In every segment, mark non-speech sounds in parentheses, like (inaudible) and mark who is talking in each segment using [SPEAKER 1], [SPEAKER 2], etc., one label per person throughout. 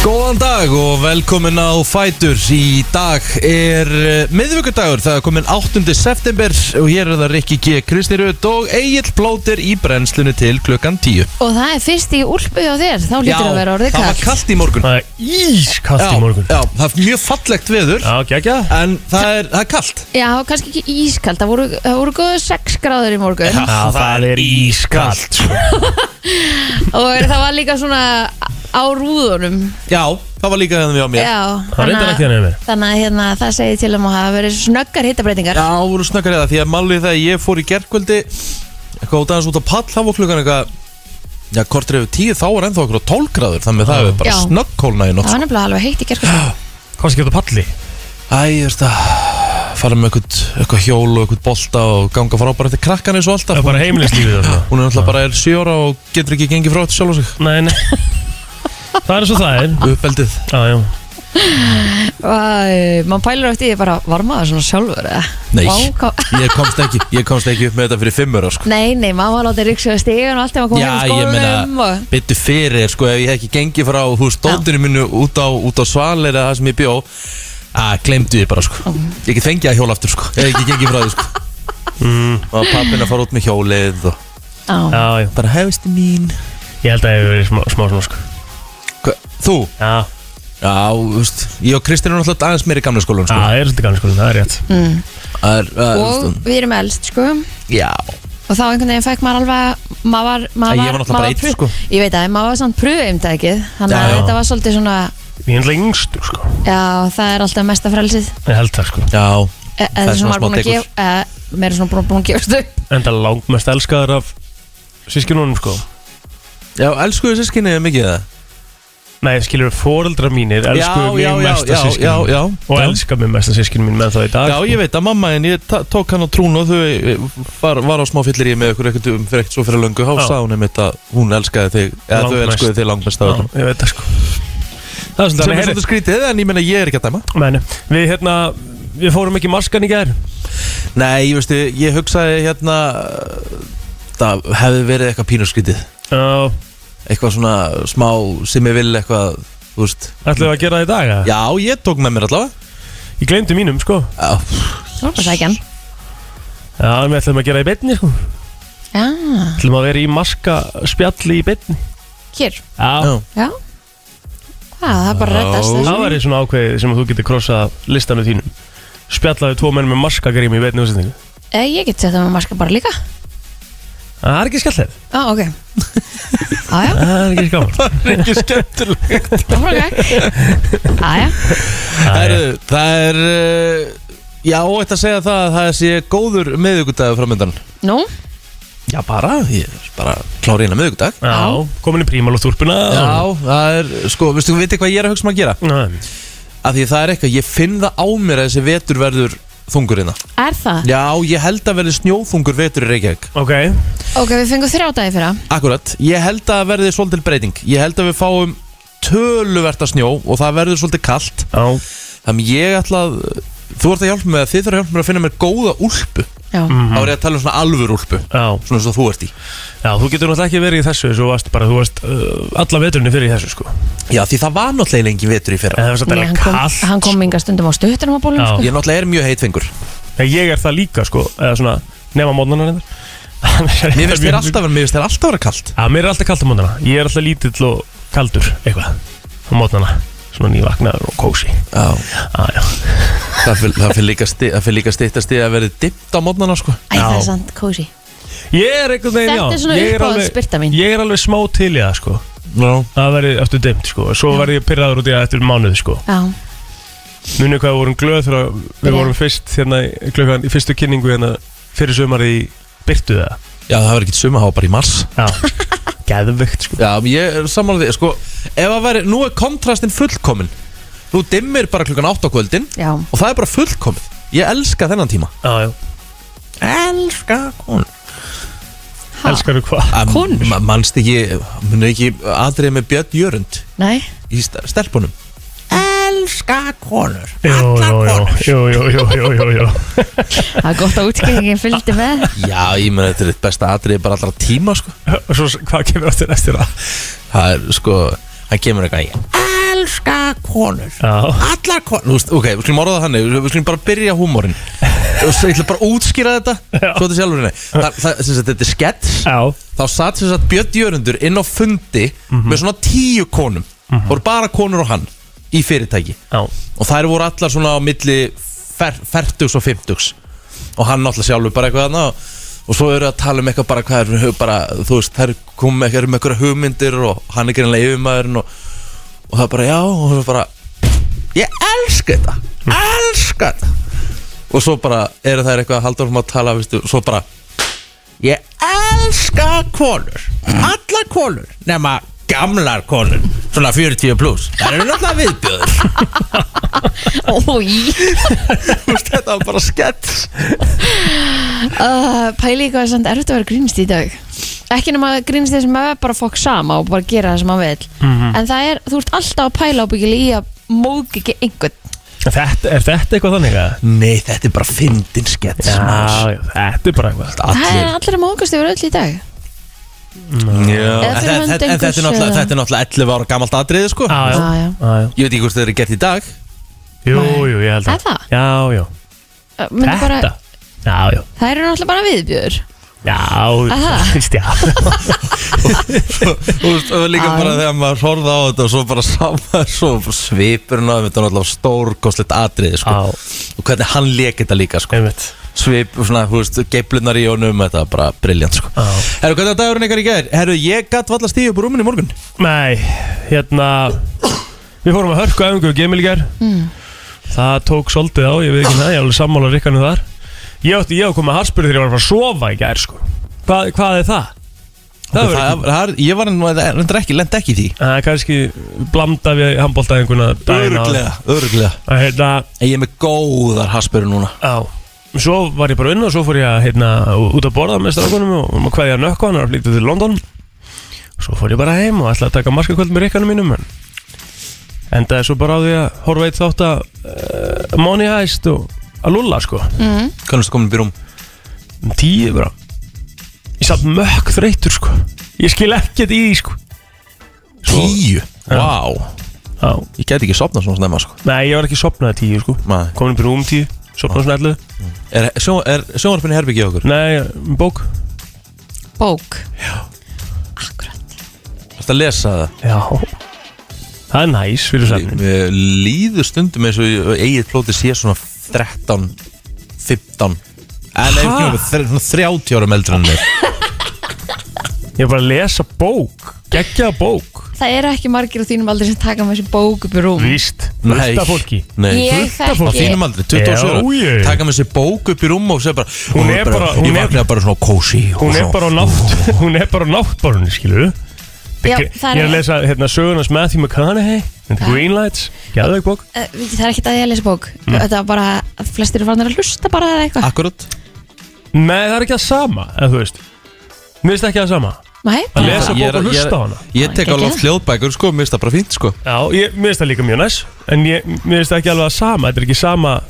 [SPEAKER 1] Góðan dag og velkomin á Fætur Í dag er uh, miðvöggudagur, það er komin 8. september og hér er það Rikki G. Kristirud og Egil Plóter í brennslunni til klukkan 10
[SPEAKER 2] Og það er fyrst í úlpu hjá þér, þá lítur að vera orðið
[SPEAKER 1] það var
[SPEAKER 2] kallt.
[SPEAKER 1] kallt í morgun
[SPEAKER 3] Það er ískallt í morgun
[SPEAKER 1] já, það er mjög fallegt veður
[SPEAKER 3] Já, geggja
[SPEAKER 1] en það er, það er kallt
[SPEAKER 2] Já, það var kannski ekki ískalt, það voru, það voru góðu 6 gráður í morgun
[SPEAKER 3] Já, það er ískallt
[SPEAKER 2] og það var líka svona á rúðunum.
[SPEAKER 1] Já, það var líka þannig við á mér
[SPEAKER 2] Já,
[SPEAKER 3] Það er reyndar
[SPEAKER 2] þannig
[SPEAKER 3] ekki
[SPEAKER 2] að-
[SPEAKER 3] þannig með
[SPEAKER 2] þannig að hérna, það segir til um að hafa verið snöggar hitabreitingar.
[SPEAKER 1] Já, voru snakkar eða því að málið það að ég fór í gerkvöldi eitthvað út aðeins út á pall þá var klukkan eitthvað Já, kortir yfir tíu, þá var ennþá okkur á 12 gráður þannig að það hefur bara
[SPEAKER 2] Já.
[SPEAKER 1] snöggkólna í nótt
[SPEAKER 2] Það var nefnilega alveg heitt í gerkvöldu.
[SPEAKER 3] Hvað skipta palli?
[SPEAKER 1] Æ, þú veist að fara með eitthvað, eitthvað hjól og eitthvað bolta og ganga frá bara eftir krakkan eins og
[SPEAKER 3] Það
[SPEAKER 1] alltaf
[SPEAKER 3] er bara heimilislífið þarna
[SPEAKER 1] Hún er náttúrulega bara er 7 ára og getur ekki gengið frá þetta sjálf og sig
[SPEAKER 3] Nei,
[SPEAKER 1] (laughs)
[SPEAKER 3] nei Það er eins og það er
[SPEAKER 1] Uppeldið
[SPEAKER 3] Já, já
[SPEAKER 2] Man pælur eftir því bara varma það svona sjálfur eða?
[SPEAKER 1] Nei,
[SPEAKER 2] Vá, hvað- (laughs)
[SPEAKER 1] ég komst ekki, ég komst ekki upp með þetta fyrir 5 ára sko
[SPEAKER 2] Nei, nei, mamma láti ríksu að stígun og allt ef að koma
[SPEAKER 1] Já,
[SPEAKER 2] heim
[SPEAKER 1] ég
[SPEAKER 2] úr skólanum
[SPEAKER 1] meina,
[SPEAKER 2] um og...
[SPEAKER 1] byttu fyrir sko ef ég hef ekki gengið frá húsdóttinu mínu út á, út á svalir eða það sem ég bjó að glemdu ég bara sko Ég get fengið að hjóla aftur sko, ég hef ekki gengið frá því sko Og pappin að fara út með hjólið og
[SPEAKER 2] Já,
[SPEAKER 3] Já, já
[SPEAKER 1] bara hefstu mín
[SPEAKER 3] Ég held að það hefur verið smá, smá svona sko
[SPEAKER 1] Hva, Þú?
[SPEAKER 3] Já,
[SPEAKER 1] Já, þú veist, ég og Kristinn erum alltaf aðeins meiri gamla skólan
[SPEAKER 3] Já,
[SPEAKER 1] sko. Mm.
[SPEAKER 3] það er svolítið gamli skólinn, það er rétt
[SPEAKER 1] Það er, að,
[SPEAKER 2] og við erum elst, sko.
[SPEAKER 1] Já,
[SPEAKER 2] Og þá einhvern veginn fekk maður alveg, maður var,
[SPEAKER 1] Æ,
[SPEAKER 2] maður
[SPEAKER 1] ég var náttúrulega bara einn,
[SPEAKER 2] pru-
[SPEAKER 1] sko.
[SPEAKER 2] Ég veit að maður var samt pröfumtækið, þannig
[SPEAKER 1] Já,
[SPEAKER 2] að
[SPEAKER 1] já.
[SPEAKER 2] þetta var svolítið svona,
[SPEAKER 3] Ég held að yngstur sko
[SPEAKER 2] já, það er alltaf mesta frelsið.
[SPEAKER 3] Ég held það sko
[SPEAKER 1] já,
[SPEAKER 2] E- eða
[SPEAKER 1] Það er
[SPEAKER 2] sem
[SPEAKER 1] svona
[SPEAKER 2] maður
[SPEAKER 1] smá
[SPEAKER 2] búin að
[SPEAKER 1] degur.
[SPEAKER 2] gef- eða Mér er svona búin, búin að gefast upp
[SPEAKER 3] Enda langmest elskaður af sískinunum sko
[SPEAKER 1] já, elskuðu sískinni mikið það
[SPEAKER 3] Nei, skilur fóreldra mínir elskuðu
[SPEAKER 1] já,
[SPEAKER 3] mig
[SPEAKER 1] já,
[SPEAKER 3] mest
[SPEAKER 1] já,
[SPEAKER 3] að
[SPEAKER 1] já,
[SPEAKER 3] sískinunum
[SPEAKER 1] já,
[SPEAKER 3] Og
[SPEAKER 1] já.
[SPEAKER 3] elska mig mest að sískinum mín með þá í dag sko.
[SPEAKER 1] Já, ég veit að mamma en ég ta- tók hann á trún og þau eh, var, var á smá fyllir í með ykkur ekkert um fyrir ekkert svo fyrir löngu hálf
[SPEAKER 3] Já.
[SPEAKER 1] sá hún einmitt að hún elskaði þig eða þau
[SPEAKER 3] Langmest.
[SPEAKER 1] elskuðu þig langmest af
[SPEAKER 3] Já,
[SPEAKER 1] öllum
[SPEAKER 3] ég veit það sko Það
[SPEAKER 1] sem
[SPEAKER 3] er svolítið
[SPEAKER 1] er
[SPEAKER 3] heyri-
[SPEAKER 1] svolítið skrítið en ég meina ég er ekki að dæma
[SPEAKER 3] Meni, við hérna, við fórum ekki maskan í gær
[SPEAKER 1] Nei, ég veistu, ég hugsaði hérna eh, það hefði verið eitthvað pínuskrítið
[SPEAKER 3] uh,
[SPEAKER 1] eitthvað svona smá sem ég vil eitthvað, þú veist
[SPEAKER 3] Ætlum við að gera það í dag? Ja.
[SPEAKER 1] Já, ég tók með mér allavega
[SPEAKER 3] Ég glemdi mínum sko
[SPEAKER 1] Já,
[SPEAKER 2] Það var bara sækjan
[SPEAKER 3] Já, en við ætlum að gera það í betni sko
[SPEAKER 2] Já,
[SPEAKER 3] ætlum að vera í maska spjalli í betni
[SPEAKER 2] hér,
[SPEAKER 3] Já,
[SPEAKER 1] já.
[SPEAKER 2] já Hvað, það er bara að reddast þessu.
[SPEAKER 3] það væri svona ákveðið sem að þú getur krossað listanu þínum Spjallaði tvo menn með maskagrými í betni útsendingu
[SPEAKER 2] Eh, Ég get sett það með marka bara líka
[SPEAKER 3] Það er ekki skallið
[SPEAKER 2] Já, ok (laughs) Já, já,
[SPEAKER 3] Það er ekki
[SPEAKER 1] (laughs)
[SPEAKER 3] skaman
[SPEAKER 1] Það er ekki skemmtilegt
[SPEAKER 2] það var bara ok Já, já,
[SPEAKER 1] Herru, (laughs) það er uh, Já, þetta að segja það að það sé góður miðugudagur framöndan
[SPEAKER 2] nú
[SPEAKER 1] Já, bara, ég er bara klára eina miðugudag
[SPEAKER 3] Já, komin í prímalóttúrpuna
[SPEAKER 1] Já, það er, sko, veistu, veitu hvað ég er að hugsa maður að gera? Af því það er eitthvað, ég finn það á mér að þessi vetur verður þungur hérna
[SPEAKER 2] Er það?
[SPEAKER 1] Já, ég held að verði snjóþungur vetur í Reykjavík
[SPEAKER 3] Ok,
[SPEAKER 2] Ok, við fengum þrjá dagi fyrir það
[SPEAKER 1] Akkurat, ég held að verði svolítil breyting Ég held að við fáum töluvert að snjó og það verður svolítið kalt
[SPEAKER 3] já,
[SPEAKER 1] Þannig ég ætla að Þú ert að hjálpa mig að þið þarf að hjálpa mig að finna mér góða úlpu
[SPEAKER 2] Já,
[SPEAKER 1] Þá er ég að tala um svona alvur úlpu
[SPEAKER 3] já
[SPEAKER 1] Svona eins og þú ert í
[SPEAKER 3] Já, þú getur náttúrulega ekki verið í þessu Þú varst bara, þú varst uh, alla veturinn fyrir í þessu sko
[SPEAKER 1] Já því það var náttúrulega engin vetur í fyrra
[SPEAKER 3] En það
[SPEAKER 2] Nei,
[SPEAKER 3] var
[SPEAKER 2] hann,
[SPEAKER 3] svolítið alveg
[SPEAKER 2] kom,
[SPEAKER 3] kallt
[SPEAKER 2] hann kom inga stundum á stuttunum á bólum
[SPEAKER 3] Já.
[SPEAKER 2] sko.
[SPEAKER 1] Ég náttúrulega er mjög heitfengur
[SPEAKER 3] Nei, Ég er það líka sko Eða svona Nefna mótnana reyndar
[SPEAKER 1] Mér finnst þér alltaf, mér finnst þér alltaf að vera kalt
[SPEAKER 3] Já, mér er alltaf kalt á mótnana Ég er alltaf lítill og kaldur Eitthvað Á mótnana Svona nývagnar og kósi
[SPEAKER 1] Já
[SPEAKER 3] Já, já
[SPEAKER 1] Það fyr- það fyrir líka, sti, það fer líka stittast í að verði dimmt á mótnana sko
[SPEAKER 2] Æ, það er
[SPEAKER 3] Já.
[SPEAKER 2] sant, kósi
[SPEAKER 3] Ég er einhvern veginn, já
[SPEAKER 2] Þetta er svona
[SPEAKER 3] ég alveg-
[SPEAKER 2] uppáhaldsbirta mín.
[SPEAKER 3] Ég er alveg smá til í það sko
[SPEAKER 1] no.
[SPEAKER 3] Það verði eftir dimt sko Svo verði ég pyrraður út í það eftir mánuð sko
[SPEAKER 2] Já,
[SPEAKER 3] Munið hvað við vorum glöð þegar
[SPEAKER 2] Já.
[SPEAKER 3] við vorum fyrst hérna í- klukkan í fyrstu kynningu hérna fyrir sömari í byrtu það
[SPEAKER 1] Já það verður ekki suma bara í mars
[SPEAKER 2] (laughs)
[SPEAKER 3] Já, geðvögt sko
[SPEAKER 1] Já ég er samanlega því sko Ef að veri, nú er kontrastin fullkomin Nú dimmir bara klukkan 8 á kvöldin
[SPEAKER 2] já,
[SPEAKER 1] Og það er bara fullkomin Ég elska þennan tíma
[SPEAKER 3] Já, já,
[SPEAKER 1] Elska hún
[SPEAKER 2] Ha?
[SPEAKER 3] elskaru hvað
[SPEAKER 2] Konur?
[SPEAKER 1] Manst ekki, muni ekki aðrið með Björn Jörund
[SPEAKER 2] nei
[SPEAKER 1] í st- stelpunum Elska konur
[SPEAKER 3] Jú, jú, jú, jú, jú, jú, jú, jú.
[SPEAKER 2] Það er gott að (laughs) útgengin fylgdi með
[SPEAKER 1] Já, ég meni þetta er eitt besta atrið bara allra tíma sko.
[SPEAKER 3] Og svo s- hvað kemur áttir eftir það?
[SPEAKER 1] Það er sko, hann kemur eitthvað í
[SPEAKER 4] elska konur
[SPEAKER 3] Já,
[SPEAKER 4] Allar konur
[SPEAKER 1] Nú, veist, ok, við skulum orða það þannig, við skulum bara byrja húmórin og svo ég ætla bara að útskýra þetta
[SPEAKER 3] Já.
[SPEAKER 1] svo þetta sjálfur henni það, það, sem sagt, þetta er skets
[SPEAKER 3] já,
[SPEAKER 1] þá satt sem sagt Björn Jörundur inn á fundi
[SPEAKER 3] Mhm.
[SPEAKER 1] með svona tíu konum voru bara konur og hann í fyrirtæki
[SPEAKER 3] já,
[SPEAKER 1] og þær voru allar svona á milli fer, fertugs og fimmtugs og hann náttúrulega sjálfur bara eitthvað þarna og, og svo eru að tala um eitthvað bara hvað er bara, þú veist, þær komum með eitthvað með eitthvað hugmyndir og hann er greinlega yfirmaðurinn og, og það bara já og svo bara ég elska þetta, elska þetta og svo bara eru þær eitthvað að halda orðum að tala, veistu, og svo bara
[SPEAKER 4] Ég elska konur Allar konur Nefna gamlar konur Svona 40 pluss
[SPEAKER 1] það eru náttúrulega viðbjöður
[SPEAKER 2] Ói
[SPEAKER 1] Þú veist, þetta var bara skett
[SPEAKER 2] uh, Pæli hvað er samt erfitt að vera grínist í dag Ekki nema að grínist þess að maður er bara fokk sama og bara gera það sem maður vil
[SPEAKER 3] Mhm.
[SPEAKER 2] En það er, þú ert alltaf að pæla ábyggilega í að móðg ekki einhvern
[SPEAKER 3] þetta, er þetta eitthvað þannig að?
[SPEAKER 1] Nei, þetta er bara fyndin skett
[SPEAKER 3] Já, já, þetta er bara eitthvað
[SPEAKER 2] Það er
[SPEAKER 1] Allir
[SPEAKER 2] allir að móðgast yfir öll í dag
[SPEAKER 1] Já.
[SPEAKER 2] Eða
[SPEAKER 1] En
[SPEAKER 2] fyrir hönd
[SPEAKER 1] þetta- þetta- en
[SPEAKER 2] einhvers
[SPEAKER 1] þetta er náttúrulega
[SPEAKER 2] eða-
[SPEAKER 1] þetta er náttúrulega 11 ára gamalt atriði sko
[SPEAKER 3] Já, já,
[SPEAKER 2] Já, já.
[SPEAKER 3] já, já
[SPEAKER 1] Ég veit ekki hvort þetta er gert í
[SPEAKER 3] (laughs)
[SPEAKER 1] dag
[SPEAKER 3] Jú, jú, ég held
[SPEAKER 2] Er það?
[SPEAKER 3] Já, já,
[SPEAKER 2] Uh, myndi
[SPEAKER 3] þetta
[SPEAKER 2] bara,
[SPEAKER 3] Já, já,
[SPEAKER 2] Það eru náttúrulega bara viðbjör
[SPEAKER 3] já,
[SPEAKER 2] Aha.
[SPEAKER 3] víst, já
[SPEAKER 1] Þú veist, og líka
[SPEAKER 2] Já.
[SPEAKER 1] bara þegar maður horfði á þetta og svo bara sama svo svipurinn á þeim, þetta var náttúrulega stórkostlegt atriði sko
[SPEAKER 3] (laughs) Já.
[SPEAKER 1] og hvernig hann leik þetta líka sko
[SPEAKER 3] Einmitt
[SPEAKER 1] svip, svona, hú veist, geiflunar í honum þetta var bara briljant sko
[SPEAKER 3] Já.
[SPEAKER 1] Herru, hvernig var dagurinn ykkar í gær? Herru, ég gatt valla stíð upp úr rúminni í morgun
[SPEAKER 3] Nei, hérna Við fórum að hörku æfingu og gemil í gær Það tók svolítið á, ég veit ekki það Ég er alveg sammála rikkanu þar Ég átti, ég átti komið að harspyrðu þegar ég var að fara að sofa í gær sko. Hva, Hvað er það?
[SPEAKER 1] það,
[SPEAKER 3] Það verður
[SPEAKER 1] það,
[SPEAKER 3] ekki
[SPEAKER 1] það, Ég var reyndar ekki, lend ekki í því
[SPEAKER 3] Það er kannski blanda við handbóltaðinguna
[SPEAKER 1] Öruglega, öruglega
[SPEAKER 3] að, hérna,
[SPEAKER 1] En ég er með góðar haspöru núna
[SPEAKER 3] á, Svo var ég bara unna og svo fór ég að hérna, út að borða með strákunum og um hvað ég að nökka hann og flyttu til London Svo fór ég bara heim og ætlaði að taka markakvöld með rikkanum mínum en endaði svo bara á því að horfa eitt þátt að uh, Money Heist og að lulla sko
[SPEAKER 1] Hvernig erstu komin upp í rúm?
[SPEAKER 3] um tíu bara Ég satt mökk þreytur sko Ég skil ekkert í því sko Svo-
[SPEAKER 1] Tíu? Vá
[SPEAKER 3] á,
[SPEAKER 1] Ég gæti ekki sopnað svona snemma sko
[SPEAKER 3] Nei, ég var ekki sopnaði tíu sko
[SPEAKER 1] Nei.
[SPEAKER 3] Komin upp í rúm tíu, sopnaði svona ellu
[SPEAKER 1] Er, sjó, er sjónvarpinni herbyggið okkur?
[SPEAKER 3] Nei, um bók
[SPEAKER 2] Bók
[SPEAKER 1] Þetta að lesa það
[SPEAKER 3] Já Það er næs fyrir svefnin
[SPEAKER 1] Mér líður stundum eins og ég- eigið plóti sé svona 13, 15 En
[SPEAKER 3] Ha?
[SPEAKER 1] einhvern veginn svona 30 árum eldri en mér
[SPEAKER 3] Ég er bara að lesa bók Geggja bók
[SPEAKER 2] Það eru ekki margir á þínum aldrei sem taka með þessi bók upp í rúm
[SPEAKER 3] Víst
[SPEAKER 1] Nei.
[SPEAKER 3] Vista fólki
[SPEAKER 1] Nei
[SPEAKER 2] Ég
[SPEAKER 1] Á
[SPEAKER 2] þekki
[SPEAKER 1] þínum aldri, 27 ára
[SPEAKER 3] Já, ég.
[SPEAKER 1] Taka með sér bók upp í rúm og segja bara
[SPEAKER 3] Hún er bara- hún
[SPEAKER 1] Ég
[SPEAKER 3] er-
[SPEAKER 1] vaknaði bara svona kósi
[SPEAKER 3] Hún er bara á nátt Hún er bara á náttborunni, skilur
[SPEAKER 2] Já, það
[SPEAKER 3] Ég er
[SPEAKER 2] er-
[SPEAKER 3] að lesa hérna sögunars Matthew McConaughey And the Green Lights Gæðveik bók
[SPEAKER 2] Eh, veit, Það er ekkert að ég að lesa bók Þetta var bara að flestir eru farin að hlusta bara eða eitthvað
[SPEAKER 1] Akkurat
[SPEAKER 3] Nei, það er ekki það sama Ef þú veist Mér finnst ekki það sama
[SPEAKER 2] Nei,
[SPEAKER 3] Að
[SPEAKER 2] bara-
[SPEAKER 3] lesa
[SPEAKER 1] Ég er-
[SPEAKER 3] bók og
[SPEAKER 1] ég er-
[SPEAKER 3] hlusta á hana
[SPEAKER 1] Ég tek
[SPEAKER 2] Geggjað.
[SPEAKER 1] alveg hljóðbækur sko, mér finnst það bara fínt sko
[SPEAKER 3] Já, ég, mér finnst það líka mjög næs En ég, mér finnst ekki alveg að sama Þetta er ekki sama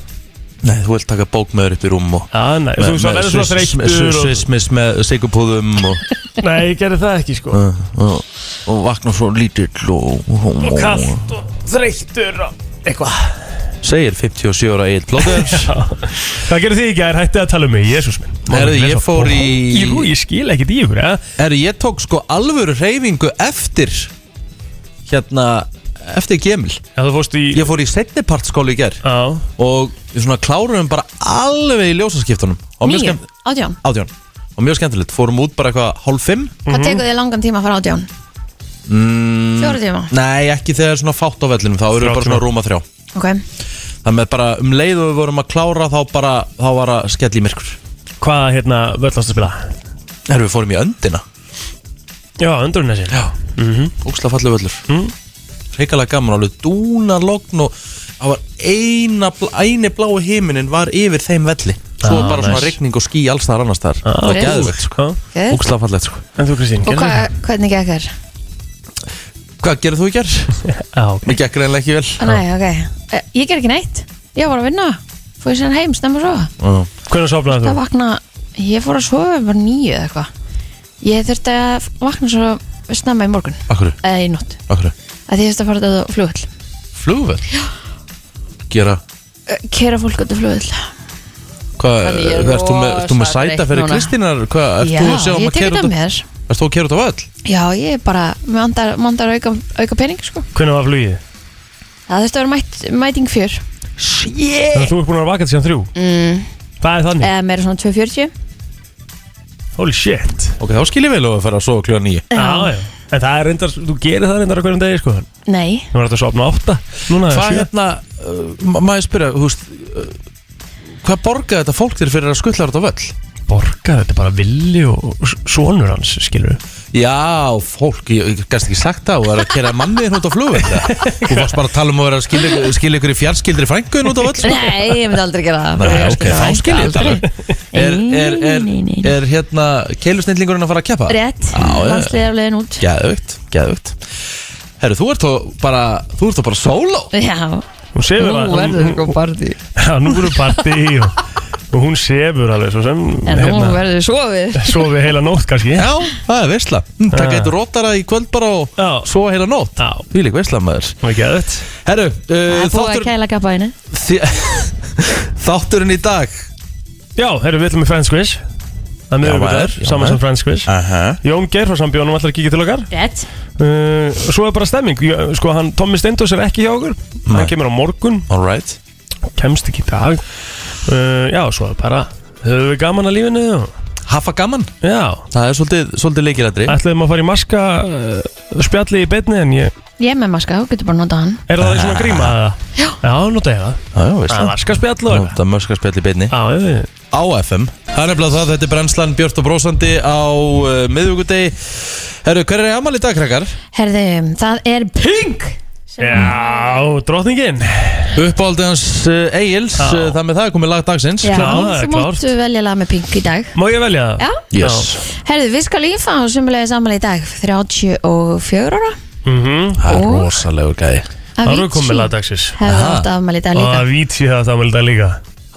[SPEAKER 1] Nei, þú vilt taka bók með þér upp í rúm og
[SPEAKER 3] Já, nei, þú veist, það er svona þreytur og-
[SPEAKER 1] Svismis með sigupúðum og,
[SPEAKER 3] Nei, ég gerði það ekki, sko
[SPEAKER 1] og, og, (laughs) og vakna svo lítill og, og,
[SPEAKER 3] Og kallt og þreytur og eitthvað
[SPEAKER 1] Segir 57 ára eitt
[SPEAKER 3] (laughs)
[SPEAKER 1] plóður
[SPEAKER 3] Hvað gerðu þið í gær? Hættið að tala um mig, Jésús minn
[SPEAKER 1] Herðu,
[SPEAKER 3] Má ekki
[SPEAKER 1] ég
[SPEAKER 3] lesa
[SPEAKER 1] fór
[SPEAKER 3] bók.
[SPEAKER 1] í-
[SPEAKER 3] Jú, ég skil ekkert í ykkur, eða?
[SPEAKER 1] Herru, ég tók sko alvöru reyfingu eftir hérna, eftir gemil
[SPEAKER 3] Já, þú fórst í
[SPEAKER 1] Ég fór í setnipartskóli í ger
[SPEAKER 3] Já,
[SPEAKER 1] og við svona kláruðum bara alveg í ljósaskiptunum Og mjög
[SPEAKER 2] Níu,
[SPEAKER 1] skemmt-
[SPEAKER 2] átján
[SPEAKER 1] Átján Og mjög skemmtilegt, fórum út bara eitthvað hálf fimm
[SPEAKER 2] Hvað tekur þið langan tíma að fara átján? Mm, Fjóra tíma
[SPEAKER 1] Nei, ekki þegar er svona fátt á vellinum, þá eru
[SPEAKER 3] Þrjá
[SPEAKER 1] bara svona
[SPEAKER 3] tíma.
[SPEAKER 1] rúma þrjá
[SPEAKER 2] Ok,
[SPEAKER 1] Það með bara um leið og við vorum að klára þá bara, þá var að skell í myrkur
[SPEAKER 3] hvað hérna völlast að spila?
[SPEAKER 1] Þegar við fórum í öndina
[SPEAKER 3] Já, öndurinn þessi
[SPEAKER 1] Já, mm -hmm. ógslag falleg völlur mm. Reikalega gaman, alveg dúnar logn og það var eina, bl- eini blái himinin var yfir þeim velli Svo
[SPEAKER 3] Ah,
[SPEAKER 1] var bara svona
[SPEAKER 3] nice.
[SPEAKER 1] rigning og ský alls þar annars þar Það var
[SPEAKER 2] nice.
[SPEAKER 1] geðvegt sko,
[SPEAKER 3] Hvað?
[SPEAKER 2] geður
[SPEAKER 1] ógslag fallegt sko
[SPEAKER 3] En þú Kristín,
[SPEAKER 2] Og
[SPEAKER 3] gerðu
[SPEAKER 2] hva,
[SPEAKER 3] það?
[SPEAKER 2] hvernig gekk þér?
[SPEAKER 1] Hvað gerðu þú í gerð?
[SPEAKER 3] (laughs) Já, ok
[SPEAKER 1] Mér gekk reynilega ekki vel
[SPEAKER 2] Nei, ok Eh, Ég ger ekki neitt Ég var að vinna Fóði sér heim, snemma svo
[SPEAKER 1] Já.
[SPEAKER 3] Hvernig sofnaði
[SPEAKER 2] Það
[SPEAKER 3] þú?
[SPEAKER 2] vakna Ég fór að sofa bara nýju eða eitthvað Ég þurfti að vakna svo snemma í morgun
[SPEAKER 1] Akkur,
[SPEAKER 2] Eða í nótt
[SPEAKER 1] akkur
[SPEAKER 2] að Því ég þurfti að fara þetta á flugvöll
[SPEAKER 1] flugvöld gera
[SPEAKER 2] Kera Eh, fólk út af flugvill
[SPEAKER 1] hvað,
[SPEAKER 2] Þannig ég er
[SPEAKER 1] ert þú með, ert þú með
[SPEAKER 2] rosa
[SPEAKER 1] sæta
[SPEAKER 2] þreytt
[SPEAKER 1] fyrir
[SPEAKER 2] núna.
[SPEAKER 1] Kristínar hvað, ert
[SPEAKER 2] Já,
[SPEAKER 1] þú að sjá um
[SPEAKER 2] ég
[SPEAKER 1] að
[SPEAKER 2] tek
[SPEAKER 1] kera út
[SPEAKER 2] þetta
[SPEAKER 1] af
[SPEAKER 2] mér
[SPEAKER 1] ert þú að kera út af öll
[SPEAKER 2] Já, ég er bara Mandar, mandar auka, auka pening sko
[SPEAKER 3] Hvernig var flugið?
[SPEAKER 2] Það þurfti að vera mætt, mæting fjör
[SPEAKER 3] Þannig að þú ert búin að vera vakað síðan þrjú
[SPEAKER 2] mm.
[SPEAKER 3] Það er þannig
[SPEAKER 2] Eða meira svona 2.40 Eh.
[SPEAKER 3] Holy shit
[SPEAKER 1] ok, þá skil ég vel og að fara að sofa kljóða nýju
[SPEAKER 3] Já, já En það er reyndar, þú gerir það reyndar á hverjum degi sko Nú
[SPEAKER 2] Nei,
[SPEAKER 3] er þetta að sopna átta Núna er
[SPEAKER 1] hvað
[SPEAKER 3] sjö
[SPEAKER 1] hérna, uh, ma- maður spyrja þú veist uh, hvað borgaði þetta fólk þér fyrir að skuttla þetta völl?
[SPEAKER 3] Borga, þetta er bara villi og og s- sonur hans, skilur
[SPEAKER 1] Já, fólk, ég, ég gæst ekki sagt það og er að kera manniðin út á flugvöld þú varst bara að tala um að vera að skilja, ykkur- skilja ykkur í fjarskildri frænguðin út á völl
[SPEAKER 2] nei, ég myndi aldrei gera það
[SPEAKER 1] Nei, ok, þá skil ég þetta
[SPEAKER 2] Aldrei.
[SPEAKER 1] er, er, er,
[SPEAKER 2] Nei, nei, nei.
[SPEAKER 1] er hérna keilusnillingurinn að fara að keppa?
[SPEAKER 2] Rétt,
[SPEAKER 1] Já, já.
[SPEAKER 2] landsliðið af leiðin út
[SPEAKER 1] Geðvögt, geðvögt Herru, þú ert þá bara, þú ert þá bara sóló
[SPEAKER 2] Já,
[SPEAKER 3] Hún sefur að- hún- hún-
[SPEAKER 2] sko partí
[SPEAKER 3] Já, nú verður partí og, og hún sefur alveg svo sem
[SPEAKER 2] En nú verður sofið
[SPEAKER 1] Eh,
[SPEAKER 3] Sofi heila nótt kannski
[SPEAKER 1] Já, það er veisla hm, Takk
[SPEAKER 3] Já.
[SPEAKER 1] eitt rótara í kvöld bara og
[SPEAKER 3] Já.
[SPEAKER 1] svo heila nótt
[SPEAKER 3] Já,
[SPEAKER 1] Því lík veisla maður
[SPEAKER 3] hún er geðið
[SPEAKER 1] Herru,
[SPEAKER 2] Það
[SPEAKER 1] uh,
[SPEAKER 2] er búið að
[SPEAKER 1] þáttur,
[SPEAKER 2] kæla kappa henni
[SPEAKER 1] þi- (laughs) þátturinn í dag
[SPEAKER 3] Já, erum við ætlum með Friends Quiz Það er
[SPEAKER 1] Já,
[SPEAKER 3] miðvikudagur,
[SPEAKER 1] maður, já,
[SPEAKER 3] saman sem
[SPEAKER 1] maður.
[SPEAKER 3] Friends Quiz
[SPEAKER 1] -huh.
[SPEAKER 3] Jón Geir frá sambjónum ætlar að kíkja til okkar
[SPEAKER 2] Rétt
[SPEAKER 3] uh, og Svo er bara stemming Ég- Sko, hann, Tommi Steindós er ekki hjá okkur
[SPEAKER 1] Nei.
[SPEAKER 3] Hann kemur á morgun,
[SPEAKER 1] All right
[SPEAKER 3] kemst ekki í dag uh, Já, svo er bara Höfum við gaman að lífinu og-
[SPEAKER 1] Hafa gaman,
[SPEAKER 3] Já,
[SPEAKER 1] það er svolítið, svolítið leikirættri
[SPEAKER 3] ætlaðum að fara í maska uh, Spjalli í beinni en ég
[SPEAKER 2] Ég er með maska, þú getur bara að nota hann
[SPEAKER 3] Er það í svona gríma eða? Já, já nota ég
[SPEAKER 1] Já,
[SPEAKER 3] það
[SPEAKER 1] já,
[SPEAKER 3] Það
[SPEAKER 1] veisla
[SPEAKER 3] maska spjall og
[SPEAKER 1] Það möskar spjall í beinni
[SPEAKER 3] Já, ég veit
[SPEAKER 1] á FM Það er nefnilega það, þetta er brennslan Björn og Brósandi á uh, miðvíkudegi Herru, hver er amal í dag, krakkar?
[SPEAKER 2] Herðu, það er Pink
[SPEAKER 3] Já, drottningin
[SPEAKER 1] Uppáldi hans uh, Egil's,
[SPEAKER 3] Já.
[SPEAKER 1] uh, það með það er komið lag dagsins
[SPEAKER 2] Já,
[SPEAKER 3] Klá, það er
[SPEAKER 2] þú
[SPEAKER 3] klárt.
[SPEAKER 2] máttu velja lag með Pink í dag
[SPEAKER 3] Má ég velja það?
[SPEAKER 2] Já
[SPEAKER 1] Yes.
[SPEAKER 2] Herðu, við skal lífa á sumulegis ammali í dag 34 ára
[SPEAKER 3] Mm
[SPEAKER 1] Það er
[SPEAKER 2] Og?
[SPEAKER 1] rosalegu gæði
[SPEAKER 3] Það eru komið lagdagsins
[SPEAKER 2] Hefðu átt ammali í dag
[SPEAKER 3] Og
[SPEAKER 2] líka
[SPEAKER 3] að víti það það mælda líka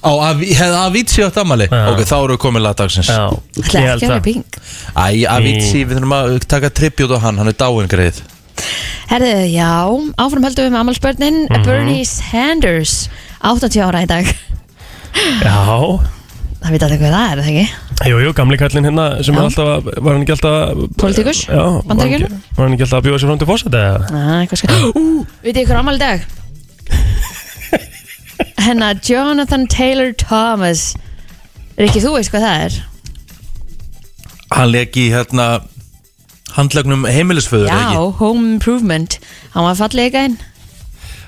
[SPEAKER 1] Á, Avi- hefði Avicii átt amali?
[SPEAKER 3] Já.
[SPEAKER 1] Ok, þá eru við komið lag dagsins
[SPEAKER 3] Já,
[SPEAKER 2] Það er ekki að vera Pink
[SPEAKER 1] Æ, Avicii, við þurfum að taka tribut á hann, hann er dáin greið
[SPEAKER 2] Herðu, já, áfram höldum við með ammalspörnin Bernie Sanders 80 ára í dag
[SPEAKER 3] Já,
[SPEAKER 2] Það veit allir hvað það er, er það ekki?
[SPEAKER 3] jú, jú, gamli kallinn hérna sem
[SPEAKER 2] Já.
[SPEAKER 3] er alltaf, að- var hann ekki alltaf
[SPEAKER 2] Pólitíkus?
[SPEAKER 3] Já, var hann ekki-
[SPEAKER 2] Bandaríkjunum?
[SPEAKER 3] var hann ekki alltaf að bjóða sér fram til fósætt eða?
[SPEAKER 2] Ah, eitthvað skal Ú, veit ég hver ámæli í dag? Hennar Jonathan Taylor Thomas Rikki, þú veist hvað það er?
[SPEAKER 1] Hann leik í hérna handlagnum heimilisföður eða
[SPEAKER 2] Já,
[SPEAKER 1] ekki?
[SPEAKER 2] Home Improvement Hann var fallið ekki einn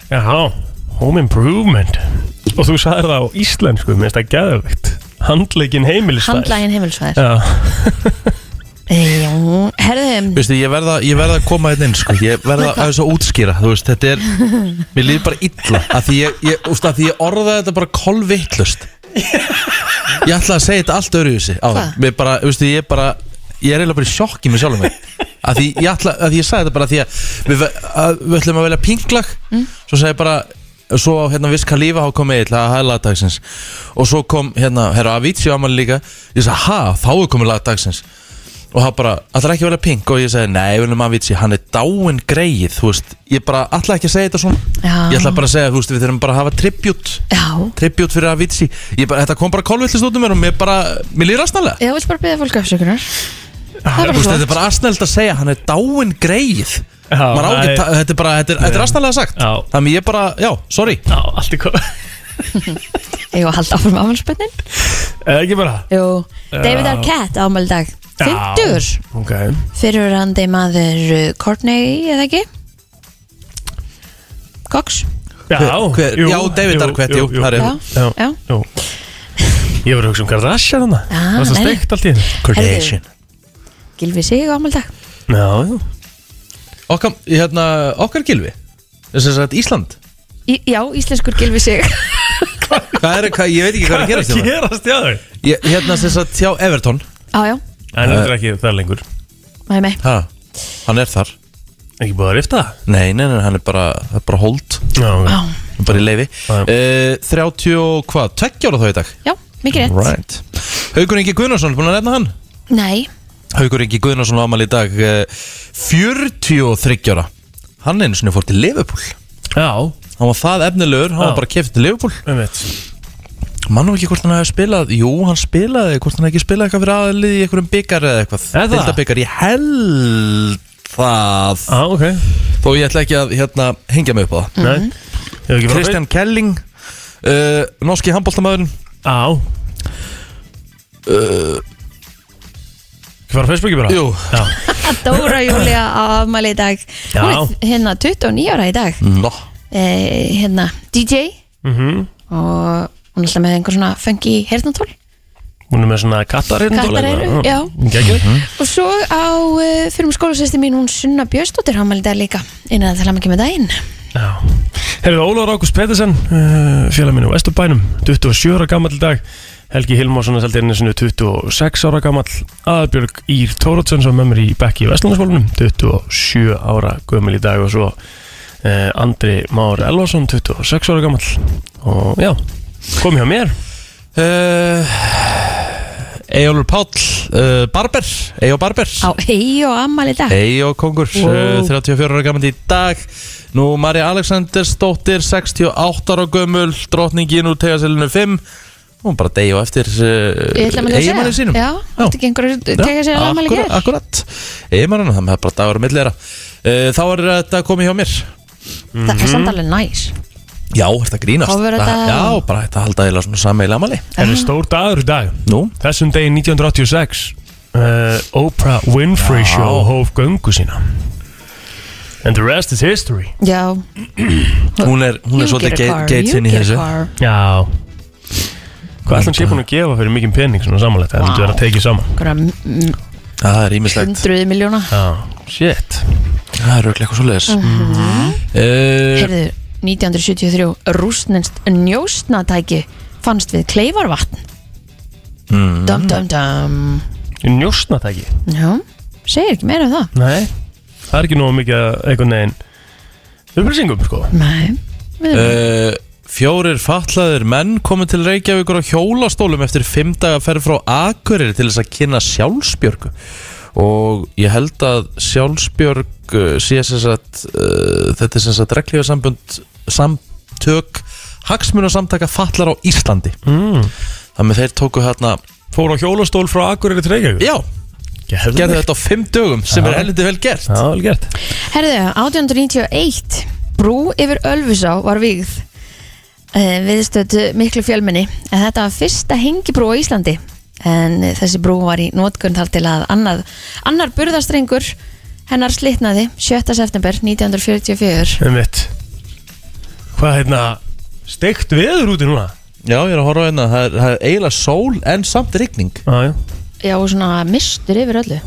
[SPEAKER 3] Já, home improvement Og þú sagðir það á íslensku, minnst það geðvegt Handleikin heimilistæð
[SPEAKER 2] Handlægin heimilsvæðir
[SPEAKER 3] Já, (laughs)
[SPEAKER 2] Já, herðu
[SPEAKER 1] Veistu, ég verða, ég verða að koma hérna inn, sko Ég verða að þess að útskýra, þú veist, þetta er Mér líður bara illa Af því ég, ég, úst, af því ég orðaði þetta bara kolvittlust Ég ætla að segja þetta allt öðru í þessi á það
[SPEAKER 2] Hvað?
[SPEAKER 1] Mér bara, veistu, ég er bara Ég er eiginlega bara í sjokki með sjálfum mig Af því ég ætla, af því ég sagði þetta bara af Því að við, að, við ætlum að velja pinglag
[SPEAKER 2] Mm.
[SPEAKER 1] Svo sagði ég bara Svo á, hérna viska lífa há komið eitt Það er lagdagsins Og svo kom hérna, herra Avicii ámæli líka Ég sagði, ha, þá er komið lagdagsins og það bara, allar ekki að velja pink og ég segi, nei, viljum að vitsi, hann er dáin greið, þú veist, ég bara ætla ekki að segja þetta svona,
[SPEAKER 2] Já.
[SPEAKER 1] ég ætla bara að segja, þú veist, við þurfum bara að hafa tribut,
[SPEAKER 2] Já,
[SPEAKER 1] tribut fyrir að vitsi, ég bara, þetta kom bara kólvillist út um mér og mér bara, mér líður aðsnaðlega,
[SPEAKER 2] ég vil bara byrja fólk afsökunar Það er
[SPEAKER 1] þú
[SPEAKER 2] bara
[SPEAKER 1] veist, þetta
[SPEAKER 2] flott
[SPEAKER 1] er bara aðsnaðlega að segja, hann er dáin greið,
[SPEAKER 3] Já,
[SPEAKER 1] maður á
[SPEAKER 3] nei.
[SPEAKER 1] ekki, ta- þetta er bara, þetta er, þetta er aðsnaðlega sagt,
[SPEAKER 3] Já.
[SPEAKER 1] þannig ég bara, já, sorry,
[SPEAKER 3] já allt í hvað
[SPEAKER 2] Ég var haldið áfram afmælspörnin
[SPEAKER 3] (laughs) Eða ekki bara
[SPEAKER 2] Jú, David Arquette ámæli í dag 50
[SPEAKER 3] Já, Ok
[SPEAKER 2] Fyrirrandi maður uh, Courtney, eða ekki? Cox?
[SPEAKER 3] Já,
[SPEAKER 1] Hver- hver- já, David Arquette, jú, það er
[SPEAKER 2] Já,
[SPEAKER 3] Já,
[SPEAKER 2] já.
[SPEAKER 3] jú. Ég var að hugsa um Kardashian hann Það var svo
[SPEAKER 2] Ah, nei, nei.
[SPEAKER 3] steikt allt í henni
[SPEAKER 2] Kardashian. Gilvi sig á ámaldag
[SPEAKER 3] Já, já
[SPEAKER 1] okkar, hérna, okkar gilvi, þess að sagt Ísland,
[SPEAKER 2] Í, Já, íslenskur Gilvi sig
[SPEAKER 1] hvað er, hvað, ég veit ekki hvað er að gerast hérna,
[SPEAKER 3] gerast hjá þau?
[SPEAKER 1] Ég- hérna, sem sagt, hjá Everton,
[SPEAKER 2] (laughs) Já, já,
[SPEAKER 3] En þetta er ekki það lengur
[SPEAKER 2] mæði mig
[SPEAKER 1] ha, hann er þar,
[SPEAKER 3] Ekki búið að rifta það?
[SPEAKER 1] Nei, nei, nei, hann er bara, það er bara hold
[SPEAKER 3] Já,
[SPEAKER 2] Já,
[SPEAKER 3] ok
[SPEAKER 1] hann er Bara í leiði
[SPEAKER 3] Já.
[SPEAKER 1] uh, 30 og hvað, 20 ára þá í dag
[SPEAKER 2] já mikið rétt
[SPEAKER 1] Right Haukur Ingi Guðnarsson, búin að nefna hann?
[SPEAKER 2] Nei,
[SPEAKER 1] Haukur Ingi Guðnarsson ámal í dag eh, uh, 43 ára Hann einu sinni fór til Liverpool
[SPEAKER 3] Já
[SPEAKER 1] Hann var það efnilegur, hann
[SPEAKER 3] Já.
[SPEAKER 1] var bara keftur til Liverpool
[SPEAKER 3] um veit
[SPEAKER 1] Mannum ekki hvort hann hefði spilað Jú, hann spilaði, hvort hann hefði ekki spilað eitthvað fyrir aðlið í einhverjum byggar eða eitthvað
[SPEAKER 3] Er það?
[SPEAKER 1] Deildabikar, ég held það
[SPEAKER 3] ah, ok,
[SPEAKER 2] Mhm.
[SPEAKER 1] Þó ég ætla ekki að hérna, hengja mig upp á það
[SPEAKER 3] nei Ég hef ekki bara
[SPEAKER 1] Kristján Kelling uh, Norski handbóltamæðurinn
[SPEAKER 3] Á Hvað var Uh, á Facebooki bara?
[SPEAKER 1] Jú.
[SPEAKER 3] Já,
[SPEAKER 2] Að Dóra Júlia á afmæli í dag
[SPEAKER 3] Já.
[SPEAKER 2] Hún er hérna 29 ára í dag
[SPEAKER 1] Nó
[SPEAKER 2] eh, Hérna DJ
[SPEAKER 3] mhm
[SPEAKER 2] Og hún er alltaf með einhver svona funky heyrnatól
[SPEAKER 3] Hún er með svona kattareyru
[SPEAKER 2] Kattareyru, já.
[SPEAKER 3] Gægjur
[SPEAKER 2] Og svo á uh, fyrir með skólasesti mín Hún Sunna Björnsdóttir ámæli í dag líka Innan að tala mikið með daginn
[SPEAKER 3] Já Herðu Ólafur Ágúst Pettersen uh, félag minn á Vesturbænum 27 ára gammal í dag Helgi Hilmarsson er seldi einu sinni 26 ára gammal Aðbjörg Ír Tórótsen sem er með mér í Bekki í Vestlandarskólanum 27 ára gömul í dag og svo uh, Andri Már Elvarsson 26 ára gammal og já, kom hjá mér
[SPEAKER 1] uh, Ejólfur Páll uh, Barber Ejó Barber
[SPEAKER 2] Á hei og afmæli í dag
[SPEAKER 1] Ejó Kongur uh, 34 ára gammal í dag Nú Marja Aleksandersdóttir 68 ára gömul Drottningin úr tegaselinu 5 Hún bara deyja á eftir
[SPEAKER 2] Ég
[SPEAKER 1] uh,
[SPEAKER 2] ætla maður að segja
[SPEAKER 1] eiginmanni sínum
[SPEAKER 2] Já, átti ekki einhverju tega sér afmæli
[SPEAKER 1] akkurat,
[SPEAKER 2] hér
[SPEAKER 1] akkurat Eiginmannin, það er bara dagur að millera uh, Þá er þetta komið hjá mér Mhm.
[SPEAKER 2] Það er samt alveg næs
[SPEAKER 1] Já, þetta grínast
[SPEAKER 2] Þá verður þetta-
[SPEAKER 1] Já, bara þetta halda eða svona sammeila amali
[SPEAKER 3] Það er stór dagur í dag
[SPEAKER 1] Nú,
[SPEAKER 3] Þessum degi 1986 uh, Oprah Winfrey
[SPEAKER 1] Já.
[SPEAKER 3] Show hóf göngu sína And the rest is history
[SPEAKER 2] Já,
[SPEAKER 1] hún er, hún er
[SPEAKER 2] you get a
[SPEAKER 1] svolítið ge-
[SPEAKER 2] car, you
[SPEAKER 1] geitinn í
[SPEAKER 2] get a
[SPEAKER 1] þessu
[SPEAKER 2] car.
[SPEAKER 3] Já Hvað ætlum sé búin að gefa fyrir mikið pening svona samanlegt Það myndi vera að tekið saman
[SPEAKER 2] Einhverja mm,
[SPEAKER 1] Það er ímislegt,
[SPEAKER 2] hundruði miljóna
[SPEAKER 3] Já, shit
[SPEAKER 1] það er auðvitað eitthvað svoleiðis
[SPEAKER 2] Mhm.
[SPEAKER 1] uh,
[SPEAKER 2] Heyrðu, 1973 rústnenst njóstnatæki fannst við kleifarvatn
[SPEAKER 1] Mhm.
[SPEAKER 2] mm. Dum dum dum
[SPEAKER 3] Njósna það ekki
[SPEAKER 2] Já, segir ekki meira um það
[SPEAKER 3] Nei Það er ekki nóg mikið að einhvern veginn upplýsingum sko
[SPEAKER 2] Nei, við erum
[SPEAKER 1] uh, Fjórir fatlaðir menn komu til Reykjavíkur á hjólastólum eftir fimm daga ferð frá Akureyri til þess að kynna sjálfsbjörgu og ég held að sjálfsbjörg uh, sé sem sagt uh, þetta er sem sagt reglífa sambund samtök hagsmunasamtaka fatlar á Íslandi
[SPEAKER 3] mm.
[SPEAKER 1] þannig þeir tóku hérna
[SPEAKER 3] Fór á hjólastól frá Akureyri til Reykjavík
[SPEAKER 1] Já, gerði þetta á fimm dögum sem er heldur vel gert
[SPEAKER 3] Já, vel gert
[SPEAKER 2] Herðu, 1891 brú yfir Ölfusá var vígð uh, viðstödd miklu fjölmenni en þetta var fyrsta hengibrú á Íslandi en eh, þessi brú var í nótkunn þar til að annað, annar burðastrengur hennar slitnaði 7. september 1944
[SPEAKER 3] Um mitt Hvað hérna Steikt veður úti núna
[SPEAKER 1] Já, ég er að horfa á hérna, það er, það er eiginlega sól en samt rigning
[SPEAKER 3] Já, já
[SPEAKER 2] Já, og svona mistur yfir öllu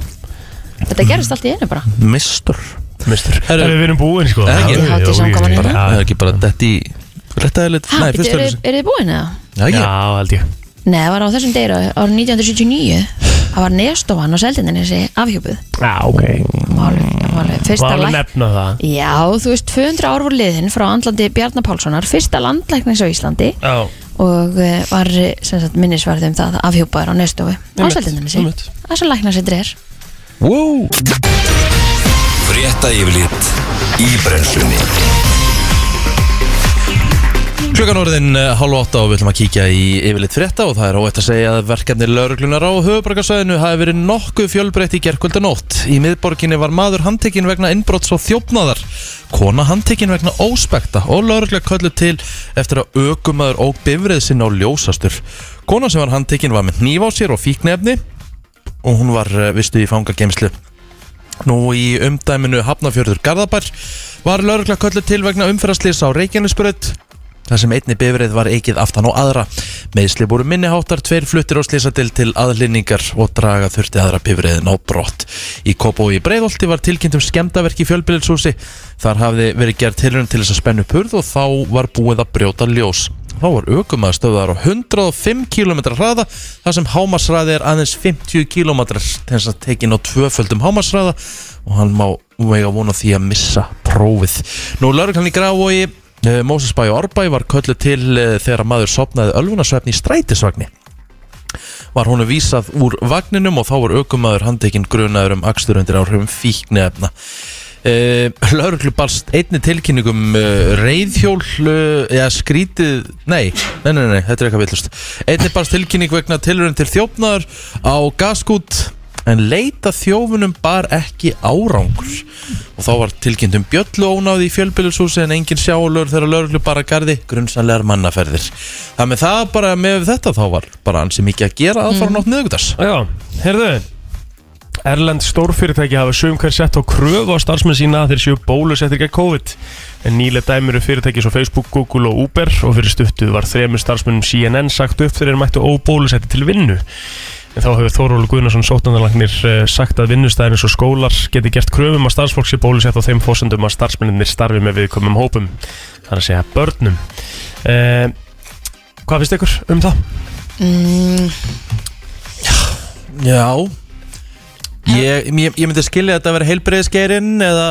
[SPEAKER 2] Þetta gerist allt í einu bara
[SPEAKER 1] Mistur
[SPEAKER 3] Mistur
[SPEAKER 1] Herru-
[SPEAKER 3] Það er við erum búin sko
[SPEAKER 1] Er það ekki?
[SPEAKER 3] Já,
[SPEAKER 2] Hátíð
[SPEAKER 3] já,
[SPEAKER 2] samkoman
[SPEAKER 3] já,
[SPEAKER 2] hérna.
[SPEAKER 1] Það
[SPEAKER 3] já,
[SPEAKER 1] er ekki bara dett í Rétt aðeins,
[SPEAKER 2] Ha,
[SPEAKER 1] nei,
[SPEAKER 2] býttu,
[SPEAKER 1] fyrst
[SPEAKER 2] eru,
[SPEAKER 1] aðeins
[SPEAKER 2] eru þið búin eða?
[SPEAKER 1] Já, ekki
[SPEAKER 3] Já, held ég
[SPEAKER 2] Nei, það var á þessum deyru árið 1979 það var nestofan á seldinninni afhjúpuð
[SPEAKER 3] Já, ok
[SPEAKER 2] Málið, málið, fyrsta
[SPEAKER 3] Var að
[SPEAKER 2] læk
[SPEAKER 3] nefna það
[SPEAKER 2] Já, þú veist, 200 ár voru liðin frá andlandi Bjarnar Pálssonar, fyrsta landlæknis á Íslandi
[SPEAKER 3] Já
[SPEAKER 2] og eh, var eh, sem sagt minnisvarði um það að afhjúpaður á neðstofu
[SPEAKER 3] Einmitt,
[SPEAKER 2] ásveldinni sig,
[SPEAKER 3] einmitt.
[SPEAKER 2] það sem læknar sér er
[SPEAKER 1] Wow.
[SPEAKER 5] Frétta yfirlit í brennslunni
[SPEAKER 1] Klukkan orðin eh, hálf átta og við ætlum að kíkja í yfirleitt frétta og það er óætt að segja að verkefni lauruglunar á höfubarkasvæðinu hafi verið nokkuð fjölbreytt í gerkvöldanótt. Í miðborginni var maður handtekinn vegna innbrotts og þjófnaðar, kona handtekinn vegna óspekta og laurugla köllu til eftir að ökumaður og bifrið sinna á ljósastur. Kona sem var handtekinn var með hníf á sér og fíknefni og hún var eh, vistuð í fangagemslu. Nú í umdæminu Hafnafjörður Garðabær var laurugla köllu til vegna umferðaslýs á Reykjanesbröð þar sem einni bifrið var eikið aftan á aðra. Meðsli voru minniháttar, tveir fluttir á slísadil til aðlinningar og draga þurfti aðra bifriðin á brott. Í Kobo í Breiðolti var tilkynnt um skemdaverk í fjölbyrðshúsi. Þar hafði verið gerð tilrönd til þess að spennu purð og þá var búið að brjóta ljós. Þá var aukum að stöðar á 105 km hraða þar sem hámasræði er aðeins 50 km þess að tekin á tvöföldum hámasræða og hann má vega vona því að missa prófið. Nú lauruglan í Gravogi Mósesbæ og Árbæ var köllu til eh, þegar maður sopnaði ölfunarsvefni í strætisvagni var hún vísað úr vagninum og þá var aukumaður handtekinn grunaður um akstur undir áhrifum fíknefna. Uh, Lörglu barst einni tilkynningum uh, reyðhjól uh, eða skrítið, nei, nei, nei, nei þetta er eitthvað villust einni barst tilkynning vegna tilurinn til þjófnaður á gaskút en leita þjófunum bar ekki árangur og þá var tilkynnt um bjöllu ónáði í fjölbýlishúsi en engin sjáulur þegar lörglu bara garði grunnsanlegar mannaferðir það með það bara með þetta þá var bara ansi mikið að gera að fara nátt niðugdags
[SPEAKER 3] Já, heyrðu Erlend stórfyrirtæki hafa sum hver sett á kröfu á starfsmenn sína að þeir séu bólusettir gegn COVID en nýlega dæmur eru fyrirtæki svo Facebook, Google og Uber og fyrir stuttu var þremur starfsmennum CNN sagt upp þegar þeir mættu óbólusetti til vinnu en þá hefur Þórólu Guðnarsson sótnandalagnir eh, sagt að vinnustæðinir og skólar geti gert kröfum að starfsfólk sé bólusett á þeim fósendum að starfsmenninir starfi með viðkomum hópum þar að segja börnum uh, Hvað finnst ykkur um það?
[SPEAKER 2] mm,
[SPEAKER 1] Já Ég, ég, ég myndi skilja þetta að vera heilbreiðisgeirinn eða,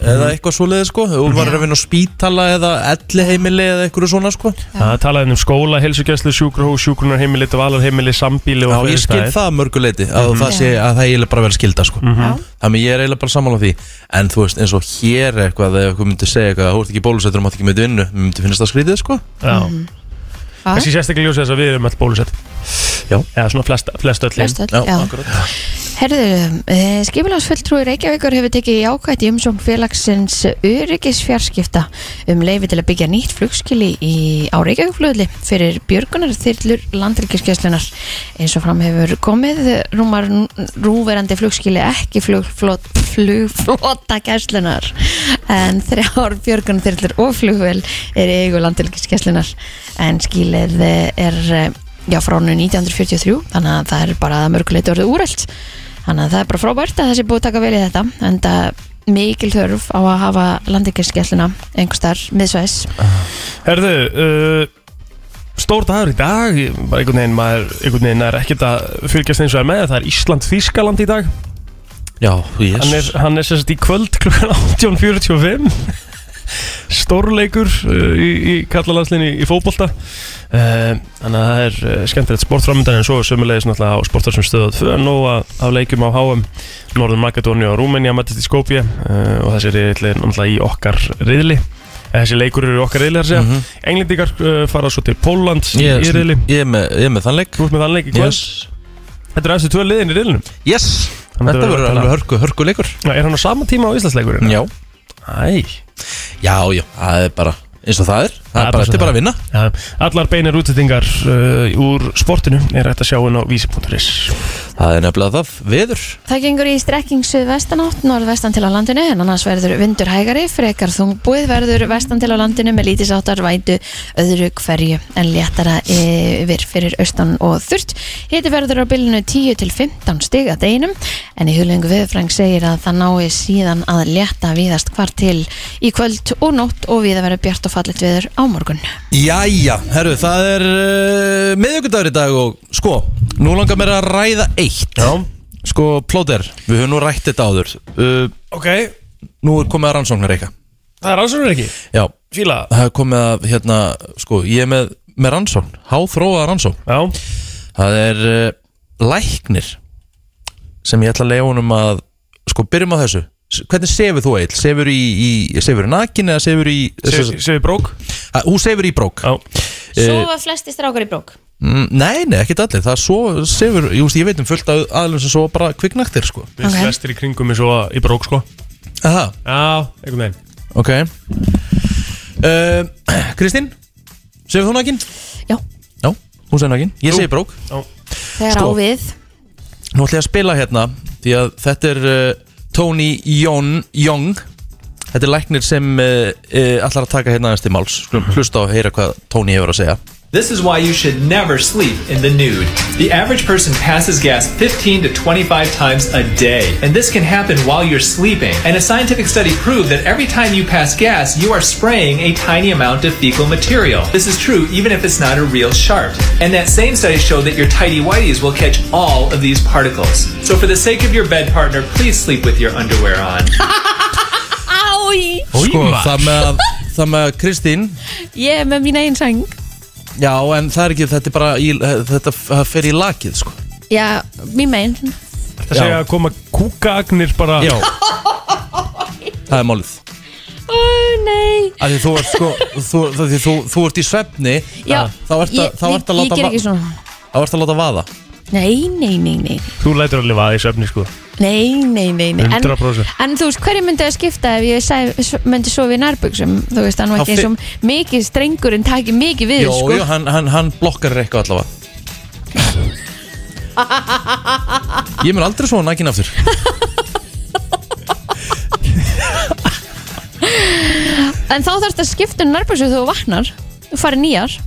[SPEAKER 1] eða
[SPEAKER 3] Mhm.
[SPEAKER 1] eitthvað svoleiði sko Þú var að vinna á spítala eða elliheimili eða eitthvað svona sko Já,
[SPEAKER 3] Það talaði um skóla, helsugjæslu, sjúkrahús, sjúkrunarheimili, dvalarheimili, sambíli og
[SPEAKER 1] ég skil
[SPEAKER 3] fyrirstaðir.
[SPEAKER 1] það að mörguleiti að
[SPEAKER 3] Mhm.
[SPEAKER 1] það sé að það er eiginlega bara að vera skilda sko
[SPEAKER 2] já,
[SPEAKER 1] Þannig ég er eiginlega bara sammála því En þú veist eins og hér eitthvað þegar eitthvað myndi segja eitthvað Þú ert ekki bólusettur og mátt ekki með þetta vinnu Mér myndi finnast það skrítið sko
[SPEAKER 3] Já,
[SPEAKER 2] já,
[SPEAKER 3] kannski sérstaklega ljósið þess að við erum öll bólusett.
[SPEAKER 1] Já.
[SPEAKER 3] Eða svona flest, flest öll.
[SPEAKER 2] flest öll, já.
[SPEAKER 1] akkurat
[SPEAKER 2] Herðu, skipilagsfulltrúi Reykjavíkur hefur tekið jákvætt í umsóng félagsins öryggisfjarskipta um leifi til að byggja nýtt flugskili í, á Reykjavíkflöðli fyrir björgunar þyrlur landryggiskeslunar. Eins og fram hefur komið rúmar rúverandi flugskili ekki flugflot, flugflota keslunar en þrjár björgunar þyrlur og flugvel er í eigu landryggiskeslunar en skilið er eh, já, frá árinu 1943 þannig að það er bara að mörguleiti orðið úrælt þannig að það er bara frábært að þessi búið taka vel í þetta en það mikil þörf á að hafa landingarskjalluna einhvers þar miðsvæðis
[SPEAKER 3] Herðu, uh, stór dagur í dag, ég- bara einhvern veginn, maður, einhvern veginn er ekkert að fylgjast eins og er með, það er Ísland-Þískaland í dag.
[SPEAKER 1] Já,
[SPEAKER 3] Hann er,
[SPEAKER 1] yes
[SPEAKER 3] hann er sérst í kvöld klukkan (laughs) 18.45 Stórleikur uh, í, í kallalandslinni í fótbolta uh, Þannig að það er uh, skemmtilegt sportframöndan en svo er sömulegis náttúrulega á sportar sem stöðu tvö nú af leikjum á HM Norður Makedóni og Rúmenja mættist í Skopje uh, og þessi riðli er náttúrulega í okkar riðli Eh, Þessi leikur eru í okkar riðli þar segja mm
[SPEAKER 1] Mhm.
[SPEAKER 3] Englendingar uh, fara svo til Póland
[SPEAKER 1] Ég,
[SPEAKER 3] í riðli
[SPEAKER 1] ég, er með, ég er með þannleik
[SPEAKER 3] Þú ert með þann leik í kvöld
[SPEAKER 1] Yes,
[SPEAKER 3] Þetta eru eftir tvö liðin í riðlinum
[SPEAKER 1] yes. Þetta
[SPEAKER 3] Þannig að verður
[SPEAKER 1] verður
[SPEAKER 3] væntanlega-
[SPEAKER 1] alveg hörku, hörku
[SPEAKER 3] Já, Er hann á sama tíma á Íslandsleikurinn?
[SPEAKER 1] Já,
[SPEAKER 3] Æ,
[SPEAKER 1] já, já, það er bara eins og það er Það
[SPEAKER 3] Það er
[SPEAKER 1] er
[SPEAKER 3] bara
[SPEAKER 1] bara,
[SPEAKER 3] svo
[SPEAKER 1] þetta er bara að vinna
[SPEAKER 3] Já, allar beinar útsettingar uh, úr sportinu er hægt að sjá inn á vísi.is
[SPEAKER 1] Það er nefnilega það, veður
[SPEAKER 2] Það gengur í strekking suðvestanátt, norðvestan til á landinu en annars verður vindur hægari, frekar þungbúið verður vestan til á landinu með lítisáttar vætu öðru hverju en léttara e, yfir fyrir austan og þurrt. Hiti verður á bylunu 10 til 15 stig að einum en í hulungu viðfræng segir að það nái síðan að létta víðast hvar til í kvöld og nótt og við að vera bjart og fallit viður á morgun.
[SPEAKER 1] Jæja, herru, það er uh, miðvíkudagur í dag og sko, nú langar mér að ræða eitt Já. Sko, plóter, við höfum nú rætt þetta áður uh,
[SPEAKER 3] Ok,
[SPEAKER 1] Nú er komið að rannsóknar eitthvað
[SPEAKER 3] það er ásvöldin ekki
[SPEAKER 1] Já,
[SPEAKER 3] Fíla
[SPEAKER 1] það er komið að, hérna, sko, ég er með, með rannsókn Háþróaða rannsókn
[SPEAKER 3] Já,
[SPEAKER 1] Það er uh, læknir sem ég ætla að leiða honum að, sko, byrjum á þessu S- Hvernig sefur þú eill? Sefur í, í sefur í nakin eða sefur í
[SPEAKER 3] séu séu brók
[SPEAKER 1] Að- Hún sefur í brók
[SPEAKER 3] Já,
[SPEAKER 2] Sofa flesti strákar í brók.
[SPEAKER 1] Mm, Nei, nei, ekkert allir, það er svo sefur, ég, veist, ég veit um fullt af aðlum sem svo bara kviknaktir sko
[SPEAKER 3] við
[SPEAKER 2] Ok.
[SPEAKER 3] flestir í kringum er svo í brók sko
[SPEAKER 1] Aha,
[SPEAKER 3] Já, einhvern veginn
[SPEAKER 1] ok uh, Kristín, sefur þú nakin?
[SPEAKER 2] Já.
[SPEAKER 1] Já, hún sefur nakin, ég segi brók
[SPEAKER 2] Þegar
[SPEAKER 1] Sko.
[SPEAKER 2] á við,
[SPEAKER 1] Nú ætla ég að spila hérna, því að þetta er uh, Tony Jón, Jong Þetta er læknir sem uh, uh, allar að taka hérna aðeins til máls Skulum hlusta og heyra hvað Tony hefur að segja
[SPEAKER 6] This is why you should never sleep in the nude. The average person passes gas 15 to 25 times a day, and this can happen while you're sleeping. And a scientific study proved that every time you pass gas, you are spraying a tiny amount of fecal material. This is true even if it's not a real shart. And that same study showed that your tidy whities will catch all of these particles. So for the sake of your bed partner, please sleep with your underwear on.
[SPEAKER 1] Sko,
[SPEAKER 3] maður.
[SPEAKER 1] það með að, það með að Kristín
[SPEAKER 2] ég er með mín einn sang.
[SPEAKER 1] Já, en það er ekki, þetta er bara, í, þetta það fer í lakið sko
[SPEAKER 2] Já, mín meginn.
[SPEAKER 3] Það segja að koma kúkaagnir bara
[SPEAKER 1] Já (laughs) það er málið
[SPEAKER 2] Ó nei
[SPEAKER 1] Af því þú ert sko, þú, þú, þú, þú, þú ert í svefni
[SPEAKER 2] Já,
[SPEAKER 1] Þá ert að,
[SPEAKER 2] ég-
[SPEAKER 1] þá ert að
[SPEAKER 2] ég-
[SPEAKER 1] láta
[SPEAKER 2] Ég ger
[SPEAKER 1] va-
[SPEAKER 2] ekki svona
[SPEAKER 1] Þá ert að láta vaða
[SPEAKER 2] Nei, nei, nei, nei
[SPEAKER 3] Þú lætur alveg vaða í söfni sko
[SPEAKER 2] Nei, nei, nei, nei. En,
[SPEAKER 3] 100%.
[SPEAKER 2] en þú veist, hverju myndi að skipta ef ég sæ, s- myndi sofa í nærbuksum þú veist, hann var
[SPEAKER 1] Þá
[SPEAKER 2] ekki
[SPEAKER 1] fi-
[SPEAKER 2] eins og mikið strengurinn taki mikið við,
[SPEAKER 1] Jó,
[SPEAKER 2] sko
[SPEAKER 1] jú, hann, hann, hann blokkar eitthvað allavega Ég mun aldrei svona nækin aftur
[SPEAKER 2] en þá þarfst að skipta um nærbuksum þegar þú vaknar þú farir nýjar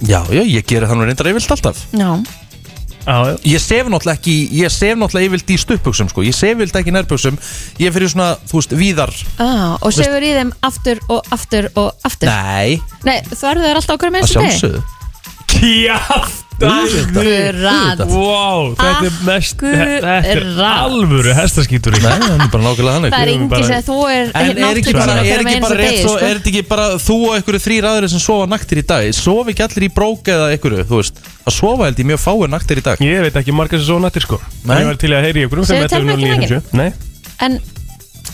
[SPEAKER 1] Já, já, ég geri það nú reyndar yfirlt alltaf
[SPEAKER 2] Já,
[SPEAKER 3] Já, já
[SPEAKER 1] Ég sef náttúrulega ekki, ég sef náttúrulega yfirlt í stuttbuxum sko Ég sef yfirlt ekki í nærbuxum Ég fyrir svona, þú veist, víðar
[SPEAKER 2] ah, og segur í þeim aftur og aftur og aftur
[SPEAKER 1] Nei,
[SPEAKER 2] Nei, þú verður þær alltaf okkur með
[SPEAKER 1] að
[SPEAKER 2] þessu degi
[SPEAKER 1] sjálfsögðu
[SPEAKER 3] Kjáftæði
[SPEAKER 2] Akkurat.
[SPEAKER 3] Vá, þetta er mest Þetta er
[SPEAKER 2] Akkurat.
[SPEAKER 3] alvöru hestaskítur
[SPEAKER 1] Nei, það er bara nákvæmlega þannig
[SPEAKER 2] Það er
[SPEAKER 3] Við erum
[SPEAKER 2] engin
[SPEAKER 3] bara-
[SPEAKER 2] sem þú er
[SPEAKER 1] En er ekki bara,
[SPEAKER 2] náttúrulega
[SPEAKER 1] er
[SPEAKER 2] fyrir með
[SPEAKER 1] ekki
[SPEAKER 2] eins
[SPEAKER 1] bara
[SPEAKER 2] og
[SPEAKER 1] rétt
[SPEAKER 2] degi,
[SPEAKER 1] svo,
[SPEAKER 2] sko
[SPEAKER 1] er þetta ekki bara þú og einhverju þrýr aðrir sem sofa naktir í dag Sofa ekki allir í brók eða einhverju, þú veist Að sofa held ég mjög fáir naktir í dag
[SPEAKER 3] Ég veit ekki margar sem svo nættir sko
[SPEAKER 1] Nei.
[SPEAKER 3] Ég var til í að heyri ykkur um
[SPEAKER 2] Segðu
[SPEAKER 3] 511
[SPEAKER 2] Telmu ekki
[SPEAKER 3] 0950. Nei,
[SPEAKER 2] En,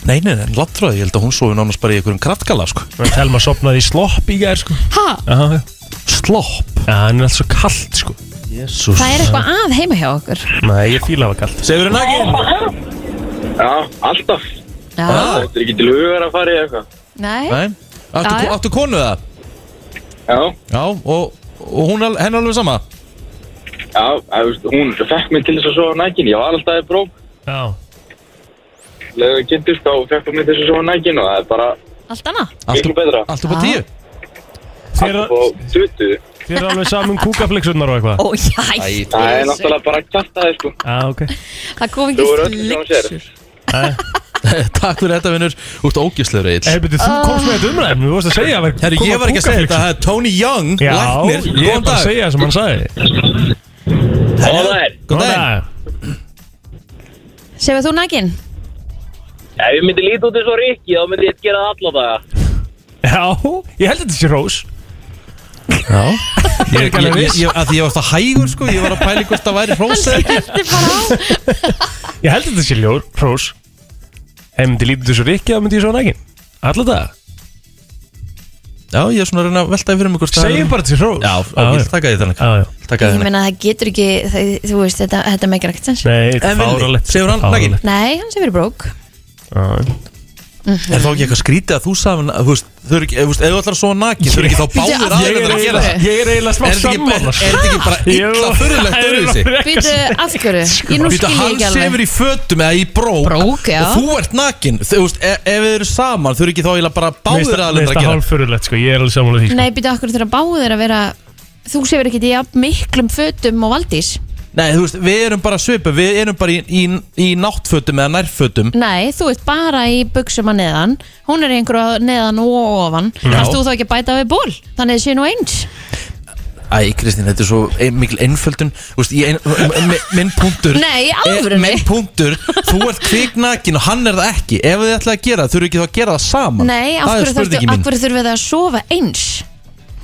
[SPEAKER 1] Nei, nei, nei, látráði, ég held að hún sofi nánast bara í einhverjum kraftgala, sko
[SPEAKER 3] en Telma sopnaði í slopp í gær sko
[SPEAKER 2] ha,
[SPEAKER 3] Já, já.
[SPEAKER 1] Slopp
[SPEAKER 3] Já, hann er allt svo kallt sko
[SPEAKER 1] Jésús
[SPEAKER 2] það er eitthvað að heima hjá okkur
[SPEAKER 3] Nei, ég fíla að hafa kallt
[SPEAKER 1] Sefur það ekki?
[SPEAKER 7] Já, alltaf.
[SPEAKER 2] Já,
[SPEAKER 7] Þetta er ekki til hugar að fara í eitthvað.
[SPEAKER 2] Ah. nei,
[SPEAKER 1] Nei, áttu,
[SPEAKER 2] Já, já.
[SPEAKER 1] áttu konu það?
[SPEAKER 7] Já,
[SPEAKER 1] Já, og, og hún, al- henni alveg sama?
[SPEAKER 7] já, að, veist, hún fekk mig til þess að sofa nægin. Ég var alltaf í brók.
[SPEAKER 3] Já,
[SPEAKER 7] Leðið við kynntist þá fekk hún mig til þess að sofa nægin og það er bara
[SPEAKER 2] allt annað
[SPEAKER 1] Allt
[SPEAKER 7] miklu
[SPEAKER 1] upp-
[SPEAKER 7] betra.
[SPEAKER 1] allt upp á
[SPEAKER 2] Já.
[SPEAKER 1] tíu? (laughs)
[SPEAKER 3] þér
[SPEAKER 7] Alltaf og tutu.
[SPEAKER 3] þér er alveg saman kúkaflexurnar og eitthvað
[SPEAKER 2] Ó, jæ,
[SPEAKER 7] Það er náttúrulega bara að kjarta þig, sko.
[SPEAKER 1] Ah,
[SPEAKER 3] Já, ok
[SPEAKER 2] það kom
[SPEAKER 7] Þú eru öll
[SPEAKER 2] ekki
[SPEAKER 7] sem hún sér.
[SPEAKER 2] sliksur
[SPEAKER 1] Takk fyrir þetta, vinnur Þú ert ógislegur, Egil
[SPEAKER 3] Hey, beti, þú komst með þetta umræðum, þú varst að segja Eh, að
[SPEAKER 1] Herru,
[SPEAKER 3] koma
[SPEAKER 1] ég var ekki að segja þetta,
[SPEAKER 3] kúkaflexur.
[SPEAKER 1] það er Tony Young,
[SPEAKER 3] Já,
[SPEAKER 1] læknir,
[SPEAKER 3] ég er
[SPEAKER 1] góðan
[SPEAKER 3] bara að
[SPEAKER 1] dag
[SPEAKER 3] segja sem hann sagði
[SPEAKER 7] Góðan daginn.
[SPEAKER 1] Góðan dag
[SPEAKER 2] Sefur þú nægin?
[SPEAKER 7] Ef ég myndi líta út eins og Rikki, þá myndi ég gera það alla daga.
[SPEAKER 3] Já, ég held að þetta sé rós
[SPEAKER 1] Já Ég er
[SPEAKER 3] ekki alveg viss.
[SPEAKER 1] Því ég var alltaf hægur sko Ég var að pæli hvort það væri hrós eða ekki
[SPEAKER 2] Þetta er bara á
[SPEAKER 3] Ég held að þetta sé ljór, rós Ef ég myndi lítið þessu rikki, þá myndi ég svo nægin Alla dag,
[SPEAKER 1] Já, ég er svona að reyna að velta yfir um hvort það
[SPEAKER 3] segjum bara þetta sé rós
[SPEAKER 1] Já, á, ég vil taka því þannig
[SPEAKER 3] Já, já
[SPEAKER 1] Taka
[SPEAKER 2] (laughs) Ég
[SPEAKER 1] því þannig
[SPEAKER 2] meina það getur ekki, það, þú veist, þetta, þetta meikir ekkert sens
[SPEAKER 3] Nei,
[SPEAKER 1] En Villi,
[SPEAKER 3] fáralegt
[SPEAKER 1] segir hann
[SPEAKER 3] fáránlegt.
[SPEAKER 1] nakinn?
[SPEAKER 2] Nei, hann sefur í brók
[SPEAKER 3] Já.
[SPEAKER 1] Er þá ekki eitthvað skrítið að þú sagði Þú veist, þau eru ekki Þú veist, ef þú ætlar að svona nakin Þau eru
[SPEAKER 3] (laughs)
[SPEAKER 1] ekki þá
[SPEAKER 2] Ég
[SPEAKER 1] báðir
[SPEAKER 3] Ég
[SPEAKER 1] aðeins
[SPEAKER 3] er
[SPEAKER 1] að gera
[SPEAKER 3] eiginlega-
[SPEAKER 1] það
[SPEAKER 3] ég er eiginlega smá
[SPEAKER 1] Er þetta ekki, er,
[SPEAKER 3] sammála sko.
[SPEAKER 1] er þetta ekki
[SPEAKER 3] (laughs)
[SPEAKER 1] bara illa fyrirlegt öðruvísi?
[SPEAKER 2] Býtu, af hverju? Ég nú
[SPEAKER 1] Býta,
[SPEAKER 2] skil ég
[SPEAKER 1] hann
[SPEAKER 2] ekki
[SPEAKER 1] sefur
[SPEAKER 2] alveg
[SPEAKER 1] í fötum eða í brók,
[SPEAKER 2] Brók, já.
[SPEAKER 1] og þú ert nakin Þú veist, e ef þið eru saman þau eru ekki þá eiginlega bara báðir
[SPEAKER 3] Mér
[SPEAKER 1] aðeins að
[SPEAKER 3] finnst það
[SPEAKER 1] gera
[SPEAKER 3] hálf fyrirlegt sko, ég er alveg sammála því sko.
[SPEAKER 2] Nei, býtu, af hverju þeirra báðir að vera Þú sefur ekkert í jafn miklum fötum og valdís
[SPEAKER 1] Nei, þú veist, við erum bara svipu Við erum bara í, í, í náttfötum eða nærfötum
[SPEAKER 2] Nei, þú ert bara í buksum að neðan Hún er í einhverju að neðan og ofan Þarst þú þá ekki að bæta við ból Þannig þessi nú eins
[SPEAKER 1] Æ, Kristín, þetta er svo ein, mikil einföldun Þú veist, ég, ein, mi- minn punktur
[SPEAKER 2] (laughs) Nei, í alvörunni?
[SPEAKER 1] Eh, Minn punktur, þú ert kviknakin og hann er það ekki Ef þið ætlaði að gera það, þau eru ekki þá að gera það saman það
[SPEAKER 2] Nei, af
[SPEAKER 1] er
[SPEAKER 2] hverju þarftu-
[SPEAKER 1] spurningi
[SPEAKER 2] af
[SPEAKER 1] mín
[SPEAKER 2] hverju þurfum við að sofa eins?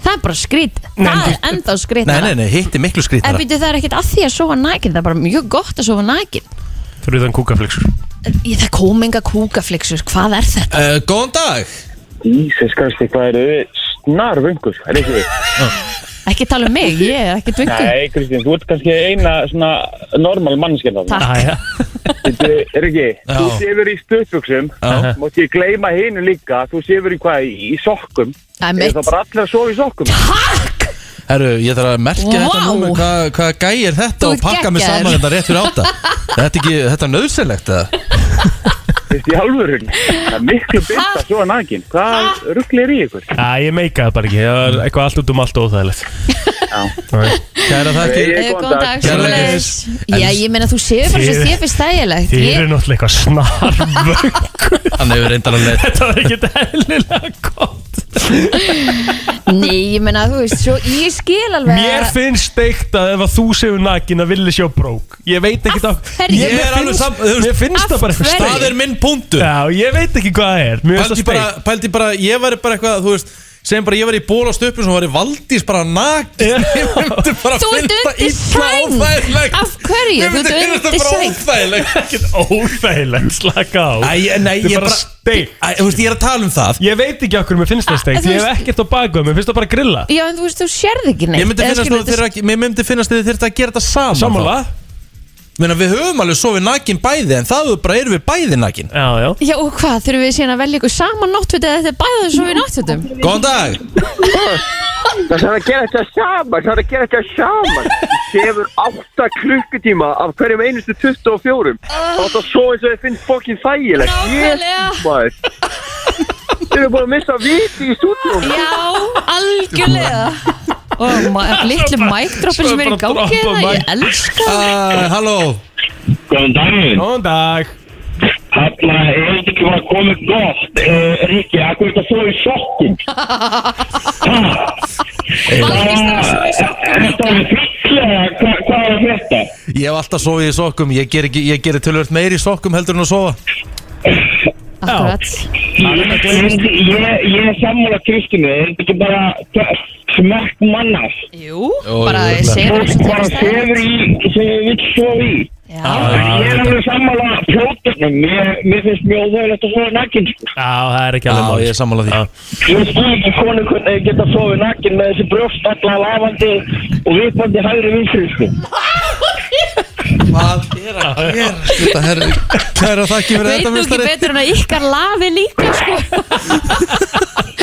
[SPEAKER 2] Það er bara skrít
[SPEAKER 3] Nei,
[SPEAKER 2] Það
[SPEAKER 3] en-
[SPEAKER 2] er enda skrít
[SPEAKER 1] Nei, nei, nei, hitt er miklu
[SPEAKER 2] En
[SPEAKER 1] skrítara
[SPEAKER 2] býtu það er ekkert að því að sofa nakin Það er bara mjög gott að sofa nakin
[SPEAKER 3] Fyrir utan kúkaflexur
[SPEAKER 2] En Ég það kom enga kúkaflixur, hvað er þetta?
[SPEAKER 1] uh, Góðan dag
[SPEAKER 7] Jesus Christi, hvað eru þið? Snar vöngur, er ekki þið?
[SPEAKER 2] Ekki tala um mig, ég er ekki dvingu
[SPEAKER 7] Nei, Kristín, þú ert kannski eina svona normal mannskjöndan.
[SPEAKER 2] Takk.
[SPEAKER 3] (laughs) Æja,
[SPEAKER 7] Þetta er ekki, þú
[SPEAKER 1] Já.
[SPEAKER 7] sefur í stöðbuksum,
[SPEAKER 1] Já.
[SPEAKER 7] mátt ég gleyma hinu líka, þú sefur í hvað, í, í sokkum,
[SPEAKER 2] Það er
[SPEAKER 7] er
[SPEAKER 2] mitt
[SPEAKER 7] það bara allir að sofa í sokkum?
[SPEAKER 1] Herru, ég þarf að merkja þetta
[SPEAKER 2] Vá.
[SPEAKER 1] númer Hvað hva gæi er þetta
[SPEAKER 2] Þú
[SPEAKER 1] og
[SPEAKER 2] ert
[SPEAKER 1] pakka mig
[SPEAKER 2] geggjaður.
[SPEAKER 1] saman þetta rétt fyrir
[SPEAKER 2] (laughs)
[SPEAKER 1] átta Þetta er ekki, þetta er nöðsynlegt eða?
[SPEAKER 7] Þetta er í alvörun, það er miklu byrta að sofa nægin, hvað ruggli er í ykkur?
[SPEAKER 3] ég meika það bara ekki Það var eitthvað allt út um allt óþægilegt Já
[SPEAKER 1] Kæra þakkir
[SPEAKER 7] Nei,
[SPEAKER 2] Eh, Góðan dag,
[SPEAKER 1] Kærleikis.
[SPEAKER 2] svoleiðis Já, ég meina þú séu bara svo
[SPEAKER 3] Þið-
[SPEAKER 2] þér fyrst þægilegt
[SPEAKER 3] Þið
[SPEAKER 2] Ég-
[SPEAKER 3] eru náttúrulega eitthvað snarvöng
[SPEAKER 1] Hann hefur reyndar að leið
[SPEAKER 3] (laughs) Þetta var ekkert eðlilega gott
[SPEAKER 2] Nei, ég meina þú veist, svo ég skil alveg
[SPEAKER 3] Mér finnst steikt að ef að þú séu nakin að villi sjá brók Ég veit ekki það
[SPEAKER 2] hverju?
[SPEAKER 3] Ég,
[SPEAKER 1] Ég er
[SPEAKER 3] mér
[SPEAKER 1] alveg
[SPEAKER 3] finnst-
[SPEAKER 1] sam- þú veist-
[SPEAKER 3] Mér finnst það bara eitthvað
[SPEAKER 2] hverju?
[SPEAKER 3] steikt
[SPEAKER 1] Það er minn punktur
[SPEAKER 3] Já, ég veit ekki hvað það er Mér finnst
[SPEAKER 1] Pældi
[SPEAKER 3] það
[SPEAKER 1] bara,
[SPEAKER 3] steikt
[SPEAKER 1] pældi bara, ég væri bara eitthvað, þú veist Segjum bara ég var í ból á stöpun Svo var ég valdís bara nakt (laughs) Ég myndi bara
[SPEAKER 2] Þú
[SPEAKER 1] finna
[SPEAKER 2] ert undir
[SPEAKER 1] illa
[SPEAKER 2] sæng.
[SPEAKER 1] óþægilegt.
[SPEAKER 2] Af hverju?
[SPEAKER 1] Ég myndi
[SPEAKER 2] Þú ert
[SPEAKER 1] finna þetta
[SPEAKER 2] undir
[SPEAKER 1] bara
[SPEAKER 2] sæng.
[SPEAKER 1] óþægilegt
[SPEAKER 3] Ekkert óþægilegt, slaka á
[SPEAKER 1] Æ, nei,
[SPEAKER 3] Þetta
[SPEAKER 1] ég
[SPEAKER 3] er bara
[SPEAKER 1] bara-
[SPEAKER 3] steik
[SPEAKER 1] Æ, Þú veist, ég er að tala um það
[SPEAKER 3] Ég veit ekki okkur mér finnst það steik
[SPEAKER 2] þú
[SPEAKER 3] Ég hef
[SPEAKER 2] veist-
[SPEAKER 3] ekkert á bakveð, mér finnst það bara að grilla
[SPEAKER 2] Já, en þú veist, þú sérð ekki neitt
[SPEAKER 1] Ég myndi
[SPEAKER 2] Eða
[SPEAKER 1] finnast
[SPEAKER 2] skilur,
[SPEAKER 1] að þið þurfa- mér myndi finnast að þið þurft að gera þetta saman
[SPEAKER 3] Sammála
[SPEAKER 1] þá. Meina, Við höfum alveg sofið nakin bæði En það bara erum við bæði nakin
[SPEAKER 3] Já, já
[SPEAKER 2] Já, og hvað, þurfum við síðan að velja ykkur saman náttfötu eða þetta er bæðið svo við náttfötum?
[SPEAKER 1] Góðan dag
[SPEAKER 8] Það þarf að gera þetta saman, það þarf að gera þetta saman. Þú sefur 8 klukkutíma af hverjum einustu 24. Það er það svo eins og þið finnst fokkin þægilegt.
[SPEAKER 2] Nákvæmlega.
[SPEAKER 8] Jésus, maður. Þið erum búin að missa viti í stúdíum.
[SPEAKER 2] Já, algjörlega Og ma- litlu mækdroppin sem er í
[SPEAKER 3] Svo bara
[SPEAKER 2] gangi það,
[SPEAKER 3] droppa mic.
[SPEAKER 2] ég elska það.
[SPEAKER 1] Æ, Halló
[SPEAKER 9] Góðan daginn.
[SPEAKER 3] Góðan dag
[SPEAKER 9] Þarna er þetta ekki bara komið gott. Uh, Rikki, akkur er þetta svo í
[SPEAKER 2] (laughs)
[SPEAKER 9] sokkum? Eh,
[SPEAKER 2] Valdís það var svo í sjokki.
[SPEAKER 9] Þetta er fyllilega, hva, hvað er þetta?
[SPEAKER 1] Ég hef alltaf sofið í sokkum Ég ger, ekki, ég ger tölvöld meiri í sokkum heldur en að sofa
[SPEAKER 2] Akkurat
[SPEAKER 9] Ég, ég, ég, ég er sammála Kristinu, er þetta ekki bara t- smekk mannas?
[SPEAKER 2] Jú, bara segir
[SPEAKER 9] Fólk
[SPEAKER 2] það svo
[SPEAKER 9] bara sefur í sem við vill svo í.
[SPEAKER 2] Já,
[SPEAKER 3] Ah.
[SPEAKER 9] Ég er alveg sammála plótunum, mér, mér finnst mjög óþægilegt að sofa nakin. sko.
[SPEAKER 3] Já, það er ekki
[SPEAKER 1] Já,
[SPEAKER 3] alveg mál
[SPEAKER 1] ég er sammála því
[SPEAKER 3] Já.
[SPEAKER 9] Ég skil ekki konu hvernig þið geta sofið nakin með þessi brjóst alla lafandi og viðbandi hægri vinsri, sko.
[SPEAKER 1] Hvað er að gera? Þetta herri, kæra þakki fyrir
[SPEAKER 2] veit
[SPEAKER 1] þetta
[SPEAKER 2] nú ekki
[SPEAKER 1] mistari
[SPEAKER 2] betur en að ykkar lafi líka sko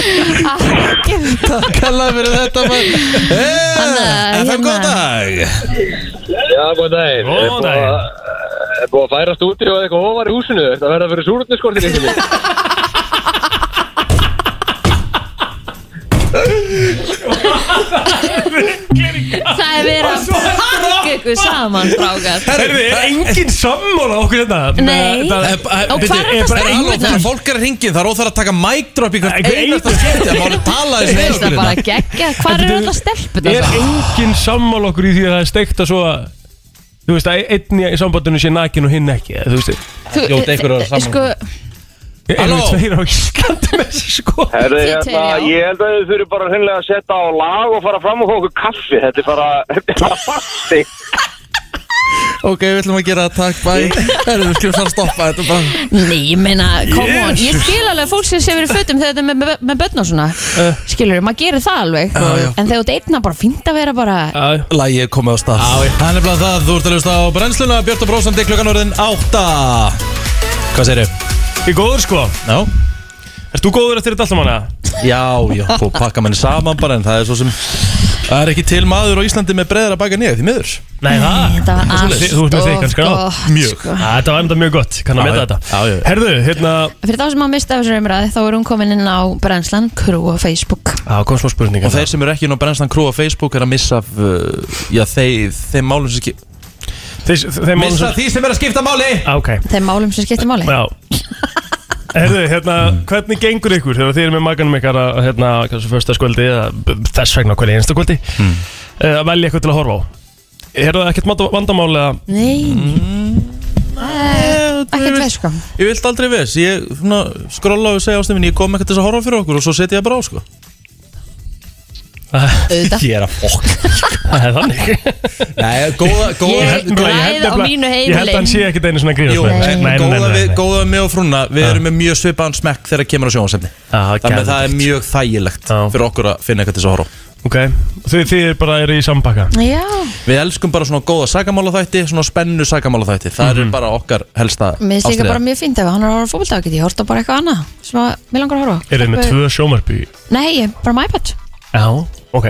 [SPEAKER 2] Æ,
[SPEAKER 1] Takk hella fyrir þetta maður
[SPEAKER 2] Annað,
[SPEAKER 1] Hey, FM
[SPEAKER 2] hérna.
[SPEAKER 1] góðan dag
[SPEAKER 8] Já, góðan daginn.
[SPEAKER 3] Góðan daginn
[SPEAKER 8] Það er búið að færa stúdíu og eitthvað ofar í húsinu. Það verður að vera súrutniskortir í húsinu.
[SPEAKER 2] Það er verið að pakka ykkur saman strákar
[SPEAKER 3] Herði,
[SPEAKER 1] eh,
[SPEAKER 3] er engin sammála okkur hérna? þetta?
[SPEAKER 2] Nei. Og hvar er þetta
[SPEAKER 1] er alveg
[SPEAKER 2] strákurnar?
[SPEAKER 1] það eh, fólk er að hringið Það er óþar að taka mic drop í hvert
[SPEAKER 3] Ekki
[SPEAKER 1] einasta
[SPEAKER 3] einu.
[SPEAKER 1] skipti Það má alveg tala
[SPEAKER 2] Þú
[SPEAKER 1] þessu
[SPEAKER 2] veist það bara geggja, hvar eru alltaf stelpur
[SPEAKER 3] Er
[SPEAKER 2] það?
[SPEAKER 3] engin sammála okkur í því að það er steikt að svo að Þú veist að einn í sambandinu sé nakin og hinn ekki eða Þú veist,
[SPEAKER 1] Hljóta ykkur að vera saman.
[SPEAKER 2] Sko,
[SPEAKER 3] erum
[SPEAKER 1] Halló?
[SPEAKER 3] við tveir á ekki skandi með þessu sko
[SPEAKER 8] Herðu,
[SPEAKER 2] Þið
[SPEAKER 8] hérna,
[SPEAKER 2] tveir, já.
[SPEAKER 8] ég held að þið þurfi bara hreinlega að setja á lag og fara fram og fá okkur kaffi. Þetta er bara, þetta er bara fasti.
[SPEAKER 1] Ok, við ætlum að gera það, takk, bæ Herri, við skulum svona stoppa þetta bara
[SPEAKER 2] nei, ég meina, come on Ég skil alveg fólk sem sé verið fötum þegar þetta er með, með, með börn og svona Skilur, maður gerir það alveg
[SPEAKER 1] Já, já.
[SPEAKER 2] En þegar þú deitna bara fínt að vera bara
[SPEAKER 3] Já,
[SPEAKER 1] Lægi er komið á stað Það er nefnilega það, þú ert að hlusta á brennsluna Björn og brósandi klukkan orðin átta Hvað segir þau?
[SPEAKER 3] ég er góður sko
[SPEAKER 1] Já,
[SPEAKER 3] Erst þú góður eftir þetta alltaf manna?
[SPEAKER 1] já, já, þú pakka menni saman bara En það er svo sem Það er ekki til maður á Íslandi með breyðar að baka nýja því miður
[SPEAKER 3] Nei, það
[SPEAKER 2] Þetta var allt
[SPEAKER 3] Svoleiðis. Þú ert með
[SPEAKER 2] of
[SPEAKER 3] þykkan skrá
[SPEAKER 2] gott, sko.
[SPEAKER 3] Á, Þetta var enda mjög gott, kann að
[SPEAKER 1] Já,
[SPEAKER 3] meta
[SPEAKER 1] já.
[SPEAKER 3] þetta
[SPEAKER 1] Já, já.
[SPEAKER 3] Herðu, hérna
[SPEAKER 2] Fyrir þá sem að mista af þessari umræði þá er hún komin inn á Brænslan Crew á Facebook
[SPEAKER 3] Já, kom smá spurning hérna.
[SPEAKER 1] Og þeir sem eru ekki inn á brennstan krú á Facebook er að missa af, uh, já, þeir, þeir málum sem skipta
[SPEAKER 3] Þeir, þeir málum svo
[SPEAKER 1] því sem er að skipta máli
[SPEAKER 3] Á, ok
[SPEAKER 2] Þeim málum sem skiptir máli
[SPEAKER 3] Já Herðu, hérna, hvernig gengur ykkur þegar þið eru með maganum ykkar að, hérna, kannski förstaskvöldi eða b- þess vegna hvernig einstakvöldi mm. að velja eitthvað til að horfa á Er það ekkert mand- vandamál eða (laughs)
[SPEAKER 2] Nei Eh, Ekkert veið sko
[SPEAKER 1] Ég vilt aldrei viss, ég svona, skrolla og segja ástum minn, ég kom ekkert til þess að horfa fyrir okkur og svo setja ég bara á, sko
[SPEAKER 2] Auðvitað
[SPEAKER 1] Ég er að fokk
[SPEAKER 3] það er þannig?
[SPEAKER 1] Nei, góða, góða
[SPEAKER 2] Ég- Græða á mínu
[SPEAKER 3] Ég held að hann
[SPEAKER 2] heimili.
[SPEAKER 3] sé ekkert einu svona gríðast
[SPEAKER 1] Jú, en góða við, góða við mig og frúna Við erum með mjög svipaðan smekk þegar kemur á sjónasefni
[SPEAKER 3] Ah,
[SPEAKER 1] Þannig að það er mjög þægilegt
[SPEAKER 3] Já.
[SPEAKER 1] fyrir okkur að finna eitthvað til þess að horfa á.
[SPEAKER 3] Ok, þið, þið bara eru í sambakka
[SPEAKER 2] Já,
[SPEAKER 1] Við elskum bara svona góða sagamála svona spennu sagamála Það eru bara okkar helsta
[SPEAKER 2] mér finnst líka
[SPEAKER 1] ástríða.
[SPEAKER 2] bara mjög fínt ef hann er að horfa fókbalta get ég horta bara eitthvað annað sem að mér langar að horfa á.
[SPEAKER 3] Eru þið með tvö sjómarby?
[SPEAKER 2] Nei, ég- bara með iPad
[SPEAKER 3] Já Ok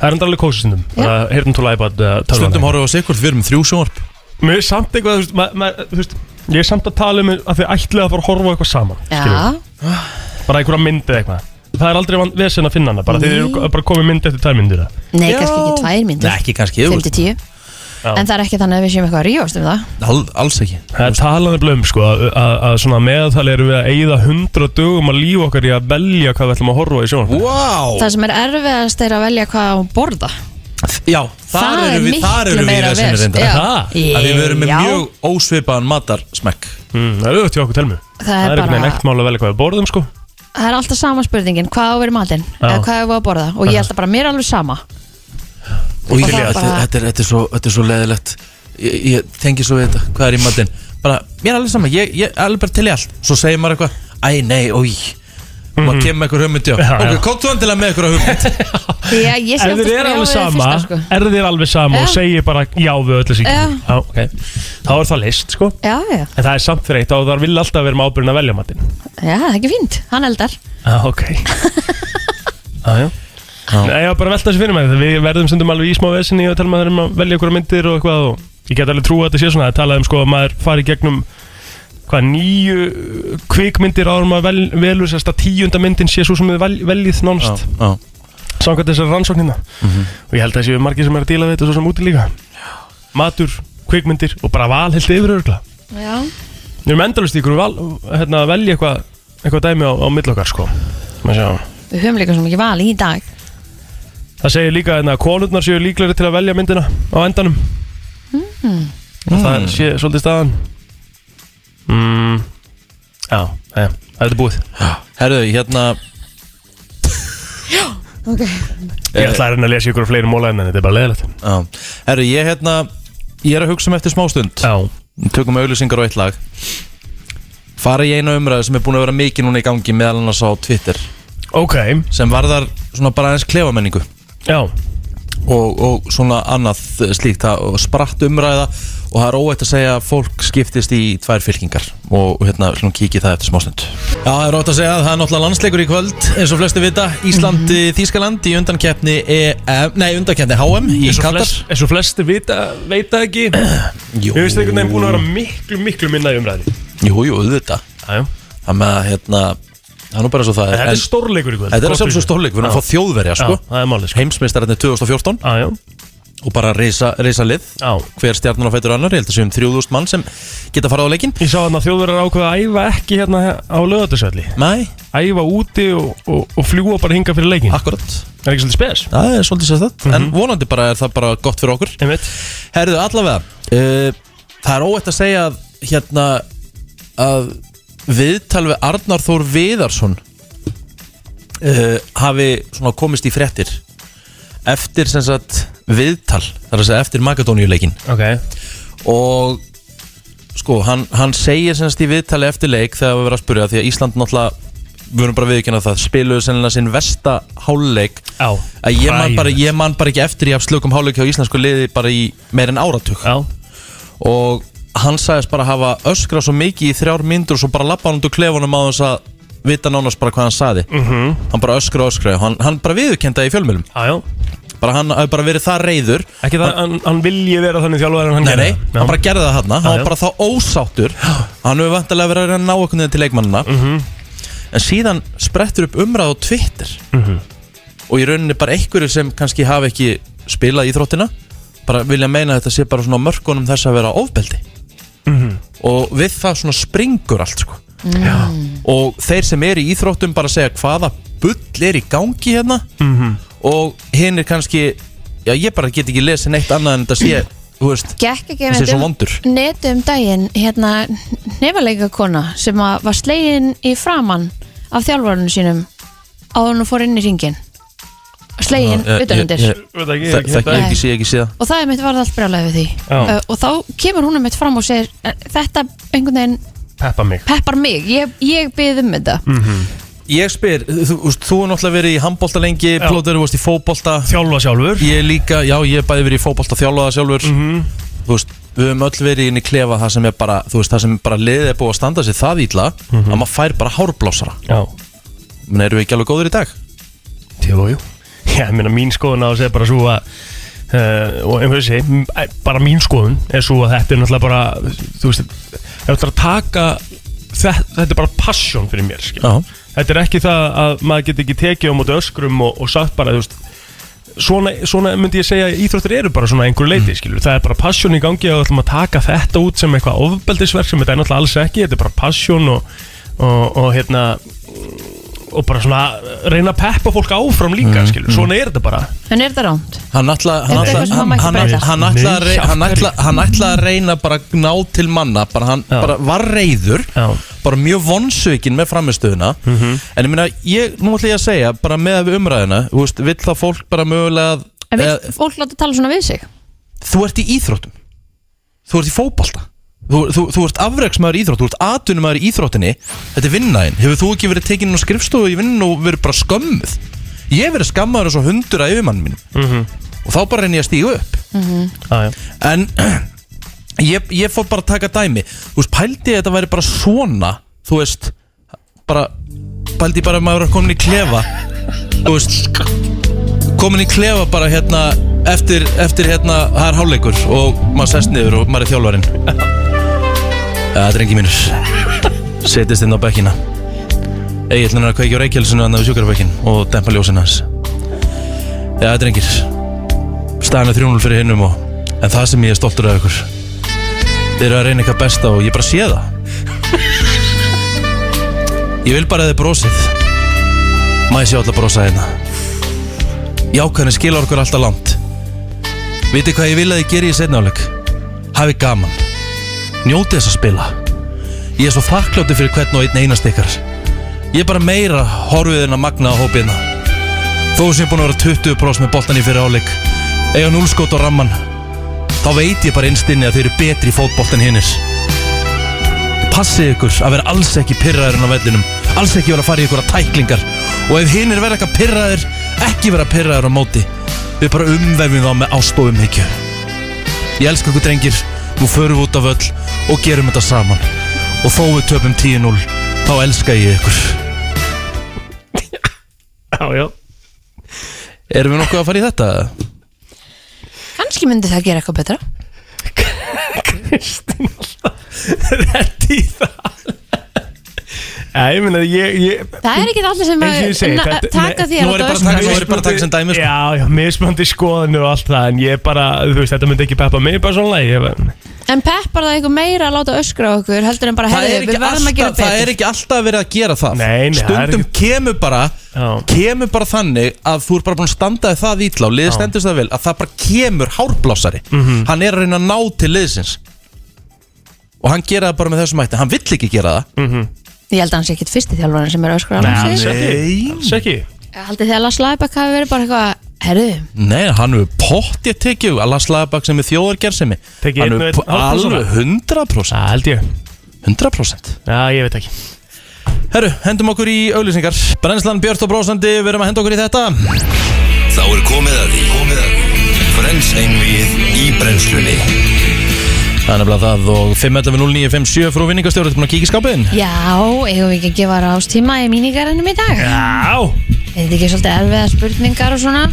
[SPEAKER 3] Það er enda alveg kósistundum Heyrðum tóla iPad uh, tölvan.
[SPEAKER 1] Stundum horfa á sikkvort, við erum þrjú sjónarp
[SPEAKER 3] Mér er samt eitthvað, þú veist, ma- ma- þú veist Ég er samt að tala um að þið ætlaði að fara að horfa á eitthvað saman skilurðu.
[SPEAKER 2] Já,
[SPEAKER 3] Bara einhverja mynd eða eitthvað Það er aldrei vant vesen að finna hana Bara þið eru ko- bara komið mynd eftir tvær myndir eða.
[SPEAKER 2] nei, kannski ekki tvær
[SPEAKER 1] Nei,
[SPEAKER 2] myndir
[SPEAKER 1] ekki kannski, þú
[SPEAKER 2] 5 til 10 En það er ekki þannig að við séum eitthvað að rífast um það
[SPEAKER 1] Al, alls ekki
[SPEAKER 3] Það er talaðið blöðum sko að- Að að svona meðaltali erum við að eyða hundra dögum að lífa okkar í að velja hvað við ætlum að horfa á í sjónvarpinu.
[SPEAKER 1] wow.
[SPEAKER 2] Það sem er erfiðast er að velja hvað á að borða
[SPEAKER 1] Já, þar
[SPEAKER 2] Það er
[SPEAKER 1] eru við, þar
[SPEAKER 2] miklu
[SPEAKER 1] eru við í
[SPEAKER 2] meira
[SPEAKER 1] vesinu
[SPEAKER 2] vesen,
[SPEAKER 1] reyndar
[SPEAKER 2] já.
[SPEAKER 1] Það? Af Því við erum með
[SPEAKER 2] Já.
[SPEAKER 1] mjög ósvipaðan matarsmekk
[SPEAKER 3] Mm, Það er auðvitað hjá okkur telmu
[SPEAKER 2] Það er
[SPEAKER 3] Það er
[SPEAKER 2] bara-
[SPEAKER 3] ekkert neitt mál að velja hvað við borðum sko
[SPEAKER 2] það er alltaf sama spurningin Hvað á að vera í matinn?
[SPEAKER 1] Já.
[SPEAKER 2] Eða hvað á að borða? Og ég held að bara mér er alveg sama
[SPEAKER 1] og ég,
[SPEAKER 2] Og það
[SPEAKER 1] þetta,
[SPEAKER 2] er bara-
[SPEAKER 1] þetta, er, þetta, er svo, þetta er svo leðilegt ég, ég tengi svo við þetta, hvað er í matinn bara, mér er alveg sama, ég, ég er alveg bara til í allt svo segir maður eitthvað, æ nei, ói og maður kemur með eitthvað hugmyndi á
[SPEAKER 3] Já, já.
[SPEAKER 1] ok, komdu hann til að með eitthvað hugmynd
[SPEAKER 2] Já, ég sé
[SPEAKER 3] Er
[SPEAKER 2] oftast bara
[SPEAKER 3] þér
[SPEAKER 2] já
[SPEAKER 3] er alveg
[SPEAKER 2] við það
[SPEAKER 3] sama
[SPEAKER 2] fyrsta, sko.
[SPEAKER 3] Er þér alveg sama og
[SPEAKER 2] Já.
[SPEAKER 3] segir bara já við öllu síkjum
[SPEAKER 2] Já.
[SPEAKER 3] Já, ok Þá er það list, sko
[SPEAKER 2] Já, já,
[SPEAKER 3] En það er samt fyrir eitt og það vil alltaf vera með ábyrðin að velja matinn
[SPEAKER 2] já, það er ekki fínt Hann eldar
[SPEAKER 3] Já, ok (laughs) Já, já Nei, ég var bara að velta þessu fyrir mér Við verðum stundum alveg í smá vesinni og talum að þeim að velja okkur myndir og eitthvað og ég get alveg trú að þetta sé svona að tala um sko að maður fari í gegnum hvað nýju kvikmyndir áður en maður vel, velur sérst að tíunda myndin sé svo sem við vel, veljið nánst
[SPEAKER 1] (laughs) já.
[SPEAKER 3] samkvæmt þessar rannsóknina og ég held að það séu margir sem er að díla við þetta svo sem úti líka matur, kvikmyndir og bara val heilt yfir örgla
[SPEAKER 2] Já,
[SPEAKER 3] við erum endalust í ykkur val, hérna, að velja eitthvað eitthvað dæmi á, á mill okkar sko Maður sjá.
[SPEAKER 2] við höfum líka svo mikið val í dag
[SPEAKER 3] Það segir líka hérna, að konurnar séu líklari til að velja myndina á endanum
[SPEAKER 2] mm.
[SPEAKER 3] mm. Það sé svolítið staðan mm. Já, já, það er búið
[SPEAKER 1] Herðu, hérna
[SPEAKER 2] Ok
[SPEAKER 3] Ég ætla að reyna að lesa ykkur á fleiri móla en þetta er bara leðilegt
[SPEAKER 1] já. herru, ég hérna ég er að hugsa um eftir smástund
[SPEAKER 3] já.
[SPEAKER 1] tökum auðlýsingar á eitt lag fara í eina umræðu sem er búin að vera mikið núna í gangi meðal annars á Twitter
[SPEAKER 3] Ok
[SPEAKER 1] sem varðar svona bara aðeins klefamenningu
[SPEAKER 3] Já
[SPEAKER 1] og, og svona annað slíkt það og spratt umræða og það er óætt að segja að fólk skiptist í tvær fylkingar og hérna við slúum kíkja í það eftir smástund Já, það er óætt að segja að það er náttúrulega landsleikur í kvöld eins og flesti vita, Ísland mm Þískaland í undankeppni EM, nei undankeppni HM í
[SPEAKER 3] Eins og
[SPEAKER 1] Katar
[SPEAKER 3] flest- eins og flesti vita, veita ekki Jú Ég veist einhvern veginn búin að vera miklu, miklu minna í umræði
[SPEAKER 1] Jú, jú, auðvitað
[SPEAKER 3] Já, já
[SPEAKER 1] Það með að hérna, það er nú bara svo það
[SPEAKER 3] En Þetta
[SPEAKER 1] en-
[SPEAKER 3] er stórleikur í kvöld
[SPEAKER 1] Þetta er að
[SPEAKER 3] Gott
[SPEAKER 1] sjálfsög
[SPEAKER 3] fyrir.
[SPEAKER 1] stórleik, við erum að
[SPEAKER 3] Já.
[SPEAKER 1] fá þjóðverja
[SPEAKER 3] Já,
[SPEAKER 1] sko.
[SPEAKER 3] það er málið sko
[SPEAKER 1] Heimsmeistararnir 2014
[SPEAKER 3] Já, já
[SPEAKER 1] og bara reysa, reysa lið
[SPEAKER 3] Já.
[SPEAKER 1] hver stjarnar á fætur annar, ég held að um séum 3000 mann sem geta farað á leikinn
[SPEAKER 3] Ég sá hann að þjóðverðar ákveða að æfa ekki hérna á lögatisvelli
[SPEAKER 1] Nei,
[SPEAKER 3] Æfa úti og, og, og fljúa bara hinga fyrir leikin
[SPEAKER 1] akkurat
[SPEAKER 3] Það er ekki svolítið spes
[SPEAKER 1] Það er svolítið sérstætt En vonandi bara er það bara gott fyrir okkur
[SPEAKER 3] Einmitt
[SPEAKER 1] Herðu, allavega uh, Það er óætt að segja að hérna að viðtal við Arnar Þór Viðarsson uh, hafi svona komist í frettir eftir sem sagt viðtal, þar að segja eftir Magadóniuleikin
[SPEAKER 3] Ok
[SPEAKER 1] og sko, hann, hann segir semst í viðtali eftir leik þegar við verðum að spyrja því að Ísland náttúrulega við verðum bara viðkynna það, spiluðu sennilega sinn versta háluleik
[SPEAKER 3] Já,
[SPEAKER 1] að ég man,
[SPEAKER 3] hræðilegt.
[SPEAKER 1] bara, ég man bara ekki eftir ég haf slökum háluleik hjá íslensku liði bara í meir en áratug
[SPEAKER 3] Já,
[SPEAKER 1] og hann sagðist bara hafa öskrað svo mikið í þrjár myndur og svo bara lappa hann undir klefunum á þess að vita nánast bara hvað hann saði -hmm. hann bara öskraði og öskraði og hann, hann bara viðurkenda í fjölmjölum
[SPEAKER 3] já, já
[SPEAKER 1] bara hann hafi bara verið það reyður
[SPEAKER 3] Ekki það, hann, hann vilji vera þannig þjálfari en hann
[SPEAKER 1] Nei, nei,
[SPEAKER 3] Já.
[SPEAKER 1] hann bara gerði það hann Hann
[SPEAKER 3] já.
[SPEAKER 1] var bara þá ósáttur Hann hefur vantilega verið að reyna að ná okkur niður til leikmannina
[SPEAKER 3] Mhm.
[SPEAKER 1] En síðan sprettur upp umræð á Twitter
[SPEAKER 3] Mhm.
[SPEAKER 1] Og í rauninni bara einhverju sem kannski hafi ekki spilað íþróttina Bara vilja meina að þetta sé bara svona á mörkunum þess að vera ofbeldi
[SPEAKER 3] Mhm.
[SPEAKER 1] Og við það svona springur allt sko Og þeir sem eru í íþróttum bara segja hvaða bull er í gangi hérna
[SPEAKER 3] Mhm.
[SPEAKER 1] Og hinn er kannski Já, ég bara get ekki lesið neitt annað en þetta sé Þú veist,
[SPEAKER 2] Gekk ekki
[SPEAKER 1] Þessi er
[SPEAKER 2] einmitt
[SPEAKER 1] svo
[SPEAKER 2] um-
[SPEAKER 1] vondur.
[SPEAKER 2] Neti um daginn, hérna nefaleikakona sem að var slegin í framann af þjálfarunum sínum áður hún fór inn í ringin slegin
[SPEAKER 1] Já, Eh, ég-
[SPEAKER 2] utanundir
[SPEAKER 1] ég- ég-
[SPEAKER 3] Veit
[SPEAKER 1] Þa-
[SPEAKER 3] ekki, ekki, hérna.
[SPEAKER 1] Þekki
[SPEAKER 3] þetta-
[SPEAKER 1] ég ekki, sé ekki síða
[SPEAKER 2] og það er mitt varð allt brjálæði við því
[SPEAKER 3] Já.
[SPEAKER 2] Ö, og þá kemur hún um mitt fram og segir "Eh, þetta einhvern veginn
[SPEAKER 3] Peppa mig
[SPEAKER 2] peppar mig, ég, ég byrði um þetta
[SPEAKER 1] Ég spyr, þú, þú, þú er náttúrulega verið í handbólta lengi
[SPEAKER 3] Já.
[SPEAKER 1] Plóður, þú veist, í fótbólta
[SPEAKER 3] Þjálfa sjálfur
[SPEAKER 1] Ég er líka, já, ég er bæði verið í fótbólta þjálfaða sjálfur
[SPEAKER 3] Mhm.
[SPEAKER 1] Þú veist, við höfum öll verið inn í klefa Það sem er bara, þú veist, það sem bara liðið er búið að standa sig það ítla
[SPEAKER 3] Mhm.
[SPEAKER 1] Að maður fær bara hárblásara
[SPEAKER 3] Já,
[SPEAKER 1] Men eru við ekki alveg góður í dag?
[SPEAKER 3] jú, jú Já, ég meina mín skoðun á þessi er bara svo að Uh, og einhvern veginn segi, bara mín skoðun er svo að þetta er náttúrulega bara þú veist, ef þú ætlar að taka þetta, þetta er bara passion fyrir mér skil.
[SPEAKER 1] Já,
[SPEAKER 3] þetta er ekki það að maður geti ekki tekið á móti öskrum og, og sagt bara þú veist, svona, svona myndi ég segja að íþróttir eru bara svona að einhverju leiti mm. það er bara passion í gangi og ætlum að taka þetta út sem eitthvað ofbeldisverk sem þetta er náttúrulega alls ekki þetta er bara passion og, og, og hérna og bara svona reyna að peppa fólk áfram líka mm. svona er þetta bara
[SPEAKER 2] en er þetta rámt?
[SPEAKER 1] hann ætla hann
[SPEAKER 2] Er þetta
[SPEAKER 1] ætla-
[SPEAKER 2] eitthvað sem
[SPEAKER 1] hann-
[SPEAKER 2] maður
[SPEAKER 1] hann
[SPEAKER 2] mætti
[SPEAKER 1] ætla- hann ætla að rey-
[SPEAKER 2] breyta?
[SPEAKER 3] Nei,
[SPEAKER 1] hann
[SPEAKER 3] hjálpar
[SPEAKER 1] ætla- hann ætla að reyna bara að ná til manna bara hann
[SPEAKER 3] Já.
[SPEAKER 1] bara var reyður
[SPEAKER 3] Já. Mhm.
[SPEAKER 1] bara mjög vonsökin með framistöðuna En ég meina, ég, nú ætla ég að segja bara með við umræðina, þú veist, vill það fólk bara mögulega að,
[SPEAKER 2] En
[SPEAKER 1] eða,
[SPEAKER 2] vil fólk láta tala svona við sig?
[SPEAKER 1] þú ert í íþróttum þú ert í fótbalta þú, þú, þú ert afreksmaður í íþrótt, þú ert atvinnumæður í íþróttinni þetta er vinnaðin, hefur þú ekki verið tekinn inn á skrifstofu í vinninu og verið bara skömmuð ég hef verið skammaður eins og hundur að yfirmann mínum
[SPEAKER 3] Mhm.
[SPEAKER 1] og þá bara reyni ég að stíga upp
[SPEAKER 3] Já, já.
[SPEAKER 1] en ég, ég fór bara að taka dæmi þú veist, pældi ég að þetta væri bara svona þú veist, bara pældi ég bara að maður er komin í klefa þú veist komin í klefa bara hérna eftir, eftir hérna, það er hálfleikur og maður sest niður og maður er þjálfarinn (laughs) Það er engi mínus Setist inn á bekkina Egilin er að kveikja á reykjálsinu annað við sjúkarabekkin og dempa ljósinu hans Já, þetta er engir Staðan er 3-0 fyrir hinnum og En það sem ég er stoltur af ykkur Þið eru að reyna eitthvað besta og ég bara sé það Ég vil bara að þið brosið Mæs ég alltaf brosa hérna Jákvæðin skilur okkur alltaf langt Vitið hvað ég vil að þið geri í setna áleik Hafi gaman Njótið þess að spila Ég er svo þakkláttur fyrir hvern og einn einast ykkar Ég er bara meira horfið en að magna á hópiðna Þó sem ég er búin að vera 20 með boltan í fyrir áleik Eiga núlskot á ramman Þá veit ég bara innstinni að þeir eru betri í fótboltan hinnis Passið ykkur að vera alls ekki pyrraðurinn á vellinum Alls ekki vera að fara í ykkur að tæklingar Og ef hinn er vera eitthvað pyrraður Ekki vera pyrraður á móti Við bara umvefjum þá með ást og umhyggju Ég elska ykkur drengir Nú förum við út af öll og gerum þetta saman Og þó við töpum 10-0 Þá elska ég ykkur
[SPEAKER 3] Já, já.
[SPEAKER 1] Erum við nokkuð að fara í þetta?
[SPEAKER 2] Kanski myndi það gera eitthvað betra
[SPEAKER 3] Reddi það Já, ég meina ég, ég
[SPEAKER 2] Það er ekki allir sem
[SPEAKER 3] Eins og
[SPEAKER 2] að
[SPEAKER 3] ég segi,
[SPEAKER 2] na-
[SPEAKER 3] þetta-
[SPEAKER 2] taka
[SPEAKER 3] nei,
[SPEAKER 2] því
[SPEAKER 1] nú
[SPEAKER 2] að
[SPEAKER 1] er ég bara
[SPEAKER 2] láta
[SPEAKER 1] að
[SPEAKER 2] öskra.
[SPEAKER 1] taka- nú er ég bara að taka sem dæmi, sko.
[SPEAKER 3] Já, já, mismandi skoðanur og allt það En ég bara, þú veist, þetta myndi ekki peppa mig persónulega Ég var
[SPEAKER 2] En peppar það eitthvað meira að láta öskra á okkur heldur en bara
[SPEAKER 1] Það
[SPEAKER 2] herðu,
[SPEAKER 1] er,
[SPEAKER 2] við
[SPEAKER 1] ekki
[SPEAKER 2] verðum að gera
[SPEAKER 1] alltaf, það er
[SPEAKER 2] betur
[SPEAKER 1] ekki alltaf verið að gera það
[SPEAKER 3] Nei, nei, það er
[SPEAKER 1] Stundum kemur bara
[SPEAKER 3] Já.
[SPEAKER 1] Kemur bara þannig að þú er bara búin að standa þig það ítla og liðið stendur það vel að það bara kemur hárblásari
[SPEAKER 3] Mhm.
[SPEAKER 1] Hann er að reyna að ná til liðsins Og hann gera það bara með þessum hætti Hann vill ekki gera það
[SPEAKER 2] Ég held að hans ekkit fyrsti þjálfarinn sem er að öskra á
[SPEAKER 3] Alls
[SPEAKER 2] hans
[SPEAKER 3] ekki, alls ekki
[SPEAKER 2] Haldið þið að Lars Læbak hafi verið bara eitthvað Herðu,
[SPEAKER 1] Nei, hann hefur pott ég tekið Alla slagabak sem er þjóðargersemi
[SPEAKER 3] Tekið
[SPEAKER 1] Hann
[SPEAKER 3] einn og
[SPEAKER 1] hefur
[SPEAKER 3] einn hálfblásara.
[SPEAKER 1] alveg 100%
[SPEAKER 3] Það held ég
[SPEAKER 1] 100%
[SPEAKER 3] Já, ég veit ekki
[SPEAKER 1] Herru, hendum okkur í auðlýsingar Brennslan Björn og Brósandi, við erum að henda okkur í þetta
[SPEAKER 5] Þá er komið að því komið að því Frens einvið í brennslunni
[SPEAKER 1] Það er nefnilega það og 5.11.09.57 frú vinningastjóri, þetta er búin að kíkja í skápiðin
[SPEAKER 2] já, eigum við ekki að gefa rástíma í mínigarannum í dag
[SPEAKER 3] Já
[SPEAKER 2] Er þetta ekki svolítið erfiða spurningar og svona?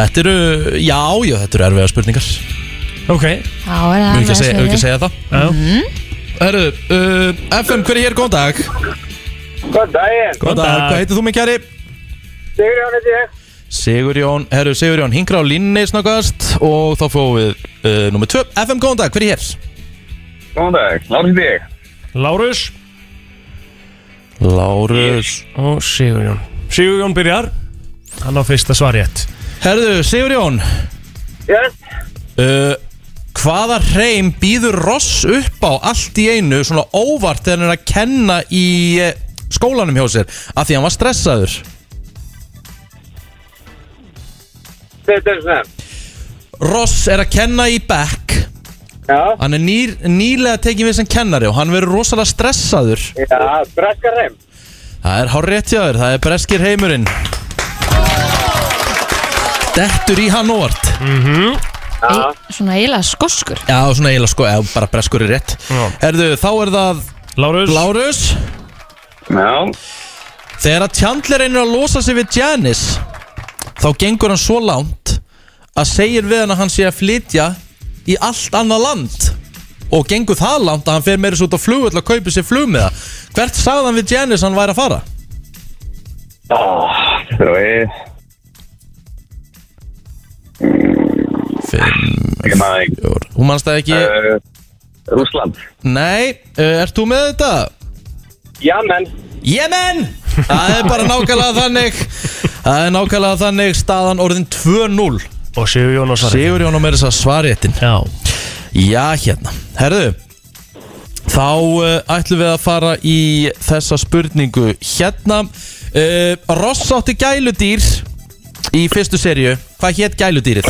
[SPEAKER 1] Þetta eru, já, já, þetta eru erfiða spurningar Við
[SPEAKER 3] Ok
[SPEAKER 2] Já, er það
[SPEAKER 1] erum ekki að segja, við ekki að
[SPEAKER 2] erfiða
[SPEAKER 1] segja það
[SPEAKER 3] Já.
[SPEAKER 1] Herru, uh, FM, hver er hér, góðan dag
[SPEAKER 7] Góðan daginn,
[SPEAKER 1] Góðan dag,
[SPEAKER 3] dag.
[SPEAKER 1] hvað heitir þú mig kæri?
[SPEAKER 7] Sigurjón heiti ég.
[SPEAKER 1] Sigurjón, herru, Sigurjón, hingra á línni snakast og þá fáum við uh, nummer 2 FM, góðan dag, hver er hér?
[SPEAKER 7] Góðan dag, Lárið heiti ég.
[SPEAKER 3] Lárus
[SPEAKER 1] Lárus
[SPEAKER 3] og Sigurjón Sigurjón byrjar Hann á fyrsta svar rétt
[SPEAKER 1] Herru, Sigurjón
[SPEAKER 7] Yes.
[SPEAKER 1] Uh, hvaða hreim býður Ross upp á allt í einu svona óvart þegar hann er að kenna í eh, skólanum hjá sér af því hann var stressaður
[SPEAKER 7] Þetta er svona.
[SPEAKER 1] Ross er að kenna í Beck
[SPEAKER 7] Já,
[SPEAKER 1] hann er nýr, nýlega tekið við sem kennari og hann verður rosalega stressaður
[SPEAKER 7] já, brekkar heim.
[SPEAKER 1] það er hár rétt hjá þér, það er breskir heimurinn dettur í hann óvart
[SPEAKER 2] Ei- Svona eiginlega skoskur
[SPEAKER 1] já, svona eiginlega sko, eða bara breskur er rétt
[SPEAKER 3] Já.
[SPEAKER 1] Herðu, þá er það
[SPEAKER 3] Lárus
[SPEAKER 1] Lárus
[SPEAKER 7] Já.
[SPEAKER 1] Þegar að Chandler reynir að losa sig við Janice þá gengur hann svo langt að segir við hann að hann sé að flytja í allt annað land og gengur það langt að hann fer meira svo út á flugull að kaupa sér flugmiða Hvert sagði hann við Janice hann væri að fara?
[SPEAKER 7] Þú veist,
[SPEAKER 1] Fimm,
[SPEAKER 7] ég maður ekki.
[SPEAKER 1] fjór Hún mannst það ekki
[SPEAKER 7] Uh, Rúsland.
[SPEAKER 1] Nei, uh, ert þú með þetta?
[SPEAKER 7] Já, menn.
[SPEAKER 1] Jemen! Það er bara nákvæmlega þannig Það er nákvæmlega þannig staðan orðin 2-0
[SPEAKER 3] Og Sigurjón
[SPEAKER 1] hérna.
[SPEAKER 3] á svar rétt
[SPEAKER 1] Sigur Jón og meira þess að svara réttin
[SPEAKER 3] Já
[SPEAKER 1] Já, hérna Herðu Þá uh, ætlum við að fara í þessa spurningu Hérna uh, Ross átti gæludýr Í fyrstu serju Hvað hétt gæludýrið?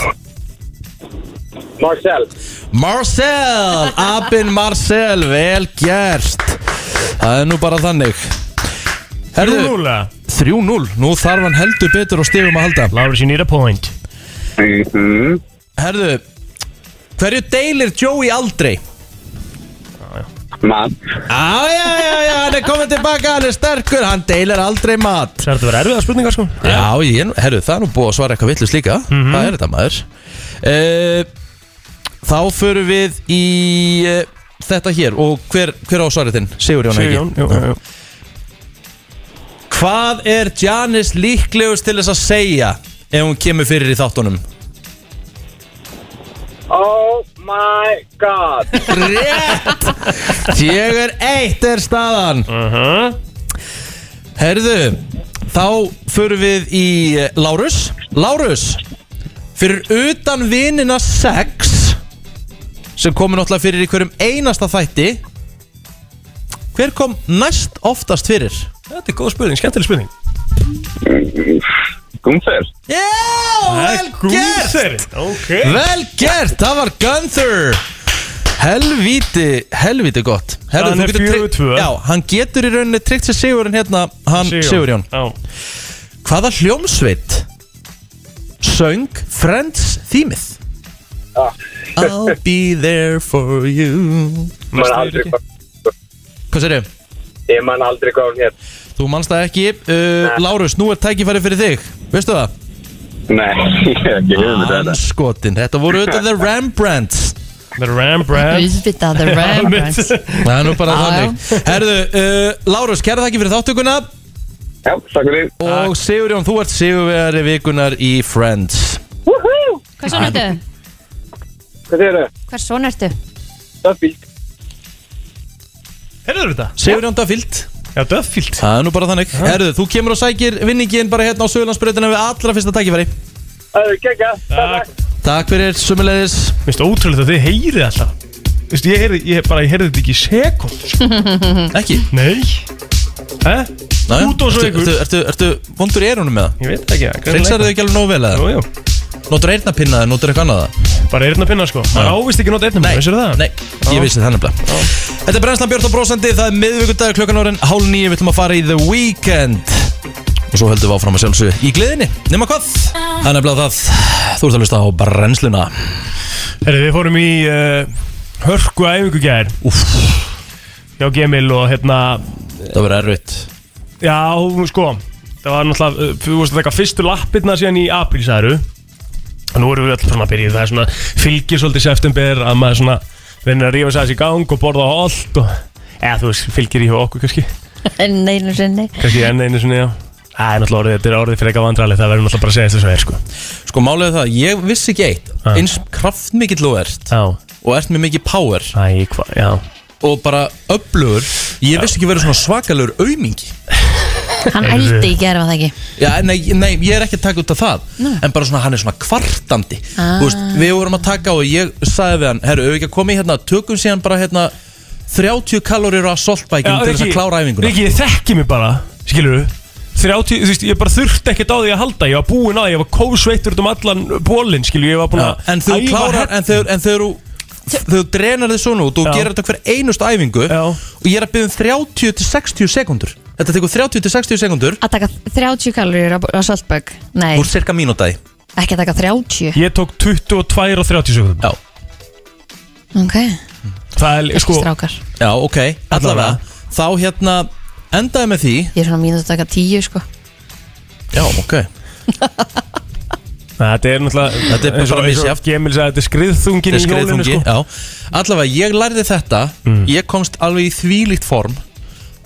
[SPEAKER 9] Marcel
[SPEAKER 1] Marcel Abin Marcel, vel gerst Það er nú bara þannig Herðu,
[SPEAKER 3] 3-0 eða?
[SPEAKER 1] 3-0, nú þarf hann heldur betur og stigum að halda
[SPEAKER 3] Lárus, you need a point
[SPEAKER 1] Herðu, hverju deilir Joey aldrei?
[SPEAKER 9] Mann
[SPEAKER 1] Á, já, já, já, hann er komin tilbaka, hann er sterkur, hann deilir aldrei mat
[SPEAKER 3] Það er þetta að vera erfiða spurningar sko
[SPEAKER 1] Já, ég, er nú- herru, það er nú búið að svara eitthvað villust líka Það er þetta maður uh, Þá förum við í uh, þetta hér Og hver, hver á svarið þinn? Sigur Jón
[SPEAKER 3] Sigjón, jú, jú, jú.
[SPEAKER 1] Hvað er Janis líklegust til þess að segja Ef hún kemur fyrir í þáttunum?
[SPEAKER 9] Oh my god
[SPEAKER 1] Rétt! Fjögur eitt er staðan Herðu, þá förum við í eh, Lárus Lárus, fyrir utan vinina sex sem komur náttúrulega fyrir í hverjum einasta þætti Hver kom næst oftast fyrir?
[SPEAKER 3] Þetta er góð spurning, skemmtileg spurning
[SPEAKER 9] Gunther
[SPEAKER 1] Já, vel gert!
[SPEAKER 3] Ok
[SPEAKER 1] Vel gert, það var Gunther Helvíti, helvíti gott Herru,
[SPEAKER 3] Hann
[SPEAKER 1] þú
[SPEAKER 3] er
[SPEAKER 1] getur tryggt-
[SPEAKER 3] 4-2.
[SPEAKER 1] Já, hann getur í rauninni tryggt sér Sigurinn hérna Hann Sigurjón
[SPEAKER 3] Já
[SPEAKER 1] Hvaða hljómsveit Söng Friends þýmið? I'll be there for you
[SPEAKER 9] Man aldrei hvað
[SPEAKER 1] Hvað sér
[SPEAKER 9] Ég man aldrei hvað hún hér
[SPEAKER 1] Þú manst það ekki uh, Lárus, nú er tækifæri fyrir þig Veistu það?
[SPEAKER 9] Nei, (laughs) ég hef ekki hugmynd um þetta
[SPEAKER 1] Anskotin, þetta voru auðvitað The Rembrandts
[SPEAKER 3] The Rembrandt
[SPEAKER 2] (laughs) Auðvitað, the Rembrandts
[SPEAKER 3] (laughs)
[SPEAKER 1] Það er nú bara
[SPEAKER 2] Já, já.
[SPEAKER 1] þannig Herðu, uh, Lárus, kæra þakki fyrir þáttökuna
[SPEAKER 9] Já, takk fyrir
[SPEAKER 1] Og Sigurjón, þú ert Sigurvegari vikunar í Friends
[SPEAKER 2] Hvers son ertu?
[SPEAKER 9] Hvað þér er?
[SPEAKER 2] Hvers son ertu? (laughs)
[SPEAKER 9] Duffield
[SPEAKER 3] Herðu þetta?
[SPEAKER 1] Sigurjón Dafíld
[SPEAKER 3] Já, Duffield
[SPEAKER 1] Það er nú bara þannig Herðu, þú kemur og sækir vinningin bara hérna á Söðurlandsbreytina við allra fyrsta tækifæri
[SPEAKER 9] Það er gegga
[SPEAKER 3] Takk.
[SPEAKER 1] Takk fyrir, sumulegis
[SPEAKER 3] Mér finnst ótrúlega að þið heyrið alltaf Þú veist, ég heyrði, ég bara, ég heyrði þetta ekki í sekund sko.
[SPEAKER 2] Mm.
[SPEAKER 1] Ekki
[SPEAKER 3] Nei Hæ?
[SPEAKER 1] Næja.
[SPEAKER 3] Út og svo
[SPEAKER 1] Ertu-
[SPEAKER 3] ykkur
[SPEAKER 1] ertu, ertu, ertu vondur í erunum með það?
[SPEAKER 3] Ég veit það ekki, það
[SPEAKER 1] Reynsar þau ekki alveg nógu vel eða?
[SPEAKER 3] Jú, jú,
[SPEAKER 1] Notur eirnapinna eða notur eitthvað annað? eða?
[SPEAKER 3] bara eirinn að pinna sko Það ávist ekki nota einnum, vissir það?
[SPEAKER 1] nei, ég vissi það nefnilega Þetta er Brennslan Björn og Brósandi, það er miðvikudag klukkan orðin hálf nýju, við ætlum að fara í The Weekend Og svo höldum við áfram að sjálfsögðu í gleðinni, nema hvað? Það er nefnilega það, þú ert að hlusta á brennsluna
[SPEAKER 3] Herðu, við fórum í uh, hörku æfingu í gær
[SPEAKER 1] Úff,
[SPEAKER 3] hjá Gemil og hérna
[SPEAKER 1] það verður erfitt
[SPEAKER 3] Já, sko Það var náttúrulega, uh, þú veist að taka fyrstu lappirna síðan í apríl, sagðu Nú erum við alltaf svona að byrja í það er svona fylgir svolítið september að maður svona reynir að rífa sér í gang og borða allt og eða þú veist, fylgir í hjá okkur kannski
[SPEAKER 2] Nei, nú sinni
[SPEAKER 3] kannski enn einu svona, já Það er náttúrulega orðið, þetta er orðið fyrir eitthvað vandralið það verður náttúrulega bara að segja þess að það er sko
[SPEAKER 1] Sko málið er það, ég vissi ekki eitt
[SPEAKER 3] Ha.
[SPEAKER 1] Eins kraftmikill þú ert
[SPEAKER 3] Já,
[SPEAKER 1] Og ert með mikið power
[SPEAKER 3] æ, hvað, já
[SPEAKER 1] Og bara öflugur Ég vissi ekki verið svona svakalur aumingi
[SPEAKER 2] Hann
[SPEAKER 3] Heyrðu.
[SPEAKER 2] ældi í gerfa það ekki
[SPEAKER 1] Já, nei, nei, ég er ekki að taka út af það En bara svona, hann er svona kvartandi
[SPEAKER 2] Ah.
[SPEAKER 1] Þú veist, Við vorum að taka og ég sagði við hann Herru, ef við ekki að koma í hérna, tökum síðan bara hérna 30 kalórir á assaultbækjum Til þess að klára æfinguna
[SPEAKER 3] Riki, ég þekki mig bara, skilur 30, þú veist, ég bara þurfti ekkert á því að halda Ég var búinn að, ég var kósveitur út um allan bólinn, skilur, ég var búinn
[SPEAKER 1] Já,
[SPEAKER 3] að
[SPEAKER 1] En þú
[SPEAKER 3] æfa
[SPEAKER 1] klárar, en þegar, en þegar þú Þegar þú drenar þig svona út og þú
[SPEAKER 3] Já.
[SPEAKER 1] gerir þetta hver einust æfingu
[SPEAKER 3] Já.
[SPEAKER 1] Og ég er að byggja um 30-60 sekundur Þetta tekur 30-60 sekundur
[SPEAKER 2] Að taka 30 kalorir á, á saltbögg Nei,
[SPEAKER 1] Úr cirka mínútaði
[SPEAKER 2] ekki að taka 30
[SPEAKER 3] Ég tók 22 og 30 sekundum
[SPEAKER 1] Já, Sko,
[SPEAKER 2] Ok,
[SPEAKER 3] Það er
[SPEAKER 2] ekki
[SPEAKER 3] sko
[SPEAKER 2] strákar
[SPEAKER 1] já, ok, allavega Þá hérna endaði með því
[SPEAKER 2] Ég er svona mínútt að taka 10 sko
[SPEAKER 1] Já, ok
[SPEAKER 3] Þetta er náttúrulega
[SPEAKER 1] Þetta er bara
[SPEAKER 3] eins og- eins og
[SPEAKER 1] misjafnt.
[SPEAKER 3] Gemil sagði þetta er skriðþungin í
[SPEAKER 1] Þetta er
[SPEAKER 3] jólinu
[SPEAKER 1] skriðþungi,
[SPEAKER 3] sko Mm.
[SPEAKER 1] já. Allavega, ég lærði þetta Ég komst alveg í þvílíkt form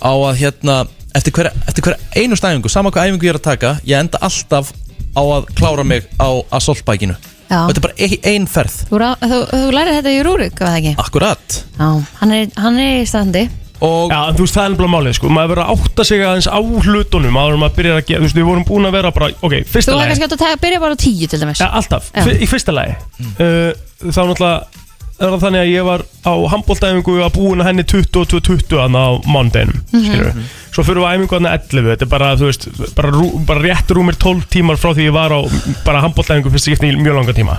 [SPEAKER 1] Á að hérna Eftir hverja, eftir hverja einust æfingu Sama hvað æfingu ég er að taka Ég enda alltaf á að klára mig á assaultbækinu
[SPEAKER 2] Já.
[SPEAKER 1] Þetta er bara ein, ein ferð
[SPEAKER 2] Þú, rá, þú, þú lærið þetta í Rúrik, var það ekki?
[SPEAKER 1] Akkurat
[SPEAKER 2] Já, hann er, hann er í standi
[SPEAKER 1] Og
[SPEAKER 3] Já, en þú veist það er nefnilega málið sko Maður verður að átta sig aðeins á hlutunum Áður en maður byrjar að gera Þú veist, við vorum búin að vera bara Ok,
[SPEAKER 2] Þú
[SPEAKER 3] fyrsta
[SPEAKER 2] var
[SPEAKER 3] lagi
[SPEAKER 2] kannski átt að taka, byrja bara á 10 til dæmis
[SPEAKER 3] Já, alltaf
[SPEAKER 2] Já.
[SPEAKER 3] Fyr- Í fyrsta lagi uh, eh, Þá náttúrulega er það þannig að ég var á handbóltæfingu og búin að henni 20-20 hann á mánudeginum mm -hmm. Svo fyrir við á æfingu hann 11 Þetta er bara, þú veist, bara, rú, bara rétt rúmir 12 tímar frá því ég var á bara handbóltæfingu fyrst skipti í mjög langa tíma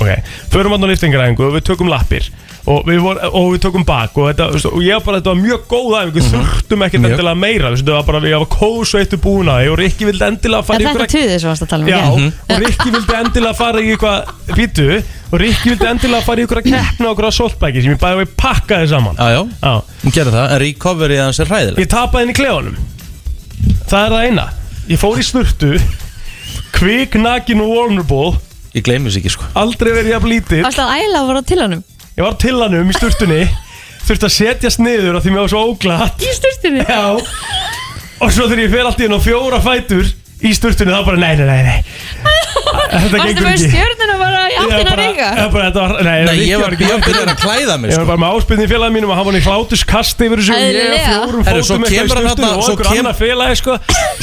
[SPEAKER 3] Ok, förum hann á liftingaræfingu og við tökum lappir og við, vor, og við tökum bak og, þetta, þú veist, og ég var bara, þetta var mjög góð æfingu þurftum ekkert
[SPEAKER 1] Mjög.
[SPEAKER 3] endilega meira þú veist, þetta var bara, ég var kósveittu búin að og Rikki vildi endilega fara
[SPEAKER 2] Er
[SPEAKER 3] í
[SPEAKER 2] þetta
[SPEAKER 3] einhverja-
[SPEAKER 2] tuðið sem varst að tala um?
[SPEAKER 3] Já, Mhm.
[SPEAKER 2] ekki?
[SPEAKER 3] og Rikki vildi endilega fara í eitthvað Býtu, og Rikki vildi endilega fara í eitthvað keppna og eitthvað soltbæki sem ég bæði að pakka þið saman
[SPEAKER 1] Já, já,
[SPEAKER 3] Já.
[SPEAKER 1] hún gerði það, en recovery hans er hræðileg
[SPEAKER 3] Ég tapaði henni í klefanum Það er það eina Ég fór í snurtu Kvik, nakin og vulnerable
[SPEAKER 1] Ég gleymi þess ekki, sko
[SPEAKER 3] Aldrei verið ég að blítið
[SPEAKER 2] Varst að æla að vera til honum?
[SPEAKER 3] Ég var til hannum í snurtunni Þurfti að setjast niður af því mér var svo óglatt
[SPEAKER 2] Í styrstinni?
[SPEAKER 3] Já Og svo þegar ég fer allt í henn á fjóra fætur Í snurtunni þá bara nei, nei, nei, nei Þetta
[SPEAKER 2] Varstu
[SPEAKER 3] gengur
[SPEAKER 2] með
[SPEAKER 3] ekki
[SPEAKER 2] stjörnuna bara í
[SPEAKER 3] Ég var
[SPEAKER 2] áttina að
[SPEAKER 3] bara-
[SPEAKER 2] reyga?
[SPEAKER 3] ég var bara- þetta var- Nei,
[SPEAKER 1] Nei,
[SPEAKER 3] Rikki
[SPEAKER 1] ég var
[SPEAKER 3] ekki-
[SPEAKER 1] ég var byrjar að klæða mig,
[SPEAKER 3] Ég
[SPEAKER 1] sko
[SPEAKER 3] var bara með áspilni í félagin mínum og hann var í hlátuskast yfir þessu og ég
[SPEAKER 2] Eðlilega.
[SPEAKER 3] fjórum
[SPEAKER 1] Herru, svo
[SPEAKER 3] fótum eitthvað í
[SPEAKER 1] kemur hann
[SPEAKER 3] sturtunni
[SPEAKER 1] þarna-
[SPEAKER 3] og
[SPEAKER 1] svo
[SPEAKER 3] okkur
[SPEAKER 1] kem-
[SPEAKER 3] annað félagi sko